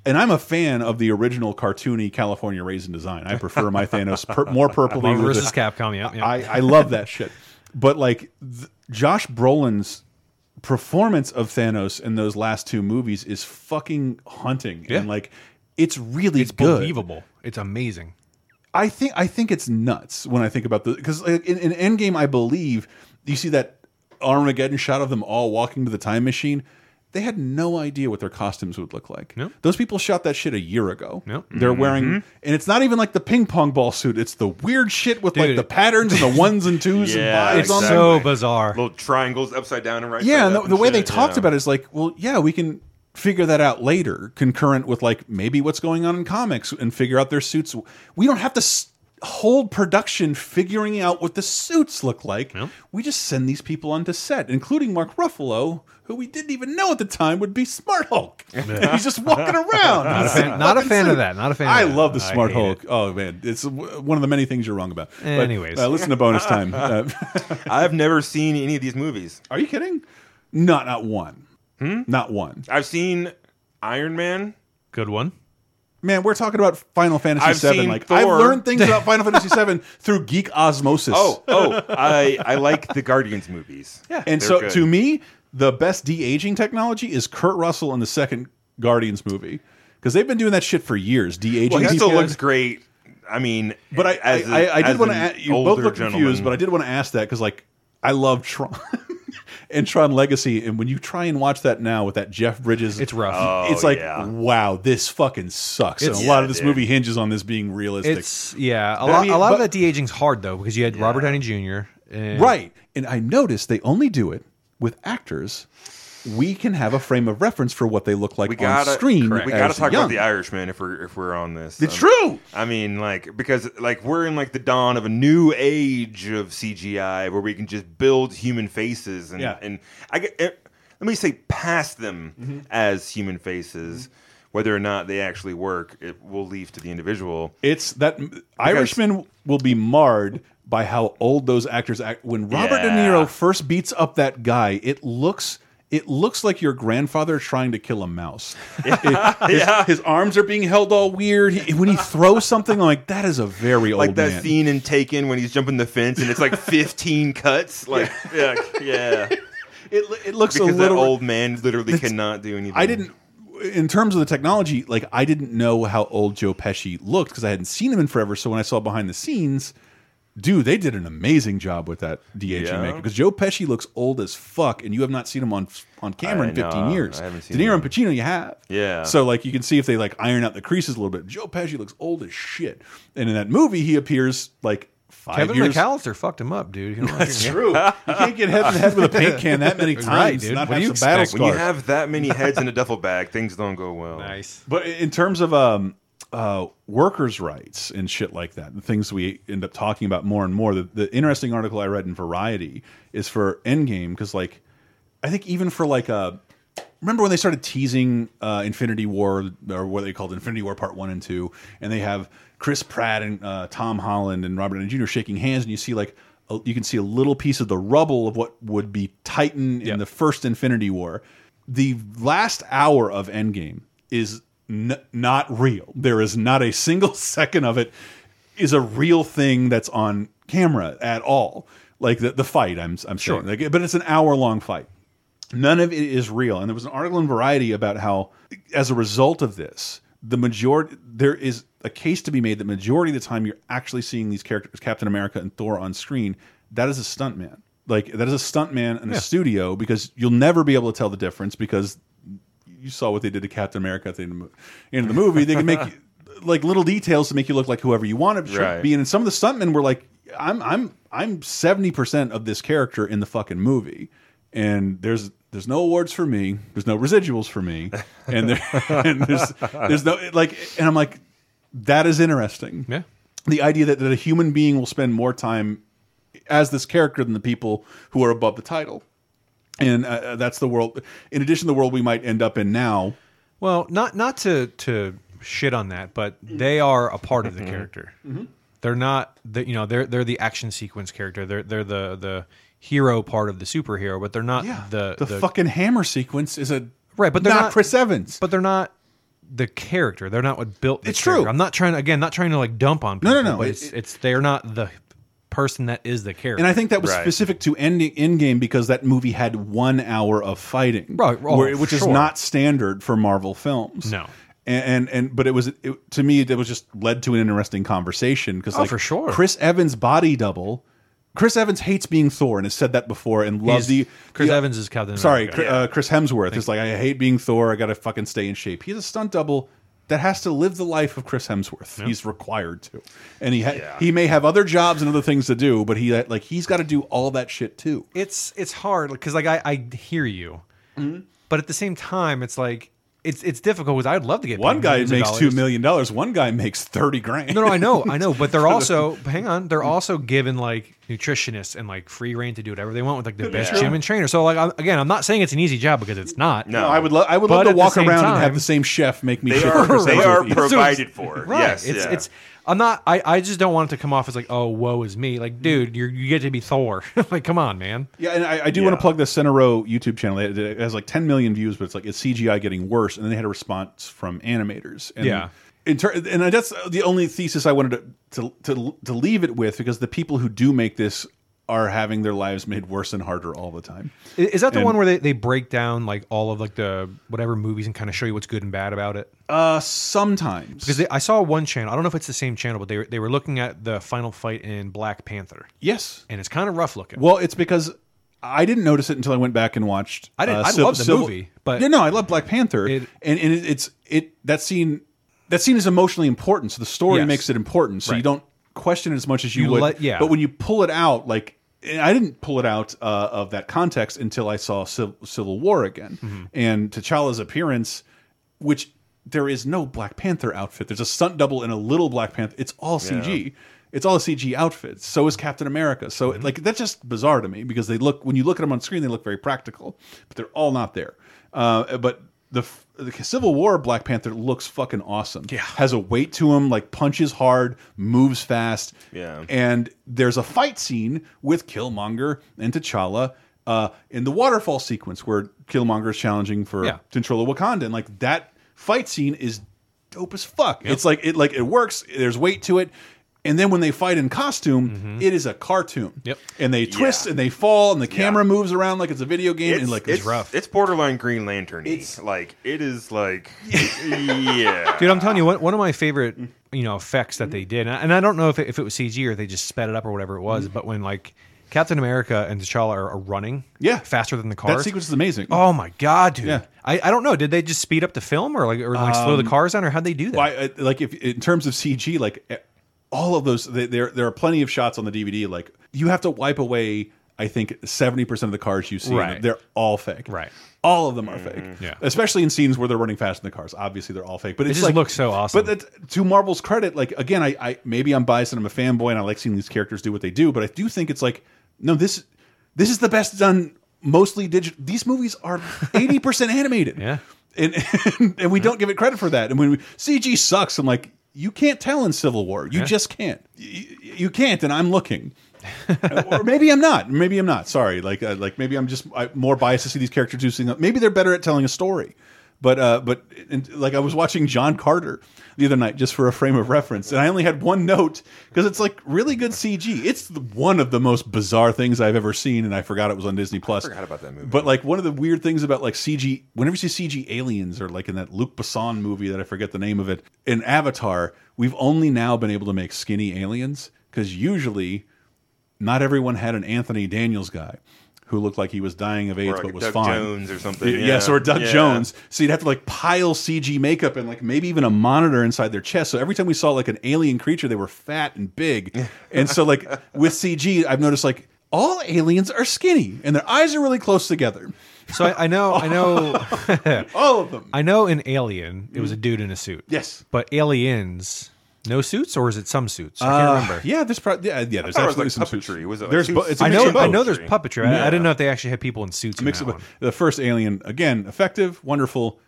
and I'm a fan of the original cartoony California raisin design. I prefer my Thanos pur more purpley. Marvel with versus the- Capcom. Yeah, yeah. I, I love that shit. But like th Josh Brolin's performance of Thanos in those last two movies is fucking haunting. Yeah. And like it's really it's good. believable. It's amazing. I think I think it's nuts when I think about the because like, in, in Endgame, I believe you see that Armageddon shot of them all walking to the time machine. They had no idea what their costumes would look like. No. Those people shot that shit a year ago. No. They're wearing, Mm-hmm. and it's not even like the ping pong ball suit. It's the weird shit with like Dude. the patterns and the ones and twos Yeah, and fives It's on exactly. them. so bizarre. little triangles upside down and right. Yeah, side and the, up the way they shit, talked yeah. about it is like, well, yeah, we can figure that out later, concurrent with like maybe what's going on in comics and figure out their suits. We don't have to s hold production figuring out what the suits look like. We just send these people onto set, including Mark Ruffalo, who we didn't even know at the time would be Smart Hulk. He's just walking around. Not a fan, not a fan of that. Not a fan. I of that. love the Smart hate it. Hulk. Oh man, it's w- one of the many things you're wrong about. But, Anyways. uh, listen to bonus time. Uh, I've never seen any of these movies. are you kidding? Not not one. Not one. I've seen Iron Man. Good one. Man, we're talking about Final Fantasy I've VII. seen Like Thor. I've learned things about Final Fantasy VII through geek osmosis. Oh, oh, I I like the Guardians movies. Yeah, and so to me, the best de aging technology is Kurt Russell in the second Guardians movie because they've been doing that shit for years. De aging. well, he still looks great. I mean, But I, as I, a- I, I did as want an to. You both older look confused, gentleman- but I did want to ask that because like I love Tron. And Tron Legacy, and when you try and watch that now with that Jeff Bridges, It's rough. it's like, Oh, yeah. wow, this fucking sucks. And a It's- lot of this dude. movie hinges on this being realistic. It's yeah. A But I lot. mean, a lot but- of that de aging's hard though because you had Robert Downey Jr. and- Right. And I noticed they only do it with actors. We can have a frame of reference for what they look like we gotta on screen. We gotta as talk young. about the Irishman if we're if we're on this. It's Um, true. I mean, like because like we're in like the dawn of a new age of CGI where we can just build human faces and Yeah. and I get eh, let me say past them as human faces. Whether or not they actually work, it will leave to the individual. It's that Irishman will be marred by how old those actors act. When Robert De Yeah. Niro first beats up that guy, it looks. It looks like your grandfather trying to kill a mouse. It- his, his arms are being held all weird. He- when he throws something, I'm like, that is a very old Like that man. scene in Taken when he's jumping the fence and it's like 15 cuts. Like, yeah, yeah. It, it looks Because a that little old man literally cannot do anything. I didn't. In terms of the technology, like I didn't know how old Joe Pesci looked because I hadn't seen him in forever. So when I saw behind the scenes, dude, they did an amazing job with that de aging Yeah. makeup because Joe Pesci looks old as fuck, and you have not seen him on on camera I in fifteen know. years. I haven't seen De Niro him. and Pacino, you have. Yeah. So like you can see if they like iron out the creases a little bit. Joe Pesci looks old as shit, and in that movie, he appears like five Kevin years. McAllister fucked him up, dude. You know, That's true. You can't get head to head with a paint can that many times. dude. Not What do have you some battle expect? When you scars. have that many heads in a duffel bag, things don't go well. nice. But in terms of um, uh, workers' rights and shit like that, the things we end up talking about more and more. The, the interesting article I read in Variety is for Endgame because, like, I think even for like a remember when they started teasing uh, Infinity War or what they called Infinity War Part One and Two, and they have Chris Pratt and uh, Tom Holland and Robert Downey Jr. shaking hands, and you see like a, you can see a little piece of the rubble of what would be Titan in the first Infinity War. The last hour of Endgame is n not real. There is not a single second of it is a real thing that's on camera at all. Like the, the fight, I'm I'm sure, like, but it's an hour long fight. None of it is real. And there was an article in Variety about how, as a result of this, the majority there is a case to be made that majority of the time you're actually seeing these characters, Captain America and Thor, on screen. That is a stuntman. Like that is a stuntman in a studio because you'll never be able to tell the difference because you saw what they did to Captain America at the end of the, mo- end of the movie. They can make you- like little details to make you look like whoever you want to be. Right. And some of the stuntmen were like, "I'm I'm I'm seventy percent of this character in the fucking movie," and there's there's no awards for me, there's no residuals for me, and, there, and there's there's no like, and I'm like, that is interesting. Yeah. The idea that, that a human being will spend more time as this character than the people who are above the title. And uh, uh, that's the world. In addition to the world we might end up in now, Well, not not to to shit on that, but they are a part Mm-hmm. of the character. They're not the you know they're they're the action sequence character. They're they're the the hero part of the superhero, but they're not the, the, fucking hammer sequence is a Right, but they're not, not- Chris Evans. But they're not the character. They're not what built. The It's character. true. I'm not trying to again. Not trying to like dump on. No, People, no, no. But It- it's it's they're not the person that is the character. and I think that was Right. specific to ending Endgame because that movie had one hour of fighting, Right, oh, where- which is sure. not standard for Marvel films. No. and and, and but it was it, to me that was just led to an interesting conversation because like Oh, for sure. Chris Evans' body double. Chris Evans hates being Thor and has said that before and loves the He's- Chris the- Evans is Captain. Sorry, America. Chri- uh, Chris Hemsworth is like, I hate being Thor. I got to fucking stay in shape. He's a stunt double that has to live the life of Chris Hemsworth. He's required to, and he ha he may have other jobs and other things to do, but he like he's got to do all that shit too. it's it's hard because like I, I hear you, Mm-hmm. but at the same time it's like it's it's difficult because I'd love to get One paid guy millions of makes dollars. two million dollars. One guy makes thirty grand. No, no, I know, I know, but they're also hang on, they're also given like nutritionists and like free reign to do whatever they want with like the best gym and trainer. So like I'm, again, I'm not saying it's an easy job because it's not. No. I would love I would But love to at the walk same around and have time- the same chef make me. They shit are- for Chris they Hemsworth are to eat. pro- provided for. Right. Yes, It's yeah. it's I'm not I, I just don't want it to come off as like, oh, woe is me. Like, dude, you you get to be Thor. like, come on, man. Yeah, and I, I do want to plug the Center Row YouTube channel. It it has like 10 million views, but it's like it's CGI getting worse. And then they had a response from animators. And Yeah. In ter- and that's the only thesis I wanted to, to to to leave it with because the people who do make this are having their lives made worse and harder all the time. I- Is that the And- one where they, they break down like all of like the whatever movies and kind of show you what's good and bad about it? Uh, sometimes Because I saw one channel. I don't know if it's the same channel, but they were, they were looking at the final fight in Black Panther, yes, and it's kind of rough looking. Well, it's because I didn't notice it until I went back and watched. I didn't- I Civ- love the Civil- movie, but- yeah, no, I love Black Panther, It- and and it, it's it that scene that scene is emotionally important. So the story Yes. makes it important. So you Right. don't question it as much as you, You would. let- yeah. But when you pull it out, like and I didn't pull it out uh, of that context until I saw Civ- Civil War again and T'Challa's appearance, which there is no Black Panther outfit. There's a stunt double and a little Black Panther. It's all CG. It's all CG outfits. So is Captain America. So like that's just bizarre to me because they look when you look at them on screen, they look very practical, but they're all not there. Uh, but the, f- the Civil War Black Panther looks fucking awesome. Yeah, has a weight to him. Like punches hard, moves fast. Yeah. and there's a fight scene with Killmonger and T'Challa. Uh, in the waterfall sequence where Killmonger is challenging for Yeah. control of Wakanda, and like that fight scene is dope as fuck. It's like it like it works. There's weight to it, and then when they fight in costume, it is a cartoon. Mm-hmm. Yep. And they twist and they fall, and the camera moves around like it's a video game, and like it's rough. It's borderline Green Lantern. It's like it is like yeah. Dude, I'm telling you, one, one of my favorite you know effects that they did, and I- and I don't know if it, if it was CG or they just sped it up or whatever it was, but when like Captain America and T'Challa are, are running, Yeah. faster than the that cars. sequence is amazing. oh my god, dude! Yeah. Um, I, I don't know. Did they just speed up the film or like or like slow the cars down or how'd they do that? Why? uh, Like if in terms of CG, like eh, all of those, th- there there are plenty of shots on the DVD. Like you have to wipe away. I think seventy percent of the cars you see, Right. they're all fake. Right. Mm-hmm. All of them are fake. Yeah. Especially in scenes where they're running fast in the cars. Obviously, they're all fake. But it's just like, looks so awesome. But that, to Marvel's credit, like again, I, I maybe I'm biased and I'm a fanboy and I like seeing these characters do what they do. But I do think it's like no, this this is the best done mostly digital. These movies are eighty percent animated. Yeah. And, and and we don't give it credit for that. And when we, CG sucks, I'm like, you can't tell in Civil War. You just can't. You, you can't. And I'm looking, or maybe I'm not. Maybe I'm not. Sorry. Like uh, like maybe I'm just I, more biased to see these characters do something. Maybe they're better at telling a story. But uh, but and, like I was watching John Carter the other night just for a frame of reference, and I only had one note because it's like really good CG. It's the- one of the most bizarre things I've ever seen, and I forgot it was on Disney Plus. forgot about that movie. But like one of the weird things about like CG, whenever you see CG aliens or like in that Luc Besson movie that I forget the name of it, in Avatar, we've only now been able to make skinny aliens because usually not everyone had an Anthony Daniels guy who looked like he was dying of AIDS Or like but was Doug fine. Jones or something. Y- Yes, Yeah. or Doug Yeah. Jones. So you'd have to like pile CG makeup and like maybe even a monitor inside their chest. So every time we saw like an alien creature, they were fat and big. and so like with CG, I've noticed like all aliens are skinny and their eyes are really close together. So I, I know, I know, All of them. I know. In Alien, it was a dude in a suit. Mm-hmm. Yes. but Aliens, no suits, or is it some suits? I Uh, can't remember. yeah, there's probably yeah, yeah, there's thought it was, absolutely like, some puppetry. Was it, like, there's two- bo- it's a I mix know, of I both. know. There's Puppetry. puppetry. I, I didn't know if they actually had people in suits. mix in of that one. the first alien again effective wonderful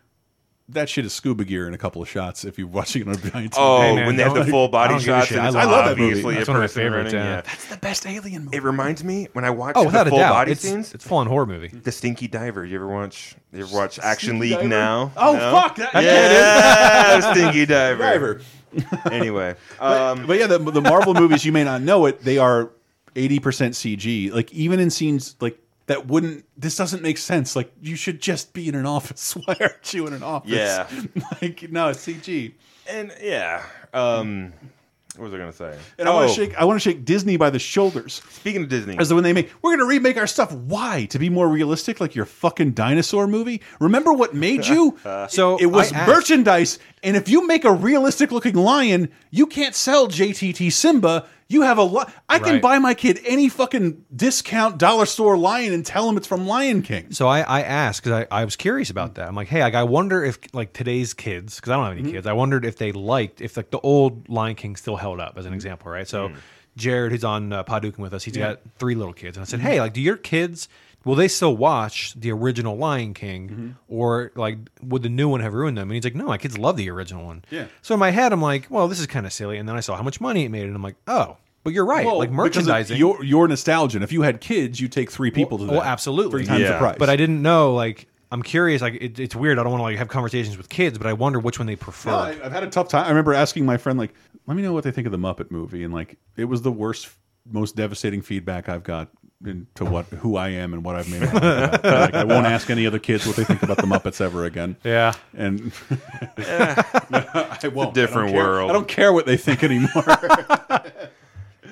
that shit is scuba gear in a couple of shots if you're watching it on a giant TV. Oh, Hey, man, when they have don't- the full I body don't give a shots, shit. and I it's love that obviously movie. a That's one of my person favorites, running, yeah. that's the best alien movie It reminds me when I watch Oh, the without a full doubt, body it's scenes, it's full on horror movie. the Stinky Diver. You ever watch? You ever watch Action League Diver? now? Oh, No? fuck, that- yeah, Stinky Diver. Driver. Anyway, But- um, but yeah the, the marvel movies you may not know it they are 80% cg like even in scenes like that wouldn't this doesn't make sense like you should just be in an office why aren't you in an office Yeah. like no it's cg and yeah, um, what was I gonna say? Oh, and i want to shake i want to shake disney by the shoulders Speaking of Disney, As when they make, we're going to remake our stuff. Why? To be more realistic, like your fucking dinosaur movie. Remember what made you? So it, it was I asked- merchandise. And if you make a realistic looking lion, you can't sell JTT Simba. You have a lot. I can Right. buy my kid any fucking discount dollar store lion and tell him it's from Lion King. So I, I asked because I, I was curious about that. I'm like, hey, like, I wonder if like today's kids, because I don't have any Mm-hmm. kids, I wondered if they liked if like the old Lion King still held up as an example, right? So Mm. Jared, who's on uh, Podukan with us, he's got three little kids, and I said, Mm-hmm. hey, like, do your kids will they still watch the original Lion King, Mm-hmm. or like would the new one have ruined them? And he's like, no, my kids love the original one. Yeah. So in my head, I'm like, well, this is kind of silly. And then I saw how much money it made, and I'm like, oh, but you're right, Well, like because of merchandising. Your, your nostalgia. And If you had kids, you take three people to Well, that. absolutely. Three times the Yeah. price. but I didn't know. Like, I'm curious. Like, it, it's weird. I don't want to like have conversations with kids, but I wonder which one they prefer. No, I, I've had a tough time. I remember asking my friend, like, let me know what they think of the Muppet movie, and like, it was the worst, most devastating feedback I've got into what who I am and what I've made. my life about. like, I won't ask any other kids what they think about the Muppets ever again. Yeah. and I won't. different I don't care- world. I don't care what they think anymore.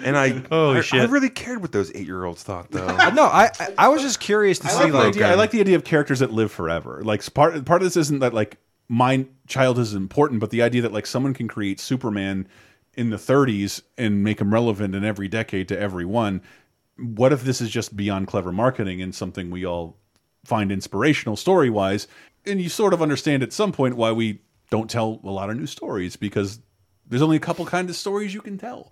and I, Holy I, I shit. really cared what those eight-year-olds thought though. Uh, no, I I- I was just curious to I see like, the like. idea, I like the idea of characters that live forever. Like part part of this isn't that like my child is important, but the idea that like someone can create Superman in the 30s and make him relevant in every decade to everyone. What if this is just beyond clever marketing and something we all find inspirational story wise? And you sort of understand at some point why we don't tell a lot of new stories because there's only a couple kinds of stories you can tell.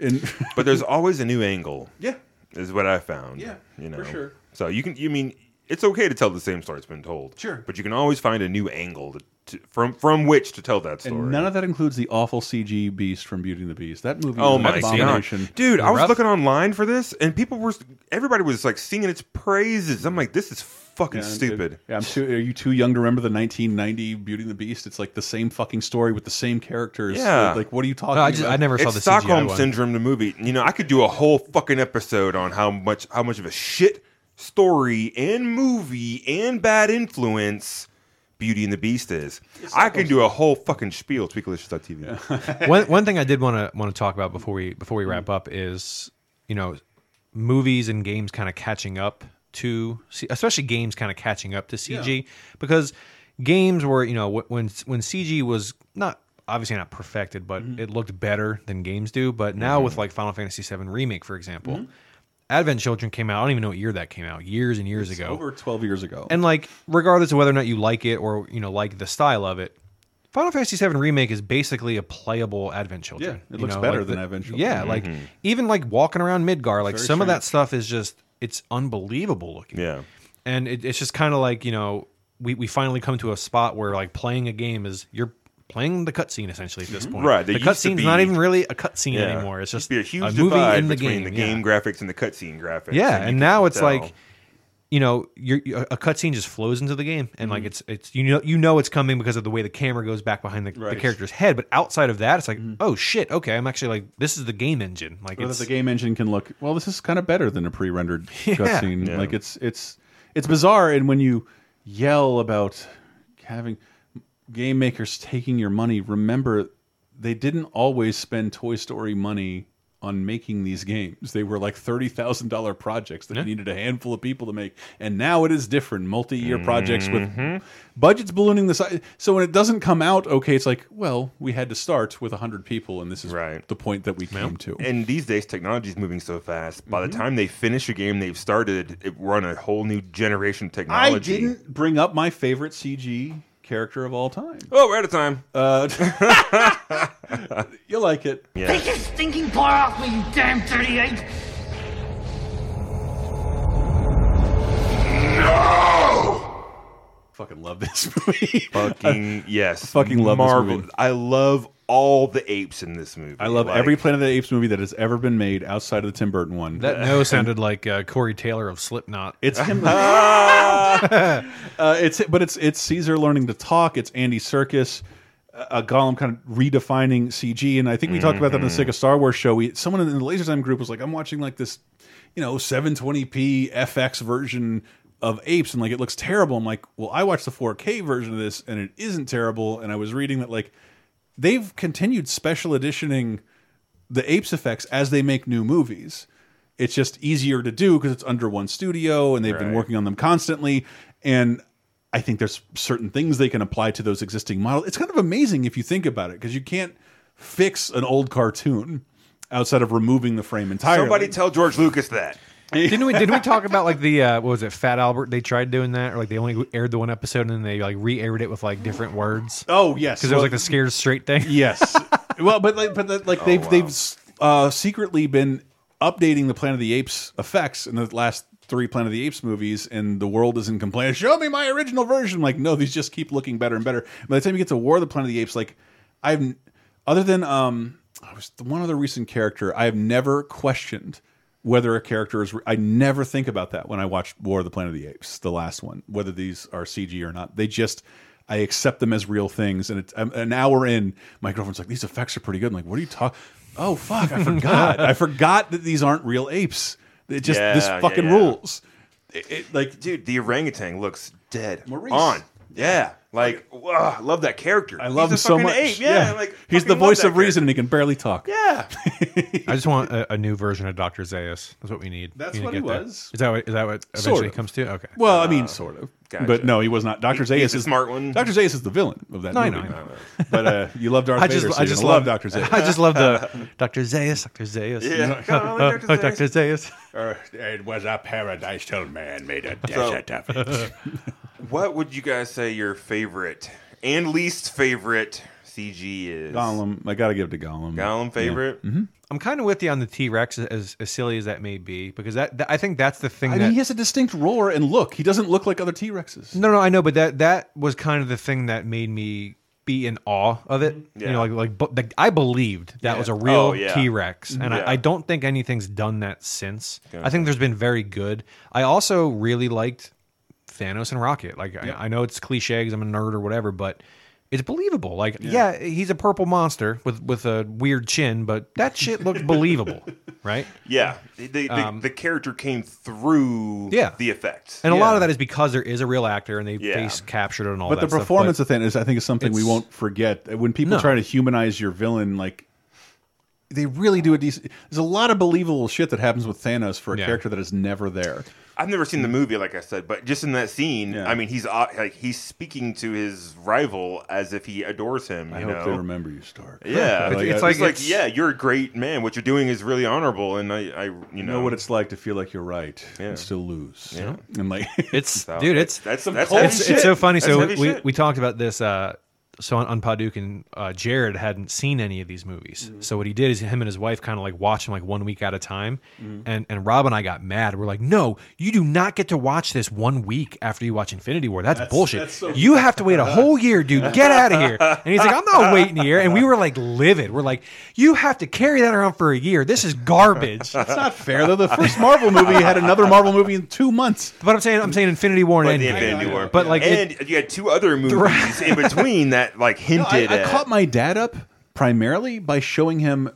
And but there's always a new angle. yeah, is what I found. Yeah, you know, for sure. So you can, you mean, it's okay to tell the same story it's been told. Sure. but you can always find a new angle to, to, from from which to tell that story. and none of that includes the awful CG beast from Beauty and the Beast. That movie, Oh is an my god, abomination. dude! I was rough? looking online for this, and people were, everybody was like singing its praises. I'm like, this is fucking Yeah, I'm- stupid. Yeah, I'm too, are you too young to remember the 1990 Beauty and the Beast? It's like the same fucking story with the same characters. Yeah. Like, what are you talking No, I just about? I never saw It's the Stockholm CGI one. Syndrome, the movie. You know, I could do a whole fucking episode on how much how much of a shit story and movie and bad influence Beauty and the Beast is. I can do a whole fucking spiel. Tweakalicious.tv. one one thing I did want to want to talk about before we before we wrap up is you know movies and games kind of catching up to C- especially games kind of catching up to CG because games were you know wh- when when CG was not obviously not perfected but it looked better than games do but now with like Final Fantasy VII remake for example Advent Children came out I don't even know what year that came out years and years ago Over 12 years ago. and like, regardless of whether or not you like it or you know like the style of it, Final Fantasy VII remake is basically a playable Advent Children. Yeah, it You looks know, better like than the- Advent Children. Yeah, like Mm-hmm. even like walking around Midgar, like very some of strange. that stuff is just it's unbelievable looking. Yeah. and it, it's just kind of like you know we we finally come to a spot where like playing a game is you're. Playing the cutscene essentially at this point. Mm-hmm. Right, there The used to cutscene's not be- even really a cutscene Yeah. anymore. It's Used just to be a huge movie divide in the between game. the yeah. game graphics and the cutscene graphics. Yeah, you could and now it's tell. like you know, your your- a cutscene just flows into the game, and Mm-hmm. like it's it's you know you know it's coming because of the way the camera goes back behind the, the character's head. But outside of that, it's like oh shit, okay, I'm actually like this is the game engine. Like Or that it's Mm-hmm. the game engine can look well. This is kind of better than a pre-rendered cutscene. Yeah. Like it's it's it's bizarre. And when you yell about having game makers taking your money, remember they didn't always spend Toy Story money on making these games. They were like thirty thousand dollar projects that needed a handful of people to make. And now it is different. Multi-year projects Mm-hmm. with budgets ballooning the size. So when it doesn't come out okay, it's like well we had to start with hundred people, and this is Right. the point that we came to. And these days, technology is moving so fast. By Mm-hmm. the time they finish a game they've started, it, we're on a whole new generation of I technology. didn't bring up my favorite CG character of all time. Oh, we're out of time. Uh, you like it. Yeah. your stinking paw off me, you damn dirty ape! Fucking love this movie. Fucking yes. fucking love this Marvel. movie. I love all the apes in this movie. I love Like, every Planet of the Apes movie that has ever been made outside of the Tim Burton one. that no sounded like uh, Corey Taylor of Slipknot. it's him. uh, it's but it's it's Caesar learning to talk. It's Andy Circus, uh, Gollum kind of redefining CG. And I think we talked about that in the Sick of Star Wars show. We someone in the Laser Time group was like, I'm watching like this, you know, 720p FX version of Apes, and like it looks terrible. I'm like, well, I watched the 4K version of this, and it isn't terrible. And I was reading that like they've continued special editioning the apes effects as they make new movies. It's just easier to do because it's under one studio and they've been working on them constantly. And I think there's certain things they can apply to those existing models. It's kind of amazing if you think about it because you can't fix an old cartoon outside of removing the frame entirely. Somebody tell George Lucas that. didn't we didn't we talk about like the uh, what was it Fat Albert? They tried doing that, or like they only aired the one episode and then they like re-aired it with like different words because oh yes, it was Well, like the scared straight thing. Yes. well, but like, but that, like they've wow. they've uh, secretly been updating the Planet of the Apes effects in the last three Planet of the Apes movies, and the world isn't complaining. Show me my original version. Like, no, these just keep looking better and better. By the time you get to War of the Planet of the Apes, like, I've other than um, I was the one other recent character I have never questioned whether a character is. I never think about that when I watch War of the Planet of the Apes, the last one, whether these are CG or not. They just I accept them as real things. And it's, um, an hour in, my girlfriend's like, "These effects are pretty good." I'm like, "What are you talking? Oh fuck, I forgot. I forgot that these aren't real apes. It just this Yeah, yeah, fucking yeah. rules. It, it- like Dude, the orangutan looks dead. Maurice. On. Yeah. Like, wow, I love that character. I love him He's a so fucking much. Ape. Yeah, Like, he's the fucking love voice that of reason, and he can barely talk. character. Yeah. I just want a, a new version of Doctor Zaius. That's what we need. That's we need what to he get there. was. Is that what, is that what eventually Sort of. it comes to? Okay. Well, I mean, sort of. gotcha. But no, he was not. Doctor Zayas he's is the smart one. Doctor Zayas is the villain of that No, I movie. know, I know. But uh, you love Darth I Vader. just so I you're just gonna love Doctor Zayas. I just love the Doctor Zaius. Doctor Zaius. Yeah. Come on, Uh, Dr. uh, Zeus. Doctor Zaius. it was a paradise till man made a desert of it. What would you guys say your favorite and least favorite CG is? Gollum, I gotta give it to Gollum. Gollum favorite? Mm-hmm. I'm kind of with you on the T Rex, as, as silly as that may be, because that, that- I think that's the thing I that mean, he has a distinct roar and look. He doesn't look like other T Rexes. No, no, I know, but that that was kind of the thing that made me be in awe of it. You Mm-hmm. Yeah. know, like like, but, like I believed that was a real Oh, yeah. T Rex, and Yeah. I, I don't think anything's done that since. I think there's been very good. I also really liked Thanos and Rocket. Like I, I know it's cliche because I'm a nerd or whatever, but it's believable. Like yeah. he's a purple monster with with a weird chin, but that shit looked believable, right? Yeah, the, the, the- the character came through Yeah. the effect. And a lot of that is because there is a real actor, and they Yeah. face captured it and all But that. the stuff, performance of Thanos, I think, is something we It's- won't forget. When people No. try to humanize your villain, like they really do a decent. There's a lot of believable shit that happens with Thanos for a Yeah. character that is never there. I've never seen the movie, like I said, but just in that scene, Yeah. I mean, he's uh, like he's speaking to his rival as if he adores him. You I know? hope they remember you, Stark. Yeah, Like, uh, it's I- like- It's like, yeah, you're a great man. What you're doing is really honorable, and I, I you know, You know what it's like to feel like you're right Yeah. and still lose. And like It's So, dude, it's that's Some that's cold heavy shit. it's, it's so funny. That's so heavy we, shit. we talked about this uh, so on Paduk and uh, Jared hadn't seen any of these movies. So what he did is him and his wife kind of like watch them like one week at a time. And and Rob and I got mad. We're like, no, you do not get to watch this one week after you watch Infinity War. That's, bullshit. that's so- you have to wait a whole year, dude. Get out of here. And he's like, I'm not waiting a year. And we were like livid. We're like, you have to carry that around for a year. This is It's garbage. not fair though. The first Marvel movie had another Marvel movie in two months. But I'm saying I'm saying Infinity War But and the Endgame. Infinity War, But, like, and you had two other movies in between that like No, I, hinted. I at, caught my dad up primarily by showing him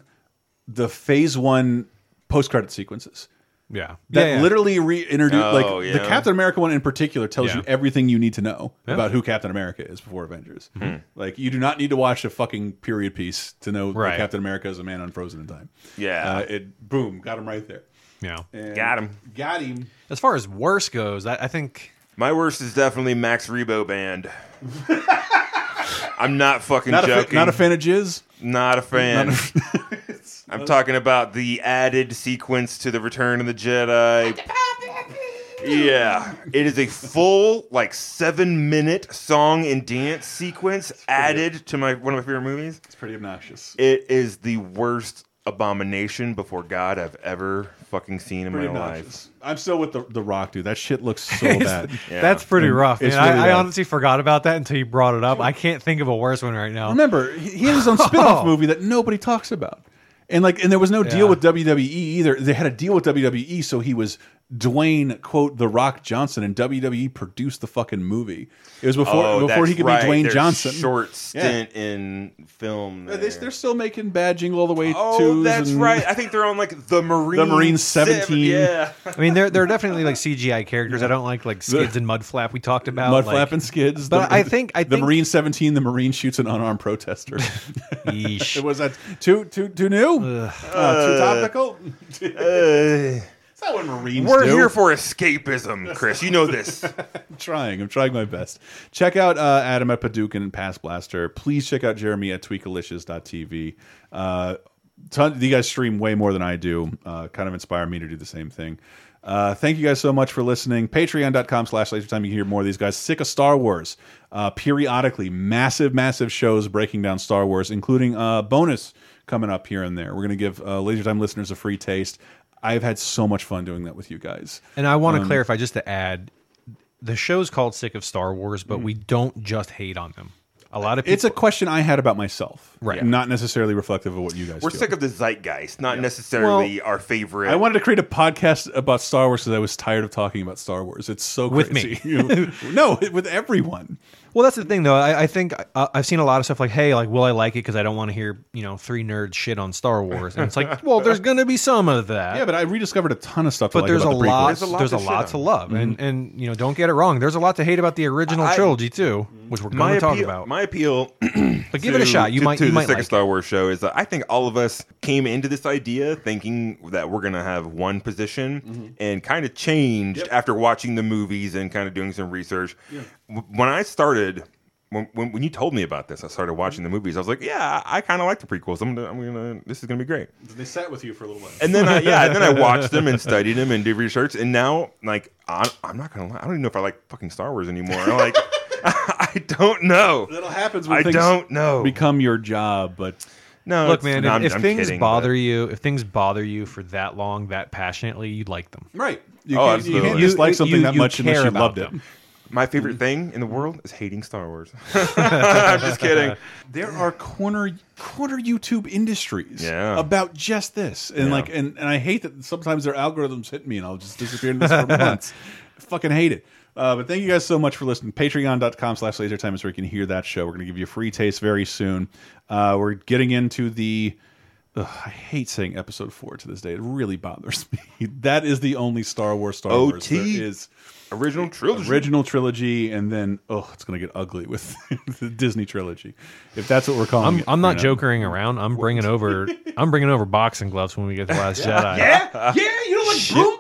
the Phase One post-credit sequences. yeah. that Yeah, yeah. literally reintroduced Oh, like yeah. the Captain America one in particular tells Yeah. you everything you need to know about who Captain America is before Avengers. Hmm. Like you do not need to watch a fucking period piece to know that Right. Captain America is a man unfrozen in time. Yeah. Uh, it boom got him right there. yeah. And Got him. Got him. As far as worse goes, I, I think My worst is definitely Max Rebo Band. I'm not fucking Not a, fa- joking. not a fan of jizz. Not a fan. I'm talking about the added sequence to the Return of the Jedi. Yeah, it is a full like seven minute song and dance sequence added to my one of my favorite movies. It's pretty obnoxious. It is the worst abomination before God I've ever fucking seen in Pretty my life. obnoxious. I'm still with the the Rock dude. That shit looks so bad. Yeah. that's pretty rough. Mm, It's man. I- really I, bad. honestly forgot about that until you brought it up. I can't think of a worse one right now. Remember, he he had his own spin-off movie that nobody talks about. And like and there was no deal Yeah. with WWE either. They had a deal with WWE, so he was Dwayne, quote, The Rock Johnson, and WWE produced the fucking movie. It was before Oh, before that's he could right. be Dwayne Their Johnson. Short stint in film. They, there. they're still making bad jingle all the way Oh, twos that's and- right. I think they're on like the Marine. The Marine Seven- 17. Yeah. I mean, there there are definitely like CGI characters. I don't like like skids and mudflap we talked about. Mudflap like- and skids. but I think- I the think- Marine Seventeen, the Marine shoots an unarmed protester. Yeesh. it was that too too too new, Uh, too topical. Uh, That's not what Marines we're do. here for escapism, Chris. You know this. trying. I'm trying my best. Check out uh, Adam at Paducah and Pass Blaster. Please check out Jeremy at tweakalicious.tv. Uh, ton, you guys stream way more than I do. Uh, kind of inspire me to do the same thing. Uh, thank you guys so much for listening. Patreon.com slash laser time. You can hear more of these guys. Sick of Star Wars. Uh, periodically, massive, massive shows breaking down Star Wars, including uh, bonus coming up here and there. We're going to give uh, laser time listeners a free taste. I've had so much fun doing that with you guys. And I want to clarify just to add, the show's called Sick of Star Wars, but we don't just hate on them. A lot of people. It's a question I had about myself, Right. Not necessarily reflective of what you guys. We're do. sick of the zeitgeist, not necessarily our favorite. I wanted to create a podcast about Star Wars because I was tired of talking about Star Wars. It's so With crazy. me. You- no, with everyone. Well, that's the thing, though. I, I think I, I've seen a lot of stuff like, "Hey, like, will I like it?" Because I don't want to hear you know three nerds shit on Star Wars, and it's like, well, there's gonna be some of that. Yeah, but I rediscovered a ton of stuff. to but like there's, a about the prequels. Mm-hmm. lot, There's a lot there's a to shit lot on. to love, and and you know, don't get it wrong. There's a lot to hate about the original I- trilogy too, which we're going to talk appeal, about. My appeal but give it a shot. You to- might, to you the might second like. it. Star Wars show is that I think all of us came into this idea thinking that we're gonna have one position and kind of changed after watching the movies and kind of doing some research. W- When I started. When, when, when you told me about this, I started watching the movies. I was like, "Yeah, I kind of like the prequels. I'm gonna, I'm gonna, this is gonna be great." They sat with you for a little while. And then I yeah, and then I watched them and studied them and did research. And now like I'm, I'm not gonna lie, I don't even know if I like fucking Star Wars anymore. I'm like I don't know. That happens. When I things don't know. Become your job, but no, Look, it's- man, no, if, I'm- if I'm things kidding, bother but- you, if things bother you for that long, that passionately, you like them. right. You, Oh, can't, you can't absolutely. dislike You- you- something that you much unless care you about loved them. it. my favorite thing in the world is hating Star Wars. I'm just kidding. there are corner corner YouTube industries Yeah. about just this, and Yeah. like, and, and I hate that sometimes their algorithms hit me, and I'll just disappear into this for months. Fucking hate it. Uh, but thank you guys so much for listening. Patreon.com slash lasertime is where you can hear that show. We're going to give you a free taste very soon. Uh, we're getting into the. Ugh, I hate saying episode four to this day. It really bothers me. That is the only Star Wars Star Wars there OT. is Original trilogy. original trilogy, and then oh, it's gonna get ugly with the Disney trilogy, if that's what we're calling I'm, it. I'm not you know. jokering around. I'm bringing over. I'm bringing over boxing gloves when we get to Last Jedi. yeah, yeah, you don't like Broom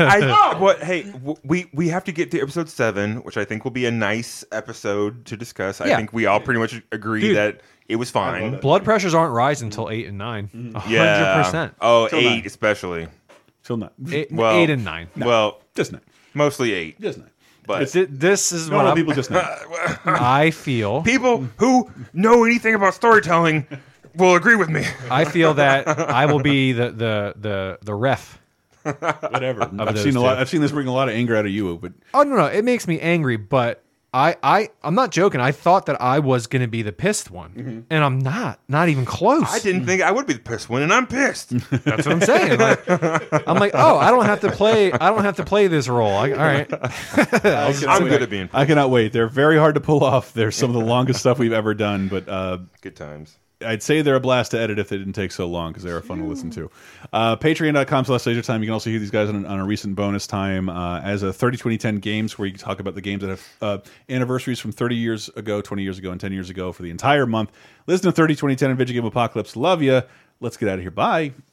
Boy? I know. What? Hey, w- we we have to get to episode seven, which I think will be a nice episode to discuss. I Yeah. think we all pretty much agree Dude. that it was fine. Blood pressures aren't rising until eight and nine. Mm. A hundred Yeah. percent. Oh, Till eight nine. especially. Till not, Eight- Well- Eight and nine. Well, just not, mostly eight. just not. But It's- Th- This is what Normal I'm- people just know. I feel. people who know anything about storytelling will agree with me. I feel that I will be the the the the ref. Whatever. I've those seen a lot. two. I've seen this bring a lot of anger out of you, but Oh no no, it makes me angry, but I I I'm not joking. I thought that I was going to be the pissed one, and I'm not. Not even close. I didn't think I would be the pissed one, and I'm pissed. That's what I'm saying. Like, I'm like, oh, I don't have to play. I don't have to play this role. I, all right, I'm good at being I cannot wait. They're very hard to pull off. They're some of the longest stuff we've ever done, but uh, good times. I'd say they're a blast to edit if they didn't take so long because they're fun to listen to. Uh, Patreon.com slash laser time. You can also hear these guys on, on a recent bonus time uh, as a 30 2010 games where you talk about the games that have uh, anniversaries from 30 years ago, 20 years ago, and 10 years ago for the entire month. Listen to 30 2010 and Video Game Apocalypse. Love you. Let's get out of here. Bye.